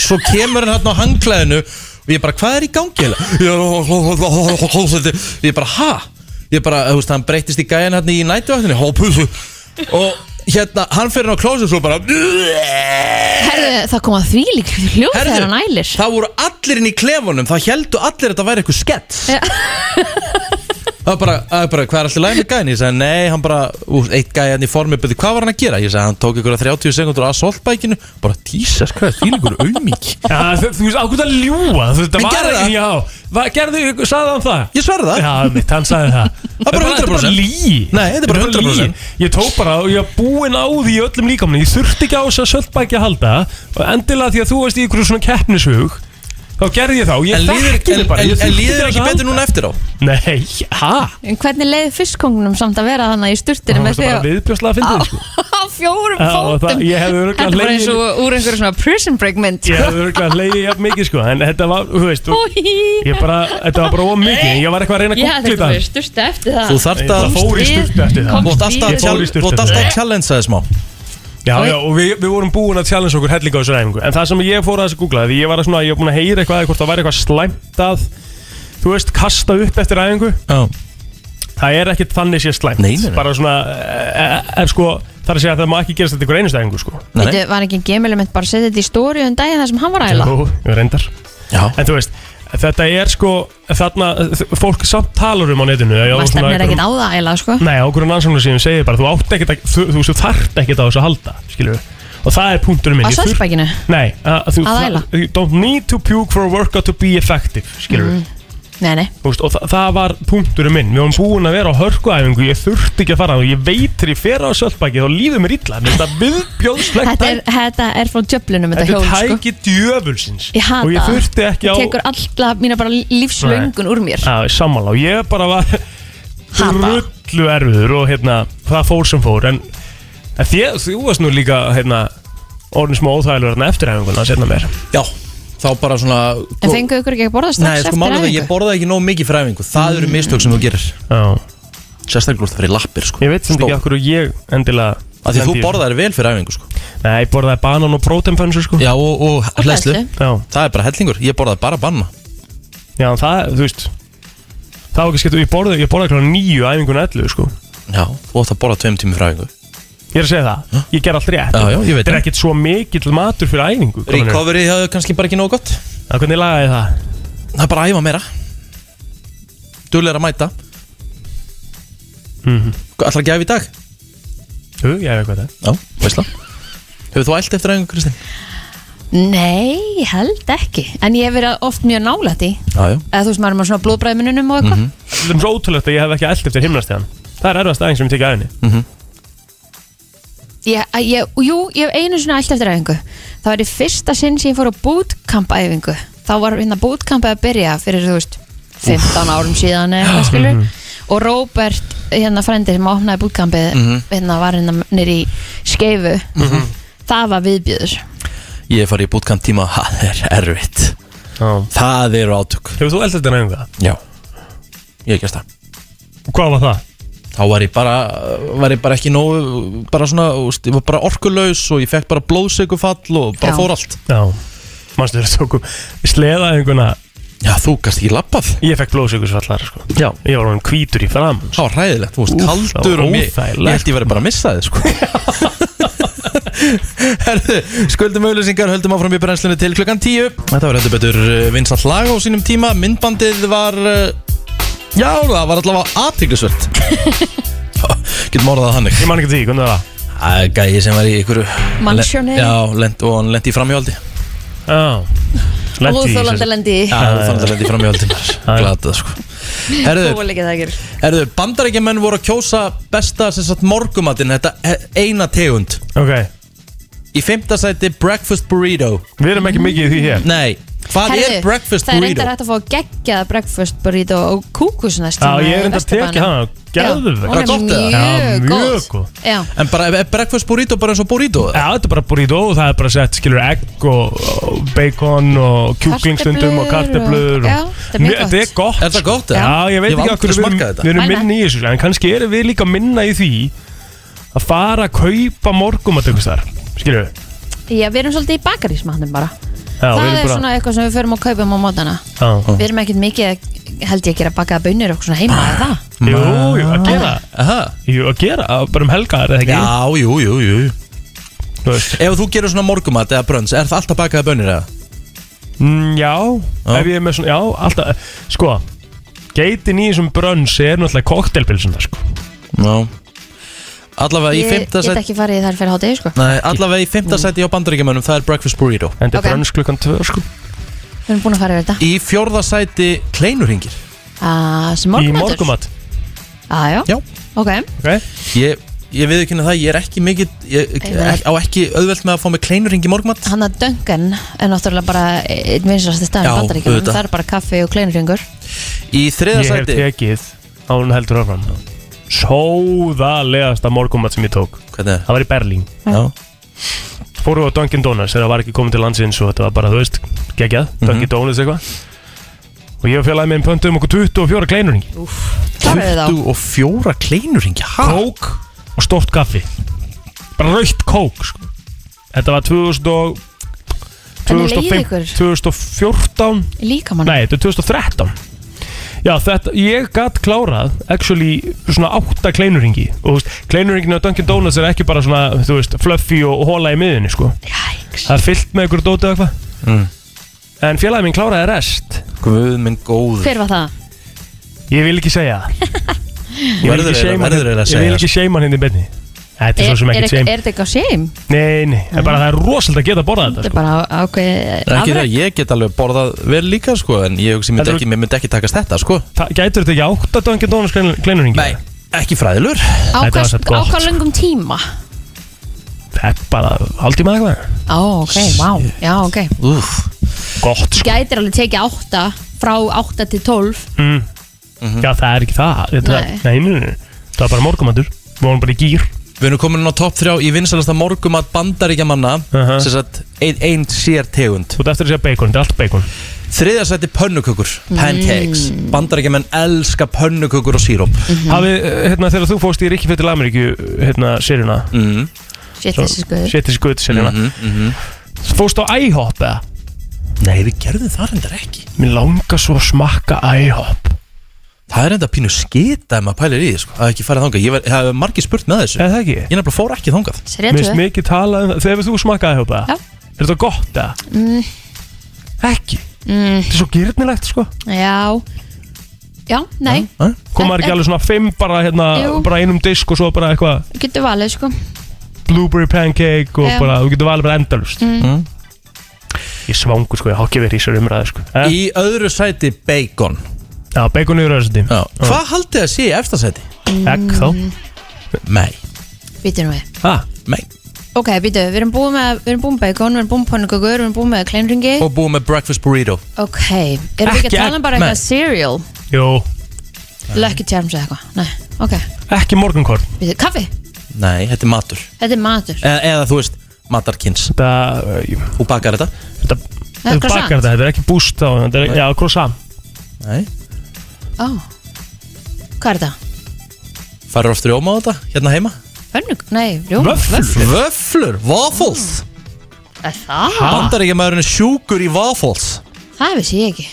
[SPEAKER 1] Svo kemur hann hérna á hangklæðinu og ég bara, hvað er í gangi hérna? Ég er- Ég bara, ha? Ég bara, þú veist, hann breytist í gæjan hérna í nætuvaktinni Hópuðu Og hérna, hann fyrir hann á klósið svo bara
[SPEAKER 2] Herðu, það kom að því lík hljóð
[SPEAKER 1] Herðu,
[SPEAKER 2] þegar hann ælir
[SPEAKER 1] Það voru allir inn í klefunum Það heldu allir að þetta væri eitthvað skett
[SPEAKER 2] Já.
[SPEAKER 1] Það var bara, það var bara, hvað er allir læg með gæðin? Ég sagði, nei, hann bara, úr, eitt gæðin í formi Byrði, hvað var hann að gera? Ég sagði, hann tók ykkur að 30 sekundur að soltbækinu Bara, Jesus, hvað er þín ykkur auðmík?
[SPEAKER 3] Já, þú þú veist, ákvæmt að ljúa Þú veist,
[SPEAKER 1] En
[SPEAKER 3] það var
[SPEAKER 1] gerði það?
[SPEAKER 3] Já, va- gerðu, sagði hann það?
[SPEAKER 1] Ég svarði það
[SPEAKER 3] Já, mitt, hann sagði það
[SPEAKER 1] Það er bara 100%.
[SPEAKER 3] Þetta er bara lí
[SPEAKER 1] Nei, þetta er bara 100%.
[SPEAKER 3] Ég tók bara og ég var búinn á því í öllum líkamni Ég þurfti ekki á þess að söltbæki að halda Og endilega því að þú veist í ykkur svona keppnishug Þá gerði ég þá,
[SPEAKER 1] En
[SPEAKER 3] ég
[SPEAKER 1] líður,
[SPEAKER 3] þekki
[SPEAKER 1] en,
[SPEAKER 3] mig bara
[SPEAKER 1] en,
[SPEAKER 3] ég
[SPEAKER 1] en
[SPEAKER 3] þurfti
[SPEAKER 1] líður
[SPEAKER 3] á
[SPEAKER 1] ekki
[SPEAKER 3] þessu að
[SPEAKER 1] betur núna eftir á?
[SPEAKER 3] halda. Nei, hæ?
[SPEAKER 2] En hvernig leiði fyrstkongunum samt að vera þannig í sturtinu
[SPEAKER 3] Það var
[SPEAKER 2] með því
[SPEAKER 3] bara
[SPEAKER 2] að Ah.
[SPEAKER 3] viðbjörslega að fyndið sko.
[SPEAKER 2] (laughs) á fjórum
[SPEAKER 3] Já, og það-
[SPEAKER 2] fótum
[SPEAKER 3] ég hefði örugglega
[SPEAKER 2] Þetta er bara
[SPEAKER 3] legið-
[SPEAKER 2] eins og úr einhverjum svona prison break mynd (laughs)
[SPEAKER 3] Ég hefði örgulega leiðið jafn mikið sko En þetta var, þú veist þú, Ég bara, þetta var bara of mikið Ég var eitthvað að reyna
[SPEAKER 2] Ég
[SPEAKER 3] að
[SPEAKER 2] hefði
[SPEAKER 3] googlita
[SPEAKER 2] þetta verið sturta eftir það
[SPEAKER 1] Þú þarft að
[SPEAKER 3] Það fór í
[SPEAKER 2] Við-
[SPEAKER 3] sturtu eftir það
[SPEAKER 1] Þú ert alltaf að
[SPEAKER 2] Ég
[SPEAKER 3] fór í
[SPEAKER 1] chall-
[SPEAKER 3] sturtu
[SPEAKER 1] þú ert alltaf
[SPEAKER 3] eftir
[SPEAKER 1] að challenge það smá
[SPEAKER 3] Já, já, og við, við vorum búin að challenge okkur hellinga á þessu æfingu En það sem ég fór að þessu googla Því ég var að svona, ég var búin að heyra eitthvað Hvort það væri eitthvað slæmt að Þú veist, kasta upp eftir æfingu
[SPEAKER 1] Já.
[SPEAKER 3] Það er ekkit þannig sé slæmt
[SPEAKER 1] Nei, nei, nei.
[SPEAKER 3] Bara svona, eh, eh, er sko Það er að segja að það má ekki gerast þetta í ykkur einustu æfingu sko
[SPEAKER 1] Nei,
[SPEAKER 2] Veitu, var ekki gemilum mitt bara að setja þetta í stóri um daginn þar sem hann var að æla
[SPEAKER 3] Jú, ég reyndar
[SPEAKER 1] Já.
[SPEAKER 3] En þú veist, þetta er sko Þarna, fólk samt talar um á netinu já,
[SPEAKER 2] Maður
[SPEAKER 3] svona
[SPEAKER 2] stefnir
[SPEAKER 3] einhverjum-
[SPEAKER 2] ekkert á það að æla sko
[SPEAKER 3] Nei, á hverjum rannsóknar síðan segir bara Þú átt ekkert að, þú, þú, þú þarft ekkert á þessu að halda Skilur Og það er punkturinn minn
[SPEAKER 2] Á
[SPEAKER 3] Ég þurf-
[SPEAKER 2] sölspækinu
[SPEAKER 3] Nei, að, þú,
[SPEAKER 2] Að æla.
[SPEAKER 3] you don't need to puke for a workout to be effective Skilur
[SPEAKER 2] Mm. Nei, nei
[SPEAKER 3] Þú veist, og það, það var punkturinn minn Við varum búin að vera á hörkuæfingu Ég þurfti ekki að fara Og ég veit þegar ég fer á sölpæki Þá líður mér illa Mér er Þetta viðbjóðslegt
[SPEAKER 2] Þetta er, þetta er frá djöflunum þetta
[SPEAKER 3] Þetta
[SPEAKER 2] hjól
[SPEAKER 3] er
[SPEAKER 2] sko
[SPEAKER 3] tæki djöfulsins
[SPEAKER 2] Ég hata
[SPEAKER 3] Og ég
[SPEAKER 2] það.
[SPEAKER 3] þurfti ekki á
[SPEAKER 2] Það tekur alltaf mína bara lífslöngun úr mér
[SPEAKER 3] Já, sammála og ég bara var drullu erfiður og hérna það fór sem fór en, en því, þú varst nú líka hérna orðin smá óþægilegur hérna eftir hefinguna sérna mér
[SPEAKER 1] Já, þá bara svona
[SPEAKER 2] En fengu ykkur ekki að borða
[SPEAKER 1] Nei,
[SPEAKER 2] strax
[SPEAKER 1] sko
[SPEAKER 2] eftir
[SPEAKER 1] málið er að ég
[SPEAKER 2] æfingu?
[SPEAKER 1] borðaði ekki nóg mikið fyrir æfingu Það eru mistök sem þú gerir
[SPEAKER 3] Já,
[SPEAKER 1] Sérstaklega úr það fyrir lappir sko
[SPEAKER 3] ég veit sem ekki
[SPEAKER 1] Stór.
[SPEAKER 3] af hverju ég endilega
[SPEAKER 1] Af því þú
[SPEAKER 3] lendi í-
[SPEAKER 1] borðaðir vel fyrir æfingu sko
[SPEAKER 3] Nei, ég borðaði banan og prótenfönsu sko
[SPEAKER 1] Já, og, og hlæslu
[SPEAKER 2] hleðslu.
[SPEAKER 3] Já,
[SPEAKER 1] Það er bara hellingur, ég borðaði bara banna
[SPEAKER 3] já, en það, þú veist Það var ekki skipt, ég borðaði, ég borðaði klára nýju æfinguna ellu sko
[SPEAKER 1] Já, þú ótt að borða tveim tími fyrir æfingu
[SPEAKER 3] Ég er að segja það, ég ger allt rétt
[SPEAKER 1] Já, já, ég veit
[SPEAKER 3] Þetta er
[SPEAKER 1] það.
[SPEAKER 3] ekkert svo mikill matur fyrir æfingu Guðmundur.
[SPEAKER 1] Recovery hafði kannski bara ekki nóg gott
[SPEAKER 3] Já, Hvernig lagaði ég það?
[SPEAKER 1] Það er bara að æfa meira Duglegar að mæta Ætlar að gefa í dag?
[SPEAKER 3] Jú, ég hef eitthvað það er.
[SPEAKER 1] Mhm. Já, veistla Hefur þú ælt eftir æfingu, Kristinn?
[SPEAKER 2] Nei, ég held ekki En ég hef verið oft mjög nálætt í
[SPEAKER 1] Já, já
[SPEAKER 2] Eða þú veist, maður er með svona blóðbræðminunum og eitthvað
[SPEAKER 3] Það er svo ótrúlegt að ég hef ekki eld eftir himnastíðan Það er erfast aðeins sem ég tekið af henni
[SPEAKER 2] ég, að ég, Jú, ég hef einu svona allt eftir æfingu Það var í fyrsta sinn sem ég fór á bootcamp æfingu Þá var hérna bootcamp að byrja fyrir, þú veist, 15 árum síðan eða eitthvað skilur Og Robert, hérna frendi sem opnaði bootcampið
[SPEAKER 1] Mhm.
[SPEAKER 2] Hérna var hérna nýr í skeifu Það var viðbjöður
[SPEAKER 1] Ég hef farið í bútkamp tíma, það er erfitt Það eru átök
[SPEAKER 3] Hefur þú eld eftir henni það?
[SPEAKER 1] Já Ég hef gert það
[SPEAKER 3] Hvað var það?
[SPEAKER 1] Þá var ég bara, var ég bara ekki nógu Bara svona, úst, ég var bara orkulaus Og ég fekk bara blóðsökufall og bara
[SPEAKER 2] Já.
[SPEAKER 1] fór allt
[SPEAKER 3] Já Manstu þér tókum sleðaæfinguna
[SPEAKER 1] Já, þú gast ekki labbað
[SPEAKER 3] Ég fekk blóðsökursvallar sko.
[SPEAKER 1] Já.
[SPEAKER 3] Ég var hann hvítur í framan
[SPEAKER 1] Það var hræðilegt, þú
[SPEAKER 3] Úff,
[SPEAKER 1] veist,
[SPEAKER 3] það
[SPEAKER 1] kaldur
[SPEAKER 3] var
[SPEAKER 1] og mér Ég
[SPEAKER 3] óþægilegt.
[SPEAKER 1] held ég verið bara að missa þið, sko (laughs) Herðu, skuldum auðlýsingar, höldum áfram í brennslunni til klukkan 10 Þetta var heldur betur vinsalt lag á sínum tíma Myndbandið var, uh, já, það var allavega aðtiklisvöld (laughs) Getum orðað það þannig
[SPEAKER 3] Ég man ekki því, hvernig var það?
[SPEAKER 1] Það er gæi sem var í ykkur
[SPEAKER 2] Mansjóni.
[SPEAKER 1] Já, lent, og hann lendi í framhjóldi Já,
[SPEAKER 3] Já
[SPEAKER 2] Óþólandi lendi í
[SPEAKER 1] þannig að lendi í framhjóldi Glatað, sko Herðu,
[SPEAKER 2] Óleikið það ekki
[SPEAKER 1] Herðu, bandarækjumenn voru að kjósa besta sem sagt morgumatinn, þetta he- eina tegund
[SPEAKER 3] Ok,
[SPEAKER 1] Í fymta sæti breakfast burrito
[SPEAKER 3] við erum ekki mikið í því hér
[SPEAKER 1] Nei, hvað
[SPEAKER 2] Herðu,
[SPEAKER 1] er breakfast
[SPEAKER 2] Það er
[SPEAKER 1] burrito?
[SPEAKER 2] reyndar hægt að fá geggjað breakfast burrito og kúkusnest
[SPEAKER 3] Já, ég er enda að teka hana Gæðveg
[SPEAKER 1] Bara gott eða?
[SPEAKER 3] Já,
[SPEAKER 2] Mjög
[SPEAKER 3] mjög góð.
[SPEAKER 2] góð Já,
[SPEAKER 1] En bara, er breakfast burrito bara eins og burrito?
[SPEAKER 3] Já, þetta er bara burrito og það er bara sett, skilur, egg og, og bacon og kjúklingstundum og
[SPEAKER 2] Kartöflur og-
[SPEAKER 3] karteblur og,
[SPEAKER 2] Já, þetta er mjög gott.
[SPEAKER 3] Þetta er gott
[SPEAKER 1] Er það gott, eða?
[SPEAKER 3] Já, ég veit
[SPEAKER 1] Ég hef
[SPEAKER 3] ekki
[SPEAKER 1] aldrei
[SPEAKER 3] okkur við,
[SPEAKER 1] smakkað þetta.
[SPEAKER 3] við erum
[SPEAKER 2] Nei, nei.
[SPEAKER 3] minni í þessu En kannski erum við líka minna í því að fara að kaupa morgum að tökast þar Skilur við
[SPEAKER 2] Já, við erum svolítið í bakarísmatnum bara
[SPEAKER 3] Já,
[SPEAKER 2] Það
[SPEAKER 3] við erum
[SPEAKER 2] er
[SPEAKER 3] bara-
[SPEAKER 2] svona eitthvað sem við förum að kaupa á mótana
[SPEAKER 3] Já. Ah,
[SPEAKER 2] Við erum ekkert mikið að- held ég að gera bakaða bönir og svona heima eða það
[SPEAKER 3] Jú, jú, að gera
[SPEAKER 1] Aha.
[SPEAKER 3] Jú, að gera, að- bara um helgar, eða ekki
[SPEAKER 1] Já, jú, jú, jú
[SPEAKER 3] Þú veist.
[SPEAKER 1] Ef þú gerur svona morgumat eða brönns, er það alltaf bakaði bönir eða?
[SPEAKER 3] Mm, já,
[SPEAKER 1] Já.
[SPEAKER 3] ef ég er með svona, já, alltaf Sko, geitin í þessum brönns er náttúrulega koktelpilsum það, sko
[SPEAKER 1] Já Allavega í
[SPEAKER 2] Ég
[SPEAKER 1] fymta
[SPEAKER 2] get
[SPEAKER 1] sæti
[SPEAKER 2] ekki farið þar fyrir hátegi sko
[SPEAKER 1] Nei, allavega í fymta sæti hjá bandaríkjumennum, það er breakfast burrito
[SPEAKER 3] En þetta
[SPEAKER 2] Ok.
[SPEAKER 3] er brönns klukkan tvö, sko
[SPEAKER 2] Við erum búin að fara yfir þetta
[SPEAKER 1] Í fjórða sæti kleinurringir
[SPEAKER 2] Ah, Sem
[SPEAKER 3] Í
[SPEAKER 2] morgumatur
[SPEAKER 3] morgumat
[SPEAKER 2] ah, já.
[SPEAKER 1] Já.
[SPEAKER 2] ok
[SPEAKER 3] okay?
[SPEAKER 1] Ég, ég viðurkynna það, ég er ekki mikið, ég,
[SPEAKER 2] Nei.
[SPEAKER 1] á ekki auðvelt með að fá með kleinurring í morgumat
[SPEAKER 2] Hanna Duncan er náttúrulega bara einn vinsrasti
[SPEAKER 1] Já,
[SPEAKER 2] stað í bandaríkjum
[SPEAKER 1] auðvitað.
[SPEAKER 2] Það er bara kaffi og kleinurringur
[SPEAKER 1] Í þriða
[SPEAKER 3] Ég hef
[SPEAKER 1] sæti
[SPEAKER 3] tekið á hún heldur áfram Sóðalegasta morgumat sem ég tók
[SPEAKER 1] Hvernig er?
[SPEAKER 3] Það var í Berlín
[SPEAKER 1] Já.
[SPEAKER 3] Fóru á Dunkin Donuts þegar það var ekki komið til landsins og þetta var bara, þú veist, geggjað Dunkin Donuts eitthvað Og ég og félagið minn pöntuðum okkur 24 kleinurning
[SPEAKER 2] Klárar við þá?
[SPEAKER 1] 24 kleinurringi ha?
[SPEAKER 3] Kók og stórt kaffi Bara raukt kók sko. Þetta var 2000 og
[SPEAKER 2] Hvernig leið
[SPEAKER 3] 2005
[SPEAKER 2] ykkur
[SPEAKER 3] 2014
[SPEAKER 2] líka mann?
[SPEAKER 3] Nei, þetta er 2013 Já, þetta, ég gat klárað actually svona átta kleinuringi og þú veist, kleinuringin á Dunkin Donuts er ekki bara svona, þú veist, fluffy og hóla í miðinni, sko.
[SPEAKER 2] Jæks
[SPEAKER 3] Það er fyllt með ykkur dótið eitthvað
[SPEAKER 1] Mm.
[SPEAKER 3] En félagið minn kláraði rest
[SPEAKER 1] Guð minn góð
[SPEAKER 2] Hver var það?
[SPEAKER 3] Ég vil ekki
[SPEAKER 1] (laughs)
[SPEAKER 3] segja það. Ég vil
[SPEAKER 1] Verður
[SPEAKER 3] ekki
[SPEAKER 1] eiginlega-
[SPEAKER 3] shame hann-
[SPEAKER 1] verður eiginlega að
[SPEAKER 3] Ég vil
[SPEAKER 1] segja
[SPEAKER 3] ekki seima hann hérna í beinni Þetta er svo sem
[SPEAKER 2] er,
[SPEAKER 3] ekkert
[SPEAKER 2] er,
[SPEAKER 3] shame
[SPEAKER 2] er þetta eitthvað shame?
[SPEAKER 3] Nei, nei, það er bara það er rosalega að geta borðað
[SPEAKER 2] Þetta
[SPEAKER 3] þetta
[SPEAKER 2] er
[SPEAKER 3] sko.
[SPEAKER 2] bara ákveð
[SPEAKER 1] Ekki það, ég get alveg borðað vel líka sko En ég hugsi, myndi
[SPEAKER 3] Þetta er-
[SPEAKER 1] ekki, mér myndi ekki takast þetta sko
[SPEAKER 3] Það gætur þetta ekki átta Dunkin Donuts klein- kleinuringi?
[SPEAKER 1] Nei, ekki fræðilur
[SPEAKER 3] Þetta var samt gott,
[SPEAKER 2] Ákveð
[SPEAKER 3] sko.
[SPEAKER 2] löngum tíma
[SPEAKER 3] Það er bara haldtíma eða eitthvað
[SPEAKER 2] Á, ok, vá Já, ok
[SPEAKER 1] Úf,
[SPEAKER 3] Gott sko
[SPEAKER 2] Gætir alveg tekið átta frá átta til tólf
[SPEAKER 3] mm. Já, það er ekki það þetta,
[SPEAKER 2] Nei.
[SPEAKER 3] nei, nei, nei, nei. Það var bara morgumatur Við vorum bara í gýr
[SPEAKER 1] Við erum komin á topp 3 í vinsalasta morgumat bandaríkjamanna
[SPEAKER 3] Aha.
[SPEAKER 1] Sem sagt, ein, ein sér tegund
[SPEAKER 3] Þú ert eftir að segja bacon, þetta er allt bacon
[SPEAKER 1] Þriðja sæti pönnukökur, pancakes Bandaríkjamenn elska pönnukökur og síróp
[SPEAKER 2] Mhm.
[SPEAKER 3] Hafið, eh, hérna, þegar þú fóst í Ríkifið til Ameríku hérna, serjuna
[SPEAKER 1] mm.
[SPEAKER 2] Shit, þessi skoður
[SPEAKER 3] Sétis Gutt serjuna
[SPEAKER 1] Mhm, mhm.
[SPEAKER 3] Fóst á IHOP eða?
[SPEAKER 1] Nei, við gerðum það reyndar ekki
[SPEAKER 3] Mér langar svo að smakka IHOP
[SPEAKER 1] Það er reyndar pínu skita ef maður pælir í því sko Að ekki farið þangað, ég var- það er margir spurt með þessu
[SPEAKER 3] Eða það ekki?
[SPEAKER 1] Ég nefnilega fór ekki þangað
[SPEAKER 2] Sér
[SPEAKER 3] Mér
[SPEAKER 2] ég
[SPEAKER 3] finnst
[SPEAKER 2] tvö
[SPEAKER 3] mikið talað um það Þegar þú smakkaði IHOP eða?
[SPEAKER 2] Já.
[SPEAKER 3] Er þetta gott eða?
[SPEAKER 2] Mm,
[SPEAKER 3] Ekki
[SPEAKER 2] mm,
[SPEAKER 3] Þetta er svo gyrnilegt sko
[SPEAKER 2] Já Já, nei,
[SPEAKER 3] Kom maður ekki alveg svona fimm bara hérna
[SPEAKER 2] Jú.
[SPEAKER 3] Bara einum disk og svo bara eitthvað
[SPEAKER 2] getur valið sko
[SPEAKER 3] blueberry pancake og
[SPEAKER 2] Já.
[SPEAKER 3] bara, þú getur valið bara endalust
[SPEAKER 1] Mm.
[SPEAKER 3] Ég er svangur sko, ég há ekki verið í þessari umræðu sko eh?
[SPEAKER 1] Í öðru sæti bacon
[SPEAKER 3] Já, bacon í röðsandi
[SPEAKER 1] Já. Hvað haldið þið að sé í efsta sæti?
[SPEAKER 3] Egg þá
[SPEAKER 1] Nei
[SPEAKER 2] Býtu nú við
[SPEAKER 3] ah,
[SPEAKER 1] Nei
[SPEAKER 2] Ok, býtu, við erum búin með, við erum búin með bacon, við erum búin með pönnukökur, við erum búin með kleinringi
[SPEAKER 1] Og búið með breakfast burrito
[SPEAKER 2] Ok, erum við ekki
[SPEAKER 3] Ekki
[SPEAKER 2] að tala um bara
[SPEAKER 1] egg,
[SPEAKER 2] eitthvað cereal?
[SPEAKER 3] Jú,
[SPEAKER 2] Lucky Charms eða eitthvað? Nei, ok
[SPEAKER 3] ekki morgunkorn
[SPEAKER 2] Býtu, kaffi,
[SPEAKER 1] Nei, þetta er matur
[SPEAKER 2] þetta er matur
[SPEAKER 1] e Eða þú veist, matarkins
[SPEAKER 3] Það, eh,
[SPEAKER 1] Þú bakar þetta
[SPEAKER 3] þetta,
[SPEAKER 2] Nei,
[SPEAKER 3] þú
[SPEAKER 2] croissant.
[SPEAKER 3] bakar þetta, þetta er ekki búst þá þetta er, Já, croissant
[SPEAKER 1] Nei
[SPEAKER 2] Ó, hvað er þetta?
[SPEAKER 1] Færur oft rjóma á þetta, hérna heima
[SPEAKER 2] Önnug, nei, rjóma
[SPEAKER 3] Vöfflur.
[SPEAKER 1] Vöflur, waffles
[SPEAKER 2] Er Það?
[SPEAKER 1] Bandar ekki maðurinn sjúkur í waffles
[SPEAKER 2] Það vissi ég ekki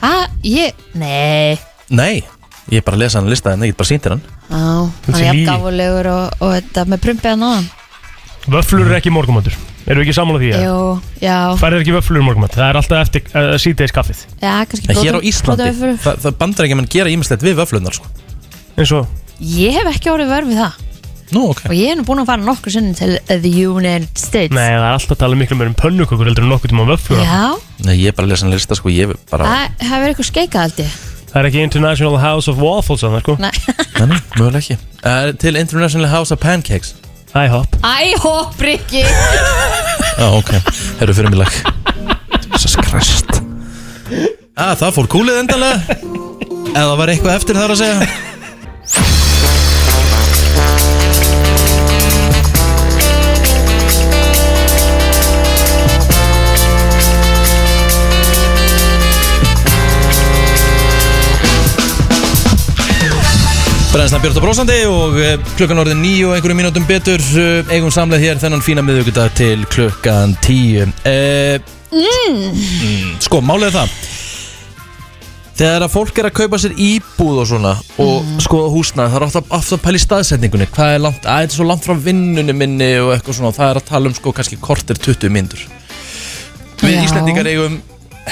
[SPEAKER 2] Ah, ég, nei
[SPEAKER 1] Nei, ég er bara að lesa hann lista en ég get bara sýntir hann
[SPEAKER 2] Á, hann er
[SPEAKER 3] Þetta er lygi.
[SPEAKER 2] jafn gáfulegur og, og þetta með prumpið hann á hann
[SPEAKER 3] Vöflur er ekki morgumatur Erum við ekki sammála því?
[SPEAKER 2] Jú, já,
[SPEAKER 3] Færið ekki vöflur í morgumat Það er alltaf eftir uh, síðdeis kaffið
[SPEAKER 2] já, kannski
[SPEAKER 1] En hér á
[SPEAKER 2] blóta-
[SPEAKER 1] Íslandi,
[SPEAKER 2] blótaöflur.
[SPEAKER 1] það, það bandar ekki að mann gera ímislegt við vöflunar sko.
[SPEAKER 3] eins og
[SPEAKER 2] Ég hef ekki orðið verð við það
[SPEAKER 1] Nú, ok
[SPEAKER 2] Og ég er nú búin að fara nokkur sinnum til The United States
[SPEAKER 3] Nei, það er alltaf að tala miklu meir um pönnukökur heldur en nokkuð tíma um vöflur
[SPEAKER 2] Já,
[SPEAKER 1] Nei, ég er bara að lesa hann lista sko, ég er bara
[SPEAKER 2] það það hefur eitthvað skeikað aldrei
[SPEAKER 3] Það er ekki International House of Waffles þannig, sko.
[SPEAKER 1] Nei, nei, mögulega ekki uh, Til International House of Pancakes
[SPEAKER 3] IHOP
[SPEAKER 2] (laughs) Æ, hópriki
[SPEAKER 1] Já, ok, herru fyrir mig lag Jesus Christ ah, Það fór kúlið endanlega Eða var eitthvað eftir þar að segja Brennstan Björn og Brósandi og eh, klukkan orðin níu og einhverjum mínútum betur eh, eigum samlega hér þennan fína miðugudag til klukkan tíu eh, mm. Sko, málið er það Þegar að fólk er að kaupa sér íbúð og svona og skoða húsnað, það er ofta, ofta að pæla í staðsetningunni hvað er langt, að þetta er svo langt frá vinnunni minni og eitthvað svona, það er að tala um sko kannski kortir 20 myndur Við
[SPEAKER 2] Já.
[SPEAKER 1] Íslendingar eigum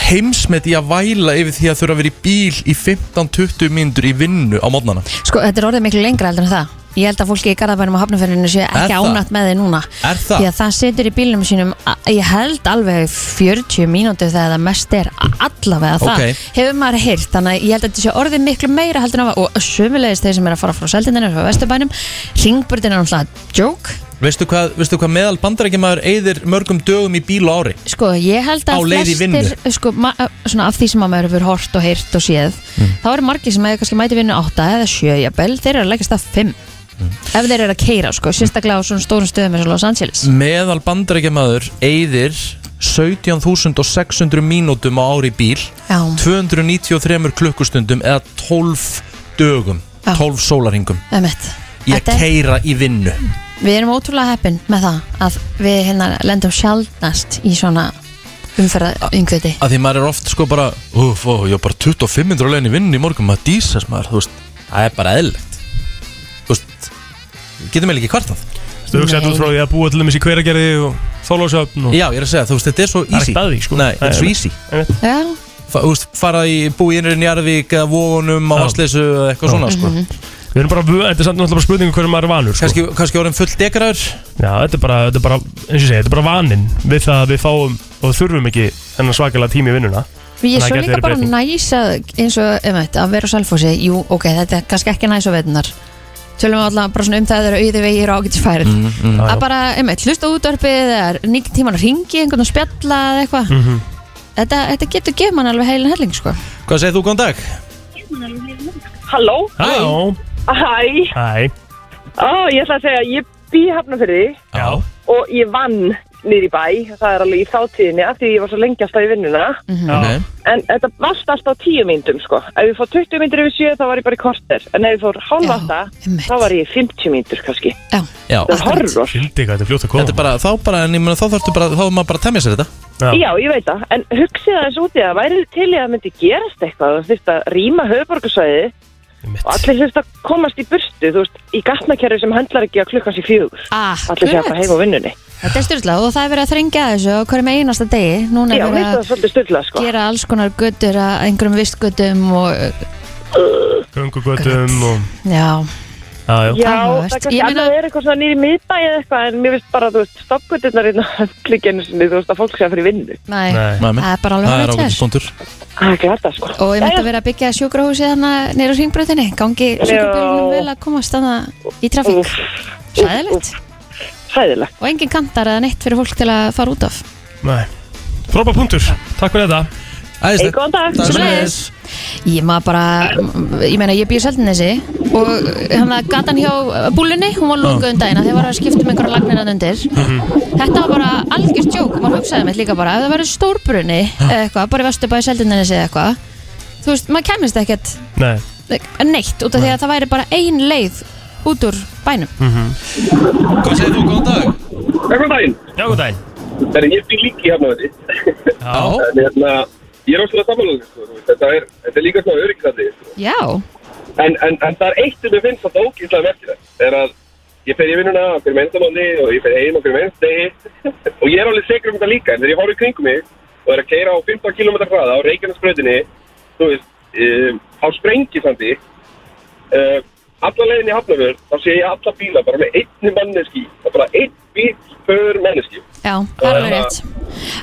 [SPEAKER 1] heimsmet í að væla yfir því að þurfa að vera í bíl í 15-20 myndur í vinnu á mótnana
[SPEAKER 2] Sko, þetta er orðið miklu lengra heldur en það Ég held að fólki í Garðabænum og Hafnarferðinu sé ekki
[SPEAKER 1] það?
[SPEAKER 2] ánætt með þið núna
[SPEAKER 1] Er það?
[SPEAKER 2] Því að það setur í bílnum sínum a- Ég held alveg 40 mínútur þegar það mest er a- allavega það
[SPEAKER 1] Ókei.
[SPEAKER 2] Hefur maður heyrt, þannig að ég held að þetta sé orðið miklu meira heldur en það var Og sömulegis þeir sem er að fara frá Seldindinu og Vesturbænum Ringburðin er náttúrulega joke
[SPEAKER 1] Veistu hvað, veistu hvað meðal bandarækjamaður eyðir mörgum dögum í bíl á ári?
[SPEAKER 2] Sko, ég held
[SPEAKER 1] Á
[SPEAKER 2] að
[SPEAKER 1] leið í vinnu.
[SPEAKER 2] sko, ma- svona, af því sem að maður hefur hort og heyrt og séð
[SPEAKER 1] Mm.
[SPEAKER 2] þá eru margir sem hefur kannski mæti vinnu 8 eða 7 jafnvel, þeir eru að leggast að 5
[SPEAKER 1] Mm.
[SPEAKER 2] ef þeir eru að keira, sko, sérstaklega á svona stórum stöðum eins og Los Angeles
[SPEAKER 1] Mm. Meðal bandarækjamaður eyðir 17.600 mínútum á ári í bíl
[SPEAKER 2] Já,
[SPEAKER 1] 293 klukkustundum eða 12 dögum
[SPEAKER 2] Já.
[SPEAKER 1] 12 sólarhingum
[SPEAKER 2] það er mitt
[SPEAKER 1] í að keira í vinnu
[SPEAKER 2] Við erum ótrúlega heppin með það að við hérna lendum sjaldnast í svona umferða yngviti
[SPEAKER 1] að því maður er oft sko bara uff, ó, ég er bara 25 minnur alveg í vinnu í morgun maður dísast maður, þú veist það er bara eðlilegt þú veist, getum við ekki kvartað
[SPEAKER 3] Þú hugsaði þetta út frá því að búa til dæmis í hveragerði og þólásöfn og
[SPEAKER 1] já, ég er að segja, þú veist, þetta er svo easy
[SPEAKER 3] Það er ekkert að því, sko.
[SPEAKER 1] nei, þetta er svo
[SPEAKER 3] Nei,
[SPEAKER 1] easy
[SPEAKER 2] Já,
[SPEAKER 1] Fa- Þú veist, fara í búi innurinn í Arvík eða Vógunum á
[SPEAKER 3] Já. Mhm.
[SPEAKER 1] Vassleysu eða eitthvað svona sko.
[SPEAKER 3] Við erum bara, vö- þetta er samt náttúrulega bara spurningu hverju maður er vanur sko.
[SPEAKER 1] kannski, kannski orðin full degraður
[SPEAKER 3] Já, þetta er bara, þetta er bara, eins og ég segi, þetta er bara vanin við það að við fáum og þurfum ekki þennan svakalega tími í vinnuna
[SPEAKER 2] ég er
[SPEAKER 3] Þannig að
[SPEAKER 2] svo
[SPEAKER 3] gæti
[SPEAKER 2] líka
[SPEAKER 3] verið
[SPEAKER 2] bara
[SPEAKER 3] breyting.
[SPEAKER 2] næs að eins og um þetta, að vera á Salfósi Jú, ok, þetta er kannski ekki næs á veitunar Tölum við alltaf bara svona um það að það eru auði vegir og ágætis færið
[SPEAKER 3] Já, Mhm, já.
[SPEAKER 2] að bara, einmitt, hlusta á útvarpið eða nýtt tíman að ringi einhvern og spjalla eða eitthvað
[SPEAKER 3] Mhm.
[SPEAKER 2] þetta, þetta getur gefið mann alveg heilin helling sko.
[SPEAKER 1] hvað segir þú, góðan dag?
[SPEAKER 9] Halló?
[SPEAKER 3] Halló
[SPEAKER 9] Hæ?
[SPEAKER 3] Hæ
[SPEAKER 9] Ó, ég ætla að segja, ég bý hafnafyrði
[SPEAKER 3] Já
[SPEAKER 9] og ég vann niður í bæ, það er alveg í þáttíðinni af því ég var svo lengi alltaf í vinnuna
[SPEAKER 1] Okay.
[SPEAKER 9] en þetta varst alltaf á tíu myndum sko, ef ég fór 20 myndir yfir 7 þá var ég bara í korter, en ef ég fór
[SPEAKER 2] Já,
[SPEAKER 9] hálfa það
[SPEAKER 2] einmitt.
[SPEAKER 9] þá var ég í 50 myndur kannski
[SPEAKER 2] Já,
[SPEAKER 1] Já,
[SPEAKER 9] það er
[SPEAKER 2] Akkurat.
[SPEAKER 9] horror,
[SPEAKER 3] Hildi hvað þetta er fljótt að koma
[SPEAKER 1] þetta er bara, þá bara, en ég meina, þá þarftu bara, þá er maður bara að temja sér þetta
[SPEAKER 9] já ég veit það en hugsið aðeins út í það, væri þið til í að það myndi gerast eitthvað, þú þurft að rýma höfuborgarsvæði og
[SPEAKER 3] bara
[SPEAKER 9] allir þurft að komast í burtu, þú veist, í gatnakerfi sem handlar ekki að klukkan sér fjögur allir sér bara heim á vinnunni,
[SPEAKER 2] Ah, þetta er styrlað og það er verið að þrengja að þessu á hverjum einasta degi núna
[SPEAKER 9] já,
[SPEAKER 2] er
[SPEAKER 9] veist
[SPEAKER 2] verið að
[SPEAKER 9] það er svolítið stöðla sko
[SPEAKER 2] gera alls konar göttur að einhverjum vistgötum og
[SPEAKER 3] Göngugötum og
[SPEAKER 2] já,
[SPEAKER 3] Já, já
[SPEAKER 9] Já,
[SPEAKER 2] Áhugavert.
[SPEAKER 9] það kannski
[SPEAKER 2] Ég
[SPEAKER 9] meina...
[SPEAKER 2] meina-
[SPEAKER 9] annað er eitthvað svona nýri miðbæ eða eitthvað en mér finnst bara, þú veist, stoppgöturnar (laughs) innan klikkinu sinni, þú veist, að fólk sé að fyrir vinnu.
[SPEAKER 2] næ,
[SPEAKER 3] Nei
[SPEAKER 1] Mæmi.
[SPEAKER 2] það er bara alveg
[SPEAKER 1] það er ákveðtis
[SPEAKER 2] hálfleitlega
[SPEAKER 1] búndur
[SPEAKER 9] Það er glata, sko.
[SPEAKER 2] og ég myndi
[SPEAKER 9] Jæja.
[SPEAKER 2] að vera að byggja hérna sjúkrahúsi þannig neyru hringbröðinni, gangi sjúkrabílunum vel að komast þannig í trafík
[SPEAKER 9] Úff,
[SPEAKER 2] sæðilegt
[SPEAKER 9] Sæðilegt.
[SPEAKER 2] og engin kantar eða neitt fyrir fólk til að fara út af
[SPEAKER 3] Nei Frópa punktur Takk fyrir þetta
[SPEAKER 9] Hey, góðan dag.
[SPEAKER 2] Sömuleiðis. Ég maður bara, ég meina ég býr Seldinesi og hann að gatan hjá búlinni, hún var lungu um daginn af því að var að skipta um einhverja lagnir hann undir Þetta var bara algjörst jók, maður hugsaði mitt líka bara, ef það verður stórbrunni eða eitthvað, bara í Vesturbæði Seldinesi eða eitthvað Þú veist, maður kemist ekkert
[SPEAKER 3] Nei
[SPEAKER 2] neitt út af því að það væri bara ein leið út úr bænum
[SPEAKER 1] hvað segir þú, góðan dag?
[SPEAKER 7] Hvernig daginn?
[SPEAKER 3] Já, góð daginn
[SPEAKER 8] (laughs)
[SPEAKER 7] Það er ég fyrir líki hérna, veit
[SPEAKER 3] Já
[SPEAKER 7] En hérna,
[SPEAKER 8] Ég er óslega samanlega, sko, þú veist, þetta er, þetta er líka svona öryggandi, sko.
[SPEAKER 2] Já,
[SPEAKER 8] En, en, en það er eitt sem ég finnst þetta ógíslega merkilegt, er að ég fer í vinnuna fyrir mennstamáni og ég fer heim og fyrir mennstegi og ég er alveg segur um þetta líka, en þegar ég horf í kringum mig og er að keira á 15 km hraða á Reykjanesbröðinni, þú veist, um, á Sprengisandi, um, alla leiðin í Hafnafjörð, þá sé ég alla bíla bara með einni manneski, það er bara einn bíl för manneski.
[SPEAKER 2] já, það er alveg rétt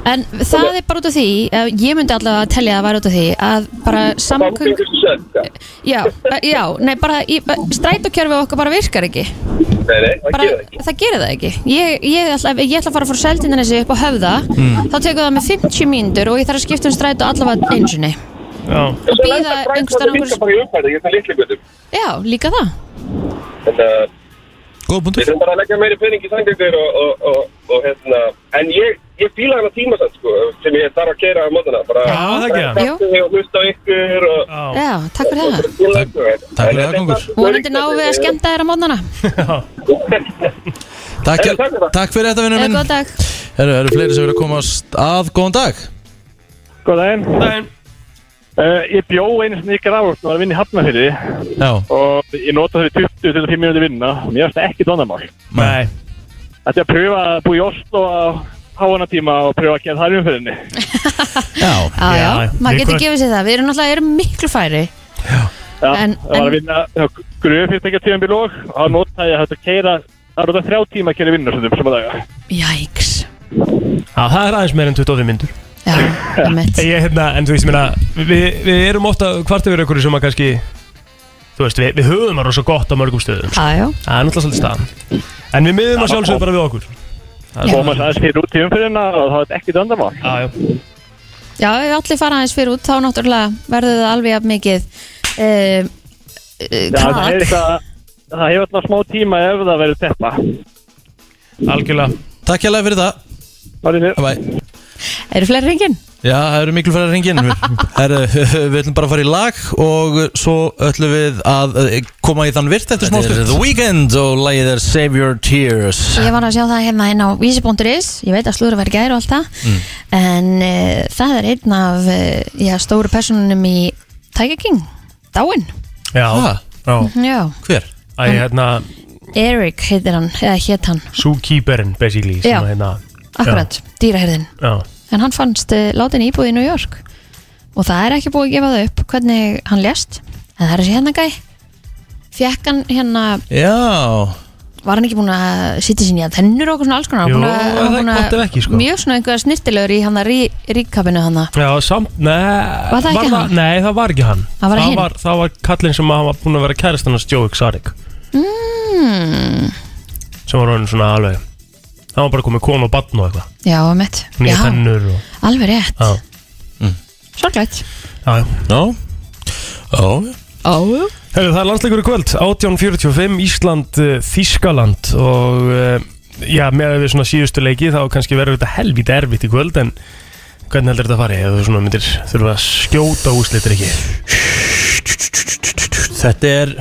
[SPEAKER 2] En það er bara út af því eh, Ég myndi allavega að telja að það væri út af því að bara samkvöng
[SPEAKER 8] Samkvæmstu sett, ja.
[SPEAKER 2] Já, eh, já, nei, bara í- bara- strætókerfið okkar bara virkar ekki
[SPEAKER 8] Nei, nei, það
[SPEAKER 2] bara,
[SPEAKER 8] gerir það ekki.
[SPEAKER 2] það gerir það ekki ég, ég, ætla, ef ég ætla að fara frá Seltjarnanesi upp á höfða þá tekur það með 50 mínútur og ég þarf að skipta um strætu allavega einsinni
[SPEAKER 3] Já,
[SPEAKER 2] og býða einhvers staðar á
[SPEAKER 8] einhvers...
[SPEAKER 2] einhverju-
[SPEAKER 8] bara í umfærði, ég er það litli gutum.
[SPEAKER 2] já, líka það
[SPEAKER 8] Þannig að
[SPEAKER 1] Góð
[SPEAKER 8] uh, við
[SPEAKER 1] punktur
[SPEAKER 8] þurfum bara að leggja meiri pening í samgöngur og, og, og, og hérna, en ég, ég fíla hana tíma sann, sko, sem ég þarf að keira á mótana. Bara,
[SPEAKER 3] Já, það ekki það.
[SPEAKER 2] Jú.
[SPEAKER 8] Takk fyrir að hlusta á ykkur og... hérna,
[SPEAKER 3] Já,
[SPEAKER 2] já, takk
[SPEAKER 8] Takk
[SPEAKER 2] fyrir það
[SPEAKER 1] takk fyrir það, Kongur.
[SPEAKER 2] vonandi náum við að skemmta þér á mótnana
[SPEAKER 1] Takk,
[SPEAKER 8] Heyrðu, takk fyrir það.
[SPEAKER 1] takk fyrir þetta vinnur
[SPEAKER 2] eða
[SPEAKER 1] minn
[SPEAKER 2] góð Eh, dag
[SPEAKER 1] Herru, eru fleiri sem vilja komast að Góðan dag
[SPEAKER 9] Góð daginn.
[SPEAKER 3] daginn
[SPEAKER 9] Uh, ég bjó einu sinni í Grafvort og var að vinna í Hafnafyrði
[SPEAKER 1] Já,
[SPEAKER 9] og ég notaði fyrir 20-25 minúti vinna og mér finnst það ekki dónamál.
[SPEAKER 3] Nei,
[SPEAKER 9] Þetta er að pröfa að búa í Oslo á háana tíma og pröfa að gera það í umfyrinni.
[SPEAKER 1] já,
[SPEAKER 2] já,
[SPEAKER 3] Já,
[SPEAKER 2] já, maður
[SPEAKER 3] við
[SPEAKER 2] getur
[SPEAKER 3] hvað-
[SPEAKER 2] gefið sér það við erum náttúrulega erum miklu færi
[SPEAKER 9] Já,
[SPEAKER 2] En-
[SPEAKER 9] það
[SPEAKER 2] en-
[SPEAKER 9] var að vinna gröðu fyrst ekki að tíma byrja og þá notaði ég að þetta keira, það er þetta þrjá tíma að keira vinna sem að daga.
[SPEAKER 2] jæks
[SPEAKER 3] já, það er aðeins meir en 25 myndur
[SPEAKER 2] já, einmitt.
[SPEAKER 3] Ég, hérna, en þú veist, ég meina við, við erum ofta kvart yfir ykkur sem að kannski Þú veist, við, við höfum að rosa gott á mörgum stöðum
[SPEAKER 2] já, já,
[SPEAKER 3] Það er náttúrulega svolítið staðan En við miðum að sjálfsögðu bara við okkur Það er
[SPEAKER 9] Og
[SPEAKER 3] svona-
[SPEAKER 9] maður aðeins fyrir út í umfyrinna og það er ekki dónamál.
[SPEAKER 3] Já, já.
[SPEAKER 2] já, ef allir fara aðeins fyrir út þá náttúrulega verður það alveg jafn mikið uh,
[SPEAKER 9] Já, það er
[SPEAKER 2] krak
[SPEAKER 9] eitthvað, það hefur alltaf smá tíma ef það verður teppa.
[SPEAKER 3] Algjörlega
[SPEAKER 1] takk hérlega fyrir það
[SPEAKER 9] Það er
[SPEAKER 1] Bye bye.
[SPEAKER 2] eru fleiri reyngin?
[SPEAKER 1] Já, það eru miklu fyrir að ringin (laughs) Herru, við ætlum bara að fara í lag og svo ætlum við að eh, koma í þann virt eftir smá
[SPEAKER 4] Þetta er
[SPEAKER 1] stund
[SPEAKER 4] The
[SPEAKER 1] Weeknd og lagið er Save Your Tears
[SPEAKER 2] Ég var að sjá það hérna inn á vísi.is Ég veit að slúður var gæri og allt það
[SPEAKER 9] Mm.
[SPEAKER 2] En uh, það er einn af uh, já, stóru personunum í Tiger King Dáin
[SPEAKER 3] Já,
[SPEAKER 1] Ha?
[SPEAKER 3] já
[SPEAKER 2] Já.
[SPEAKER 1] Hver?
[SPEAKER 3] Æ, hérna,
[SPEAKER 2] Eric heitir hann, eða hét hann
[SPEAKER 3] zookeeperinn, basically sem
[SPEAKER 2] Já.
[SPEAKER 3] að, hérna,
[SPEAKER 2] Akkurat, dýraherðin
[SPEAKER 3] já
[SPEAKER 2] En hann fannst uh, látin íbúð í New York Og það er ekki búið að gefa það upp Hvernig hann lést En það er þessi hérna gæ Fekk hann hérna,
[SPEAKER 1] Já,
[SPEAKER 2] var hann ekki búin að sitja sín í að tennur og eitthvað svona alls konar
[SPEAKER 3] Jú,
[SPEAKER 2] Búin að-
[SPEAKER 3] það er
[SPEAKER 2] búin að-
[SPEAKER 3] gott ef ekki, sko.
[SPEAKER 2] Mjög svona einhverja snirtilegur í hann að rí, ríkkapinu hann
[SPEAKER 3] Já, samt, nei
[SPEAKER 2] Var það ekki hann?
[SPEAKER 3] Nei, það var ekki hann
[SPEAKER 2] Það var hinn.
[SPEAKER 3] var, það var kallinn sem hann var búinn að vera kærast hann að Joe Exotic
[SPEAKER 2] mm.
[SPEAKER 3] sem var hann svona alveg hann var bara komið konu og barn og eitthvað
[SPEAKER 2] Já, mitt
[SPEAKER 3] nýja
[SPEAKER 2] Já,
[SPEAKER 3] tennur og
[SPEAKER 2] alveg rétt
[SPEAKER 3] Já.
[SPEAKER 2] Sorglætt
[SPEAKER 3] Já, já.
[SPEAKER 1] no Ó,
[SPEAKER 2] oh.
[SPEAKER 3] Herru, það er landsleikur í kvöld 1845, Ísland, eh, Þískaland og eh, já, með við svona síðustu leiki þá kannski verður þetta helvítið erfitt í kvöld en hvernig heldur þetta að fara ef þú svona myndir þurfa að skjóta úslitir ekki
[SPEAKER 1] þetta er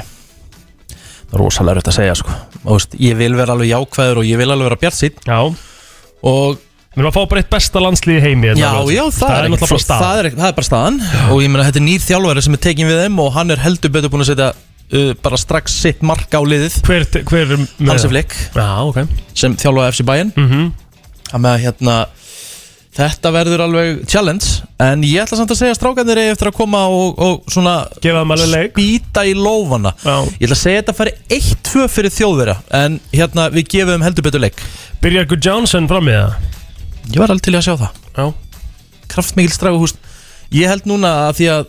[SPEAKER 1] rosalega rögt að segja sko Þú veist, ég vil vera alveg jákvæður og ég vil alveg vera bjart sín
[SPEAKER 3] Já,
[SPEAKER 1] og
[SPEAKER 3] við erum að fá bara eitt besta landsliði heimi hérna
[SPEAKER 1] já, já, það,
[SPEAKER 3] það er
[SPEAKER 1] ekkert
[SPEAKER 3] náttúrulega
[SPEAKER 1] fló-
[SPEAKER 3] bara stað
[SPEAKER 1] það, er, ekki- það er bara staðan og ég meina þetta er nýr þjálfæri sem er tekin við þeim og hann er heldur betur búin að setja uh, bara strax sitt mark á liðið
[SPEAKER 3] Hver, hver er með
[SPEAKER 1] Hansi Flick
[SPEAKER 3] Já, ok
[SPEAKER 1] sem þjálfaði FC Bayern
[SPEAKER 3] mm
[SPEAKER 1] hann með að hérna Þetta verður alveg challenge En ég ætla samt að segja að strákarnir eigi eftir að koma og, og svona
[SPEAKER 3] Gefa þeim alveg leik.
[SPEAKER 1] Spýta í lófana
[SPEAKER 3] Já.
[SPEAKER 1] Ég ætla að segja að þetta fari 1-2 fyrir þjóðverja En hérna við gefum þeim heldur betur leik
[SPEAKER 3] Byrjar Good Johnson fram í það
[SPEAKER 1] Ég var alveg til í að sjá það
[SPEAKER 3] Já
[SPEAKER 1] kraftmikil stræguhúst Ég held núna að því að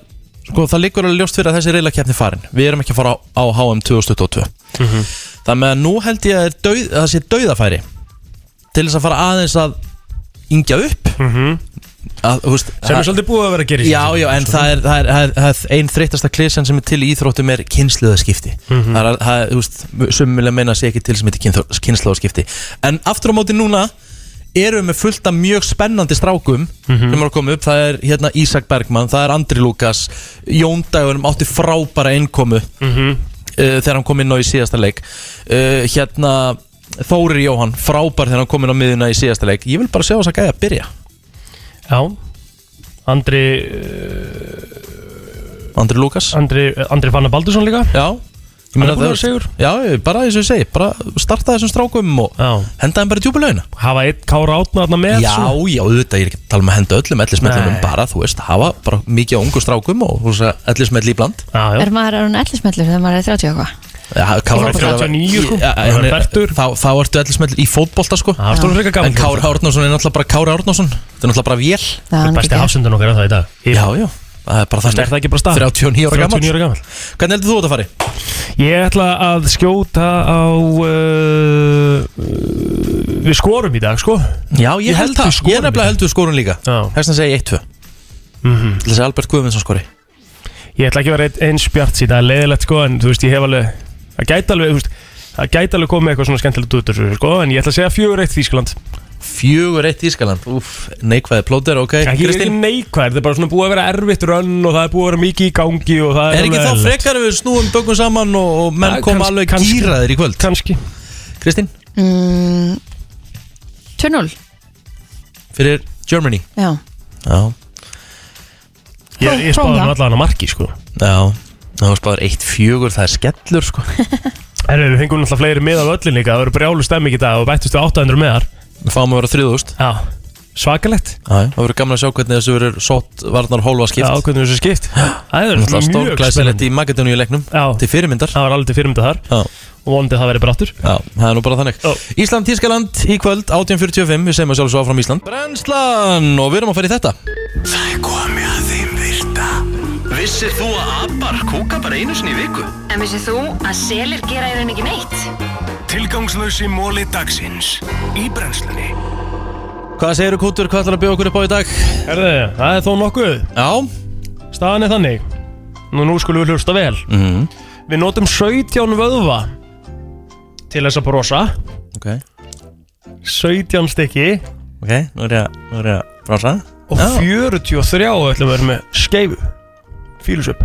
[SPEAKER 1] sko, það liggur alveg ljóst fyrir að þessi reylakeppni farin Við erum ekki að fara á, á HM 2022 mm
[SPEAKER 3] Mhm.
[SPEAKER 1] Það með að nú held ég að, er dauð, að það sé dauðafæri til þess að fara aðeins að yngja upp mm -hmm. að, þú veist,
[SPEAKER 3] Mhm. Sem er
[SPEAKER 1] að,
[SPEAKER 3] svolítið búið að vera að gera í
[SPEAKER 1] Já,
[SPEAKER 3] þessu.
[SPEAKER 1] já, en það er, það er, það er, það er ein þreytasta klísan sem er til í íþróttum er kynsluðaskipti Það er, að- það er, þú veist, summilega meina sé ekki til sem heitir kynsluðaskipti En aftur á móti núna erum við með fullt af mjög spennandi strákum sem eru að koma upp, það er hérna Ísak Bergmann, það er Andri Lukas Jóndagurum átti frábæra innkomu uh, þegar hann kom inn á í síðasta leik uh, hérna Þóri Jóhann, frábær þegar hann kom inn á miðuna í síðasta leik ég vil bara sjá þess að gæja að byrja
[SPEAKER 3] Já Andri,
[SPEAKER 1] Andri Lukas
[SPEAKER 3] Andri, Andri Fanna Baldursson líka
[SPEAKER 1] Já Ég
[SPEAKER 3] Hann
[SPEAKER 1] meina
[SPEAKER 3] er búin
[SPEAKER 1] það-
[SPEAKER 3] að vera sigur
[SPEAKER 1] Já, ég- bara eins og ég segi Bara starta þessum strákum og
[SPEAKER 3] Já.
[SPEAKER 1] henda þeim bara í djúpa launa
[SPEAKER 3] Hafa einn kára átna þarna með
[SPEAKER 1] Já,
[SPEAKER 3] svona.
[SPEAKER 1] já, auðvitað, ég er ekki að tala um að henda öllum ellismellunum
[SPEAKER 3] Nei.
[SPEAKER 1] bara, þú veist, hafa bara mikið á ungu strákum og ellismell í bland
[SPEAKER 3] já, já.
[SPEAKER 2] Er maður orðinn ellismellur þegar maður er 30 og eitthvað?
[SPEAKER 1] Kára
[SPEAKER 3] Hann er 39, sko.
[SPEAKER 1] Já,
[SPEAKER 3] Hann er
[SPEAKER 1] hann er-
[SPEAKER 3] fertugur.
[SPEAKER 1] Þá þá ertu ellismell í fótbolta, sko
[SPEAKER 3] Það var stóðum frekar gaman
[SPEAKER 1] En Kári Árnason er náttúrulega bara Kári Árnason Þetta er náttúrulega bara vél
[SPEAKER 2] Það er hann
[SPEAKER 3] Besti
[SPEAKER 2] ekki.
[SPEAKER 3] hafsendun okkar er það í dag Í-
[SPEAKER 1] Já, já, það er bara
[SPEAKER 3] Veist,
[SPEAKER 1] þannig
[SPEAKER 3] er það ekki bara staðan?
[SPEAKER 1] 39 ára gammal
[SPEAKER 3] 39 ára gamall.
[SPEAKER 1] Hvernig heldur þú þetta að fari?
[SPEAKER 3] Ég ætla að skjóta á uh, Við skorum í dag sko
[SPEAKER 1] Já, ég,
[SPEAKER 3] Ég
[SPEAKER 1] held
[SPEAKER 3] held við
[SPEAKER 1] það,
[SPEAKER 3] skorum
[SPEAKER 1] ég er nefnilega heldur skórun líka
[SPEAKER 3] Já. Mhm.
[SPEAKER 1] Þess að segja 1-2 Til þess að Albert Guðmundsson skori
[SPEAKER 3] Ég ætla ekki að vera einn- eins bjart síðan Það er leiðilegt sko En þú veist ég hef alveg Það gæti alveg þú veist, Það gæti alveg komið eitthvað svona skemmtilegt út úr þessu, sko, En ég ætla að segja fjögur eitt Þískland
[SPEAKER 1] 4-1 Ískaland, úff, neikvæði plóter, ok
[SPEAKER 3] Ekki ég er ekki
[SPEAKER 1] Kristín,
[SPEAKER 3] neikvæð Það er bara svona búið að vera erfitt rönn Og það er búið að vera mikið í gangi og það
[SPEAKER 1] er ekki
[SPEAKER 3] alveg
[SPEAKER 1] þá
[SPEAKER 3] eðlilegt.
[SPEAKER 1] frekar ef við snúum bökum saman og, og menn
[SPEAKER 3] Ja,
[SPEAKER 1] koma
[SPEAKER 3] kanns-
[SPEAKER 1] alveg
[SPEAKER 3] kannski.
[SPEAKER 1] gýraðir í kvöld
[SPEAKER 3] Kannski
[SPEAKER 1] Kristín,
[SPEAKER 2] Mm, 2-0
[SPEAKER 1] fyrir Germany
[SPEAKER 2] Já,
[SPEAKER 1] Já,
[SPEAKER 3] Ég, ég spáði nú allan að marki sko
[SPEAKER 1] já, þá spáður 1-4, það er skellur sko
[SPEAKER 3] Herru, við fengum náttúrulega fleiri miða á öllin líka Það voru brjálu stemming í dag og bættust við 800 miðar
[SPEAKER 1] Við fáum að vera 3000
[SPEAKER 3] Já, svakalegt
[SPEAKER 1] Já, Það verður gaman að sjá hvernig þessu verður sótt varnar hólfa
[SPEAKER 3] Já,
[SPEAKER 1] skipt
[SPEAKER 3] hvernig þessu skipt (gasps) Það er
[SPEAKER 1] Náttúrulega
[SPEAKER 3] mjög
[SPEAKER 1] stórglæsilegt
[SPEAKER 3] spennandi
[SPEAKER 1] í Magadóníu leiknum
[SPEAKER 3] Já.
[SPEAKER 1] Til fyrirmyndar
[SPEAKER 3] Það var aldrei fyrirmynda þar
[SPEAKER 1] Já,
[SPEAKER 3] og vonandi að það verið brattur
[SPEAKER 1] já, það er nú bara þannig
[SPEAKER 3] Já.
[SPEAKER 1] Ísland, Tískaland í kvöld, 18.45 Við segjum að sjálfsög áfram Ísland Brennslan og við erum að fara í þetta
[SPEAKER 5] Það er komið að þeim virta Vissir þú að abar kúka bara einu sinni í viku?
[SPEAKER 10] En vissið þú að selir gera í rauninni ekki neitt?
[SPEAKER 5] Tilgangslösi móli dagsins Í brennslunni
[SPEAKER 1] Hvað segirðu Kútur, hvað ætlar að bjóða okkur upp á í dag?
[SPEAKER 3] Herðu, það er þó nokkuð
[SPEAKER 1] Já,
[SPEAKER 3] Staðan er þannig Nú, nú skulum við hlusta vel
[SPEAKER 1] Mhm.
[SPEAKER 3] Við notum 17 vöðva Til þess að brosa
[SPEAKER 1] ok,
[SPEAKER 3] 17 stykki
[SPEAKER 1] ok, nú er ég að, nú er ég að brása
[SPEAKER 3] Og
[SPEAKER 1] Já.
[SPEAKER 3] 43 ætlum við erum með skeifu Fílusup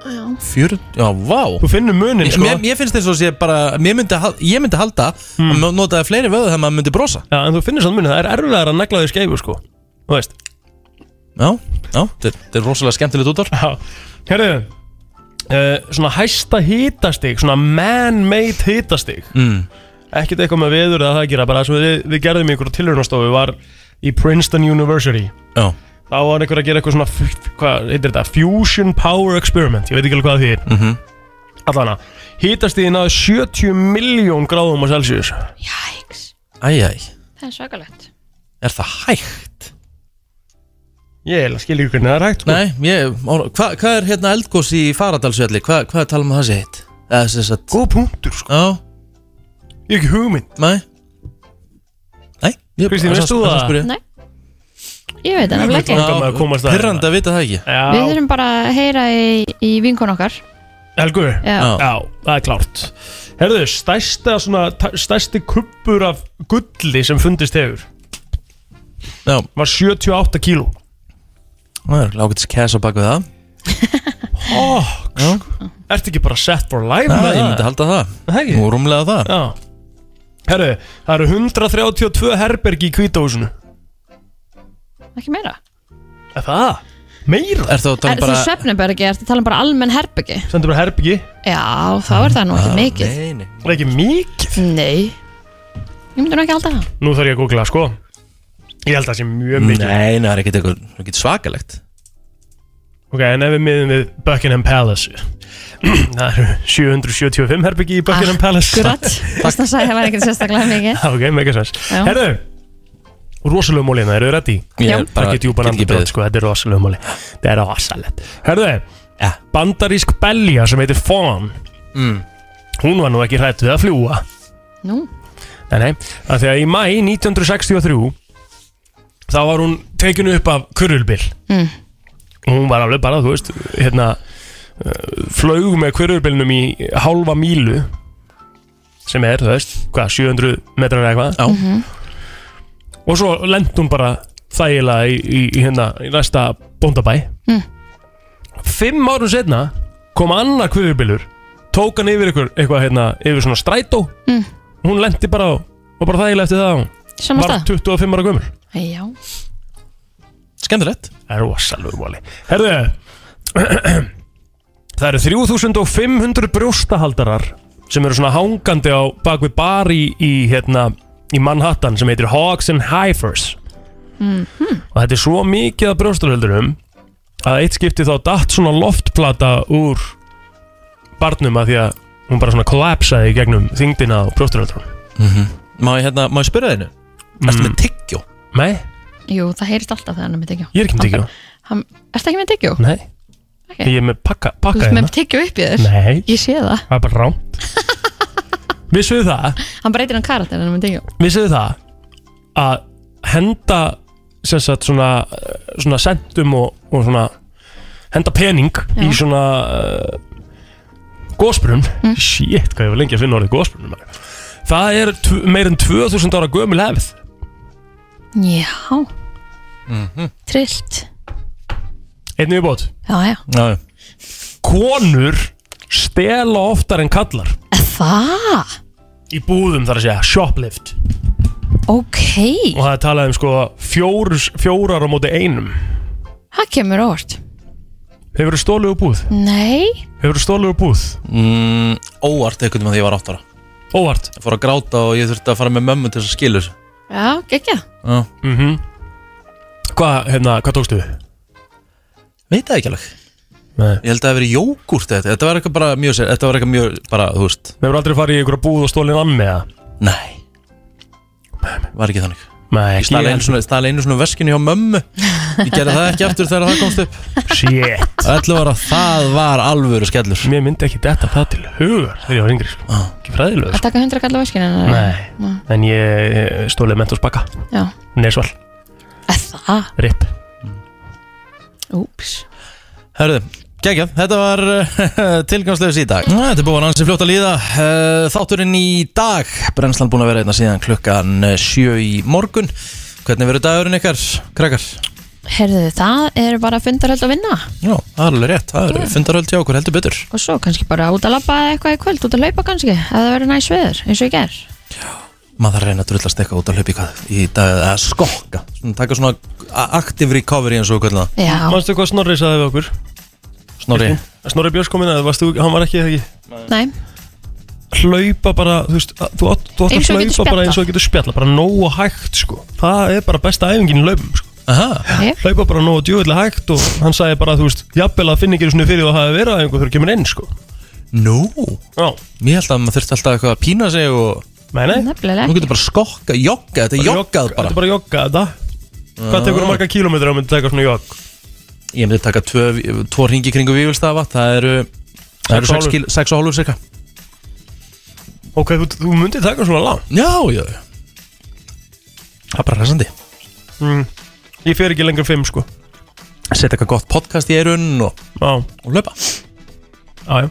[SPEAKER 1] 40, já, vá
[SPEAKER 3] Þú finnur munin, sko
[SPEAKER 1] Mér, mér finnst þess að sé bara, mér myndi, hal- ég myndi halda mm. að notaði fleiri vöðu þegar maður myndi brosa
[SPEAKER 3] Já, en þú finnur samt munin Það er erfiðar að negla því skeifu, sko Þú veist
[SPEAKER 1] Já, já, þetta er- þetta er rosalega skemmtilegt útvar
[SPEAKER 3] Já, herðu uh, Svona hæsta hitastig Svona man-made hitastig
[SPEAKER 1] mm.
[SPEAKER 3] Ekkert eitthvað með veður eða það að gera Bara það sem við, við gerðum í einhverju tilhörunastofu Var í Princeton University
[SPEAKER 1] Já,
[SPEAKER 3] Þá var einhver að gera eitthvað svona f- Hvað heitir þetta? Fusion Power Experiment Ég veit ekki alveg hvað því er mm
[SPEAKER 1] Mhm.
[SPEAKER 3] Allana, hitastigið náðu 70 miljón gráðum á Celsius
[SPEAKER 2] jæks
[SPEAKER 1] æj, æj,
[SPEAKER 2] Það er svakalegt
[SPEAKER 1] er það hægt?
[SPEAKER 3] Ég eiginlega skil ekki hvernig það er hægt sko.
[SPEAKER 1] Nei, ég, hvað hva er hérna eldgós í Faradalsvelli? Hva, hvað er talað um að það sé hitt? Eða þess að,
[SPEAKER 3] Góð punktur, sko
[SPEAKER 1] já,
[SPEAKER 3] Ég hef ekki hugmynd
[SPEAKER 1] næ Nei, ég,
[SPEAKER 3] Kristín, veist þú það?
[SPEAKER 1] það?
[SPEAKER 2] Nei, ég veit það nefnilega
[SPEAKER 3] Langar
[SPEAKER 2] ekki
[SPEAKER 3] maður að komast að-
[SPEAKER 1] Pirrandi að hérna? vita það ekki
[SPEAKER 2] Við
[SPEAKER 3] Já,
[SPEAKER 2] þurfum bara að heyra í, í vinkon okkar
[SPEAKER 3] Helgur
[SPEAKER 2] Já,
[SPEAKER 1] Já.
[SPEAKER 3] Já, það er klárt Herðu, stærsta svona, ta- stærsti kuppur af gulli sem fundist hefur
[SPEAKER 1] Já,
[SPEAKER 3] var 78 kíló
[SPEAKER 1] það er lágætis kæs á baku það
[SPEAKER 3] oh,
[SPEAKER 1] Já.
[SPEAKER 3] Ertu ekki bara set for life
[SPEAKER 1] Já,
[SPEAKER 3] með
[SPEAKER 1] sko. ég
[SPEAKER 3] það?
[SPEAKER 1] myndi halda það
[SPEAKER 3] Það ekki?
[SPEAKER 1] Nú rúmlega það
[SPEAKER 3] Já Herðu, það eru 132 herbergi í kvítóhúsinu
[SPEAKER 2] ekki meira
[SPEAKER 3] Er það? Meira?
[SPEAKER 1] Er það að
[SPEAKER 2] Er
[SPEAKER 1] tala
[SPEAKER 2] þú
[SPEAKER 1] bara
[SPEAKER 2] svefnum bara ekki, ertu að tala um bara almenn herbyggi?
[SPEAKER 3] Sendur bara herbergi
[SPEAKER 2] Já, þá er það nú
[SPEAKER 3] Ah,
[SPEAKER 2] ekki mikið
[SPEAKER 1] Nei, nei
[SPEAKER 3] Það er ekki mikið
[SPEAKER 2] Nei Ég myndi nú ekki halda það
[SPEAKER 3] Nú þarf ég að googla, sko Ég held að það sé
[SPEAKER 1] Um
[SPEAKER 3] mjög mikið
[SPEAKER 1] Nei, nei, það er ekkert eitthvað ekkert svakalegt
[SPEAKER 3] Ok, en ef við miðum við Buckingham Palace (clears throat) Það eru 775 herbergi í Buckingham Palace
[SPEAKER 2] Akkurat, (laughs) þess að sagði það var ekkert sérstaklega mikið
[SPEAKER 3] (laughs) Já, (laughs) ok, mega sens
[SPEAKER 2] Já.
[SPEAKER 3] Herðu, rosalega móli hérna, eru þið reddi?
[SPEAKER 1] Ég
[SPEAKER 2] Já.
[SPEAKER 1] er
[SPEAKER 3] Það
[SPEAKER 1] bara-
[SPEAKER 3] get djúpan
[SPEAKER 1] get ekki
[SPEAKER 3] andabrót,
[SPEAKER 1] beðið.
[SPEAKER 3] sko, þetta er rosalega móli Þetta er rosalegt Herðu,
[SPEAKER 1] Ja.
[SPEAKER 3] bandarísk belja sem heitir Fawn
[SPEAKER 1] Mm.
[SPEAKER 3] Hún var nú ekki hrætt við að fljúa
[SPEAKER 2] Nú,
[SPEAKER 3] Nei, nei, að því að í mæ 1963 Þá var hún tekinu upp af kurulbil
[SPEAKER 2] Mm.
[SPEAKER 3] Hún var alveg bara, þú veist, hérna uh, Flaug með kurulbilnum í halva mílu Sem er, þú veist, hvað, 700 metrar eða eitthvað
[SPEAKER 1] Já.
[SPEAKER 3] Og svo lendi hún bara þægilega í, í, í hérna, í næsta bóndabæ
[SPEAKER 2] Mm.
[SPEAKER 3] Fimm árum setna kom annar kurulbilur Tók hann yfir ykkur, eitthvað, hérna, yfir svona strætó
[SPEAKER 2] Mm.
[SPEAKER 3] Hún lendi bara á, og bara þægilega eftir það á
[SPEAKER 2] saman
[SPEAKER 3] var
[SPEAKER 2] stað
[SPEAKER 3] 25 ára gömur
[SPEAKER 2] Æ, Já,
[SPEAKER 1] skemmtilegt
[SPEAKER 3] Það er rosalur vali Herðu (clears throat) Það eru 3500 brjóstahaldarar sem eru svona hangandi á bak við bar í, í, hérna, í Manhattan sem heitir Hogs and Hivers
[SPEAKER 2] Mhm.
[SPEAKER 3] og þetta er svo mikið af brjóstarhaldurum að eitt skipti þá datt svona loftplata úr barnum að því að hún bara svona kollapsaði í gegnum þyngdina á brjóstarhaldurum
[SPEAKER 1] Má ég, hérna, má ég spyrja þínu? Erstu með tyggjó?
[SPEAKER 3] Mm. Nei,
[SPEAKER 2] Jú, það heyrist alltaf þegar hann er með tyggjó
[SPEAKER 3] ég er ekki með tyggjó
[SPEAKER 2] Hann- Ertu ekki með tyggjó?
[SPEAKER 3] Nei,
[SPEAKER 2] Ok.
[SPEAKER 3] ég er með pakka,
[SPEAKER 2] Þú
[SPEAKER 3] pakka hérna.
[SPEAKER 2] ert með tyggjó upp í (laughs) þér?
[SPEAKER 3] Mm, Nei,
[SPEAKER 2] Ég sé það
[SPEAKER 3] það er bara rámt Vissuðu það
[SPEAKER 2] Hann breytir hann karakter en hann er með tyggjó
[SPEAKER 3] Vissuðu það að henda sem sagt svona svona sentum og, og svona henda pening í svona uh, gósbrunn shit hvað ég var lengi að finna orðið gósbrunn það er tv- meir en 2000 ára gömul hefð
[SPEAKER 2] Já
[SPEAKER 3] Mhm.
[SPEAKER 2] Trillt
[SPEAKER 3] einnig við bótt
[SPEAKER 2] Já, já
[SPEAKER 1] Já,
[SPEAKER 3] konur stela oftar en kallar
[SPEAKER 2] Það?
[SPEAKER 3] í búðum þar að segja shoplift
[SPEAKER 2] Ok
[SPEAKER 3] og það er talað um sko fjór, fjórar á móti einum
[SPEAKER 2] Það kemur óvart
[SPEAKER 3] hefur þú stólið úr búð
[SPEAKER 2] Nei
[SPEAKER 3] hefur þú stólið úr búð
[SPEAKER 1] mm, Óvart einhvern veginn að ég var 8 ára
[SPEAKER 3] óvart
[SPEAKER 1] Ég fór að gráta og ég þurfti að fara með mömmu til þess að skilu þessu
[SPEAKER 2] Já, gekkja
[SPEAKER 1] Já.
[SPEAKER 3] mm hvað hérna hvað tókstu við
[SPEAKER 1] Veit það ekki alveg
[SPEAKER 3] Nei.
[SPEAKER 1] Ég held að það hafi verið jógúrt eða þetta Þetta var eitthvað bara mjög sér Þetta var eitthvað mjög bara, þú veist
[SPEAKER 3] Við hefur aldrei farið í einhverja búð og stólið nammi eða?
[SPEAKER 1] Nei Var ekki þannig
[SPEAKER 3] Nei,
[SPEAKER 1] Ég stala einu svona, stala einu svona veskinu hjá mömmu Ég gerði það ekki aftur þegar það komst upp
[SPEAKER 3] Shit
[SPEAKER 1] Ætlu var að það var alvöru skellur
[SPEAKER 3] Mér myndi ekki detta það til hugar þegar ég var yngri sko.
[SPEAKER 1] Ah.
[SPEAKER 3] Ekki fræðilegur
[SPEAKER 2] Að
[SPEAKER 3] sko.
[SPEAKER 2] taka hundra kallar vaskinu hennar
[SPEAKER 3] Nei, en ég eh, stólið mentos bakka
[SPEAKER 2] Já
[SPEAKER 3] Nesval,
[SPEAKER 2] Að Það
[SPEAKER 3] rip
[SPEAKER 2] Úps
[SPEAKER 1] Herðu, geggjað, þetta var (laughs) uh, tilgangslegis í dag Næ, Þetta er búin ansi fljótt að líða uh, Þátturinn í dag, brennslan búin að vera einna síðan klukkan eh, sjö í morgun Hvernig verður dagurinn ykkar, krakkar?
[SPEAKER 2] Herðu, það er bara fundarhöld að vinna
[SPEAKER 1] Já, það er alveg rétt, það eru fundaröld hjá okkur heldur betur
[SPEAKER 2] Og svo kannski bara út að labba eða eitthvað í kvöld Út að laupa kannski Ef það verður næs veður eins og ég ger
[SPEAKER 1] Maður þarf að reyna að drullast eitthvað út að hlaupa í hvað í dag að skokka svona, Taka svona a- active recovery eins og hvernig það
[SPEAKER 2] Já
[SPEAKER 3] Manstu hvað Snorri sagði við okkur?
[SPEAKER 1] Snorri
[SPEAKER 3] Snorri Björns komin að varstu, hann var ekki ekki
[SPEAKER 2] Nei
[SPEAKER 3] Hlaupa bara, þú veist, að- þú átt, þú átt
[SPEAKER 2] Eins
[SPEAKER 3] að
[SPEAKER 2] og getur
[SPEAKER 3] hlaupa
[SPEAKER 2] spjallað.
[SPEAKER 3] bara eins og þú getur spjalla Bara nógu hægt sko Það er bara besta æfingin í laupum sko
[SPEAKER 1] Aha,
[SPEAKER 3] Hlaupa bara nógu djúvillega hægt og hann sagði bara, þú veist, jafnvel að finna ekki svona fyrir og hafa verið að einhver þurr kemur inn sko
[SPEAKER 1] nú
[SPEAKER 3] Já,
[SPEAKER 1] Mér held að maður þurfti alltaf eitthvað að pína sig og
[SPEAKER 3] nei, nei
[SPEAKER 2] Nefnilega
[SPEAKER 1] Nú
[SPEAKER 2] ekki
[SPEAKER 1] getur bara skokka, jogga, þetta er joggað
[SPEAKER 3] Þetta
[SPEAKER 1] bara Ah.
[SPEAKER 3] er bara joggað þetta Hvað tekur þú marga kílómetra að myndi taka svona jogg?
[SPEAKER 1] Ég myndi taka tvö, tvo ringi kringu vývilstafa Það eru Það eru 6
[SPEAKER 3] Sex og hálfur.
[SPEAKER 1] kíl, sex og hálfur cirka
[SPEAKER 3] Ok, þú, þú myndir taka svona langt
[SPEAKER 1] Já, já já. Það er bara hressandi
[SPEAKER 3] mm. Ég fer ekki lengur en fimm sko
[SPEAKER 1] Sett eitthvað gott podcast í erun og,
[SPEAKER 3] Já,
[SPEAKER 1] og löpa
[SPEAKER 3] já, já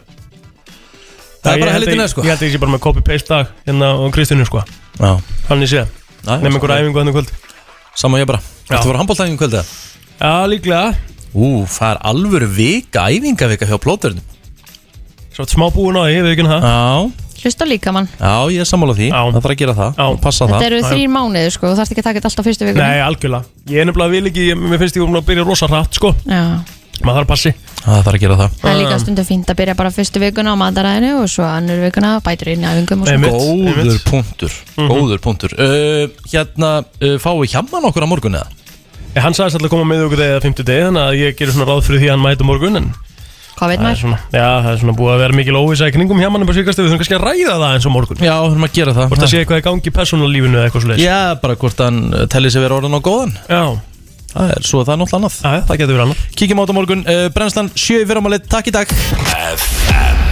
[SPEAKER 1] Það er
[SPEAKER 3] Ég
[SPEAKER 1] bara
[SPEAKER 3] held
[SPEAKER 1] helviti
[SPEAKER 3] að-
[SPEAKER 1] neð sko
[SPEAKER 3] Ég held að ég sé bara með copy-paste dag hérna á Kristínu sko
[SPEAKER 1] Já
[SPEAKER 3] Þannig séð, nefnum einhverja æfingu hann kvöld
[SPEAKER 1] Saman ég bara
[SPEAKER 3] Já.
[SPEAKER 1] Þetta voru handbóltæðingum kvöldið
[SPEAKER 3] Já, líklega
[SPEAKER 1] Ú, það er alvöru vika, æfingavika hjá plóturinn
[SPEAKER 3] Svo smá búin á því, ég veit ekki um það
[SPEAKER 1] Já,
[SPEAKER 2] Hlusta líka mann
[SPEAKER 1] já, ég er sammála því
[SPEAKER 3] Já.
[SPEAKER 1] Það þarf að gera það
[SPEAKER 3] Já.
[SPEAKER 1] og passa
[SPEAKER 2] Þetta
[SPEAKER 1] það
[SPEAKER 2] eru
[SPEAKER 3] já.
[SPEAKER 2] þrýr mánuðir sko Þú þarfst ekki að taka þetta alltaf fyrstu vikunni
[SPEAKER 3] Nei, algjörlega Ég er nefnilega vil ekki, ég, mér finnst ég um að byrja rosa hratt sko
[SPEAKER 2] Já
[SPEAKER 3] Maður þarf að passi
[SPEAKER 1] Það þarf að gera það
[SPEAKER 2] Það er
[SPEAKER 3] Ah.
[SPEAKER 2] líka stundum fínt að byrja bara fyrstu vikuna á mataræðinu og svo annur vikuna bætur inn í æfingum og svo.
[SPEAKER 3] Einmitt.
[SPEAKER 1] Góður
[SPEAKER 3] einmitt.
[SPEAKER 1] punktur Góður punktur uh, Hérna, uh, fáið hjamman okkur á morgun eða?
[SPEAKER 3] Ég, Eh, Hann sagðist alltaf að koma með okkur eða fimmtu degi Þannig að ég gerir svona ráð fyrir því að hann mæti á morgun En
[SPEAKER 2] Hvað veit
[SPEAKER 3] það er
[SPEAKER 2] maður?
[SPEAKER 3] svona, já, það er svona búið að vera mikil óvisa í kringum hjá mann Við þurfum kannski að ræða það eins og morgun
[SPEAKER 1] Já, þurfum að gera það
[SPEAKER 3] Hvort það sé eitthvað í gangi í persónalífinu eða eitthvað svo
[SPEAKER 1] Já, bara hvort hann uh, telli sig vera orðan á góðan
[SPEAKER 3] Já,
[SPEAKER 1] Það er svo það er náttúrulega annað Eh,
[SPEAKER 3] já, það getur verið annað
[SPEAKER 1] Kíkjum át á morgun, uh, brennslan 7 í fyrramalið, takk í dag
[SPEAKER 5] FM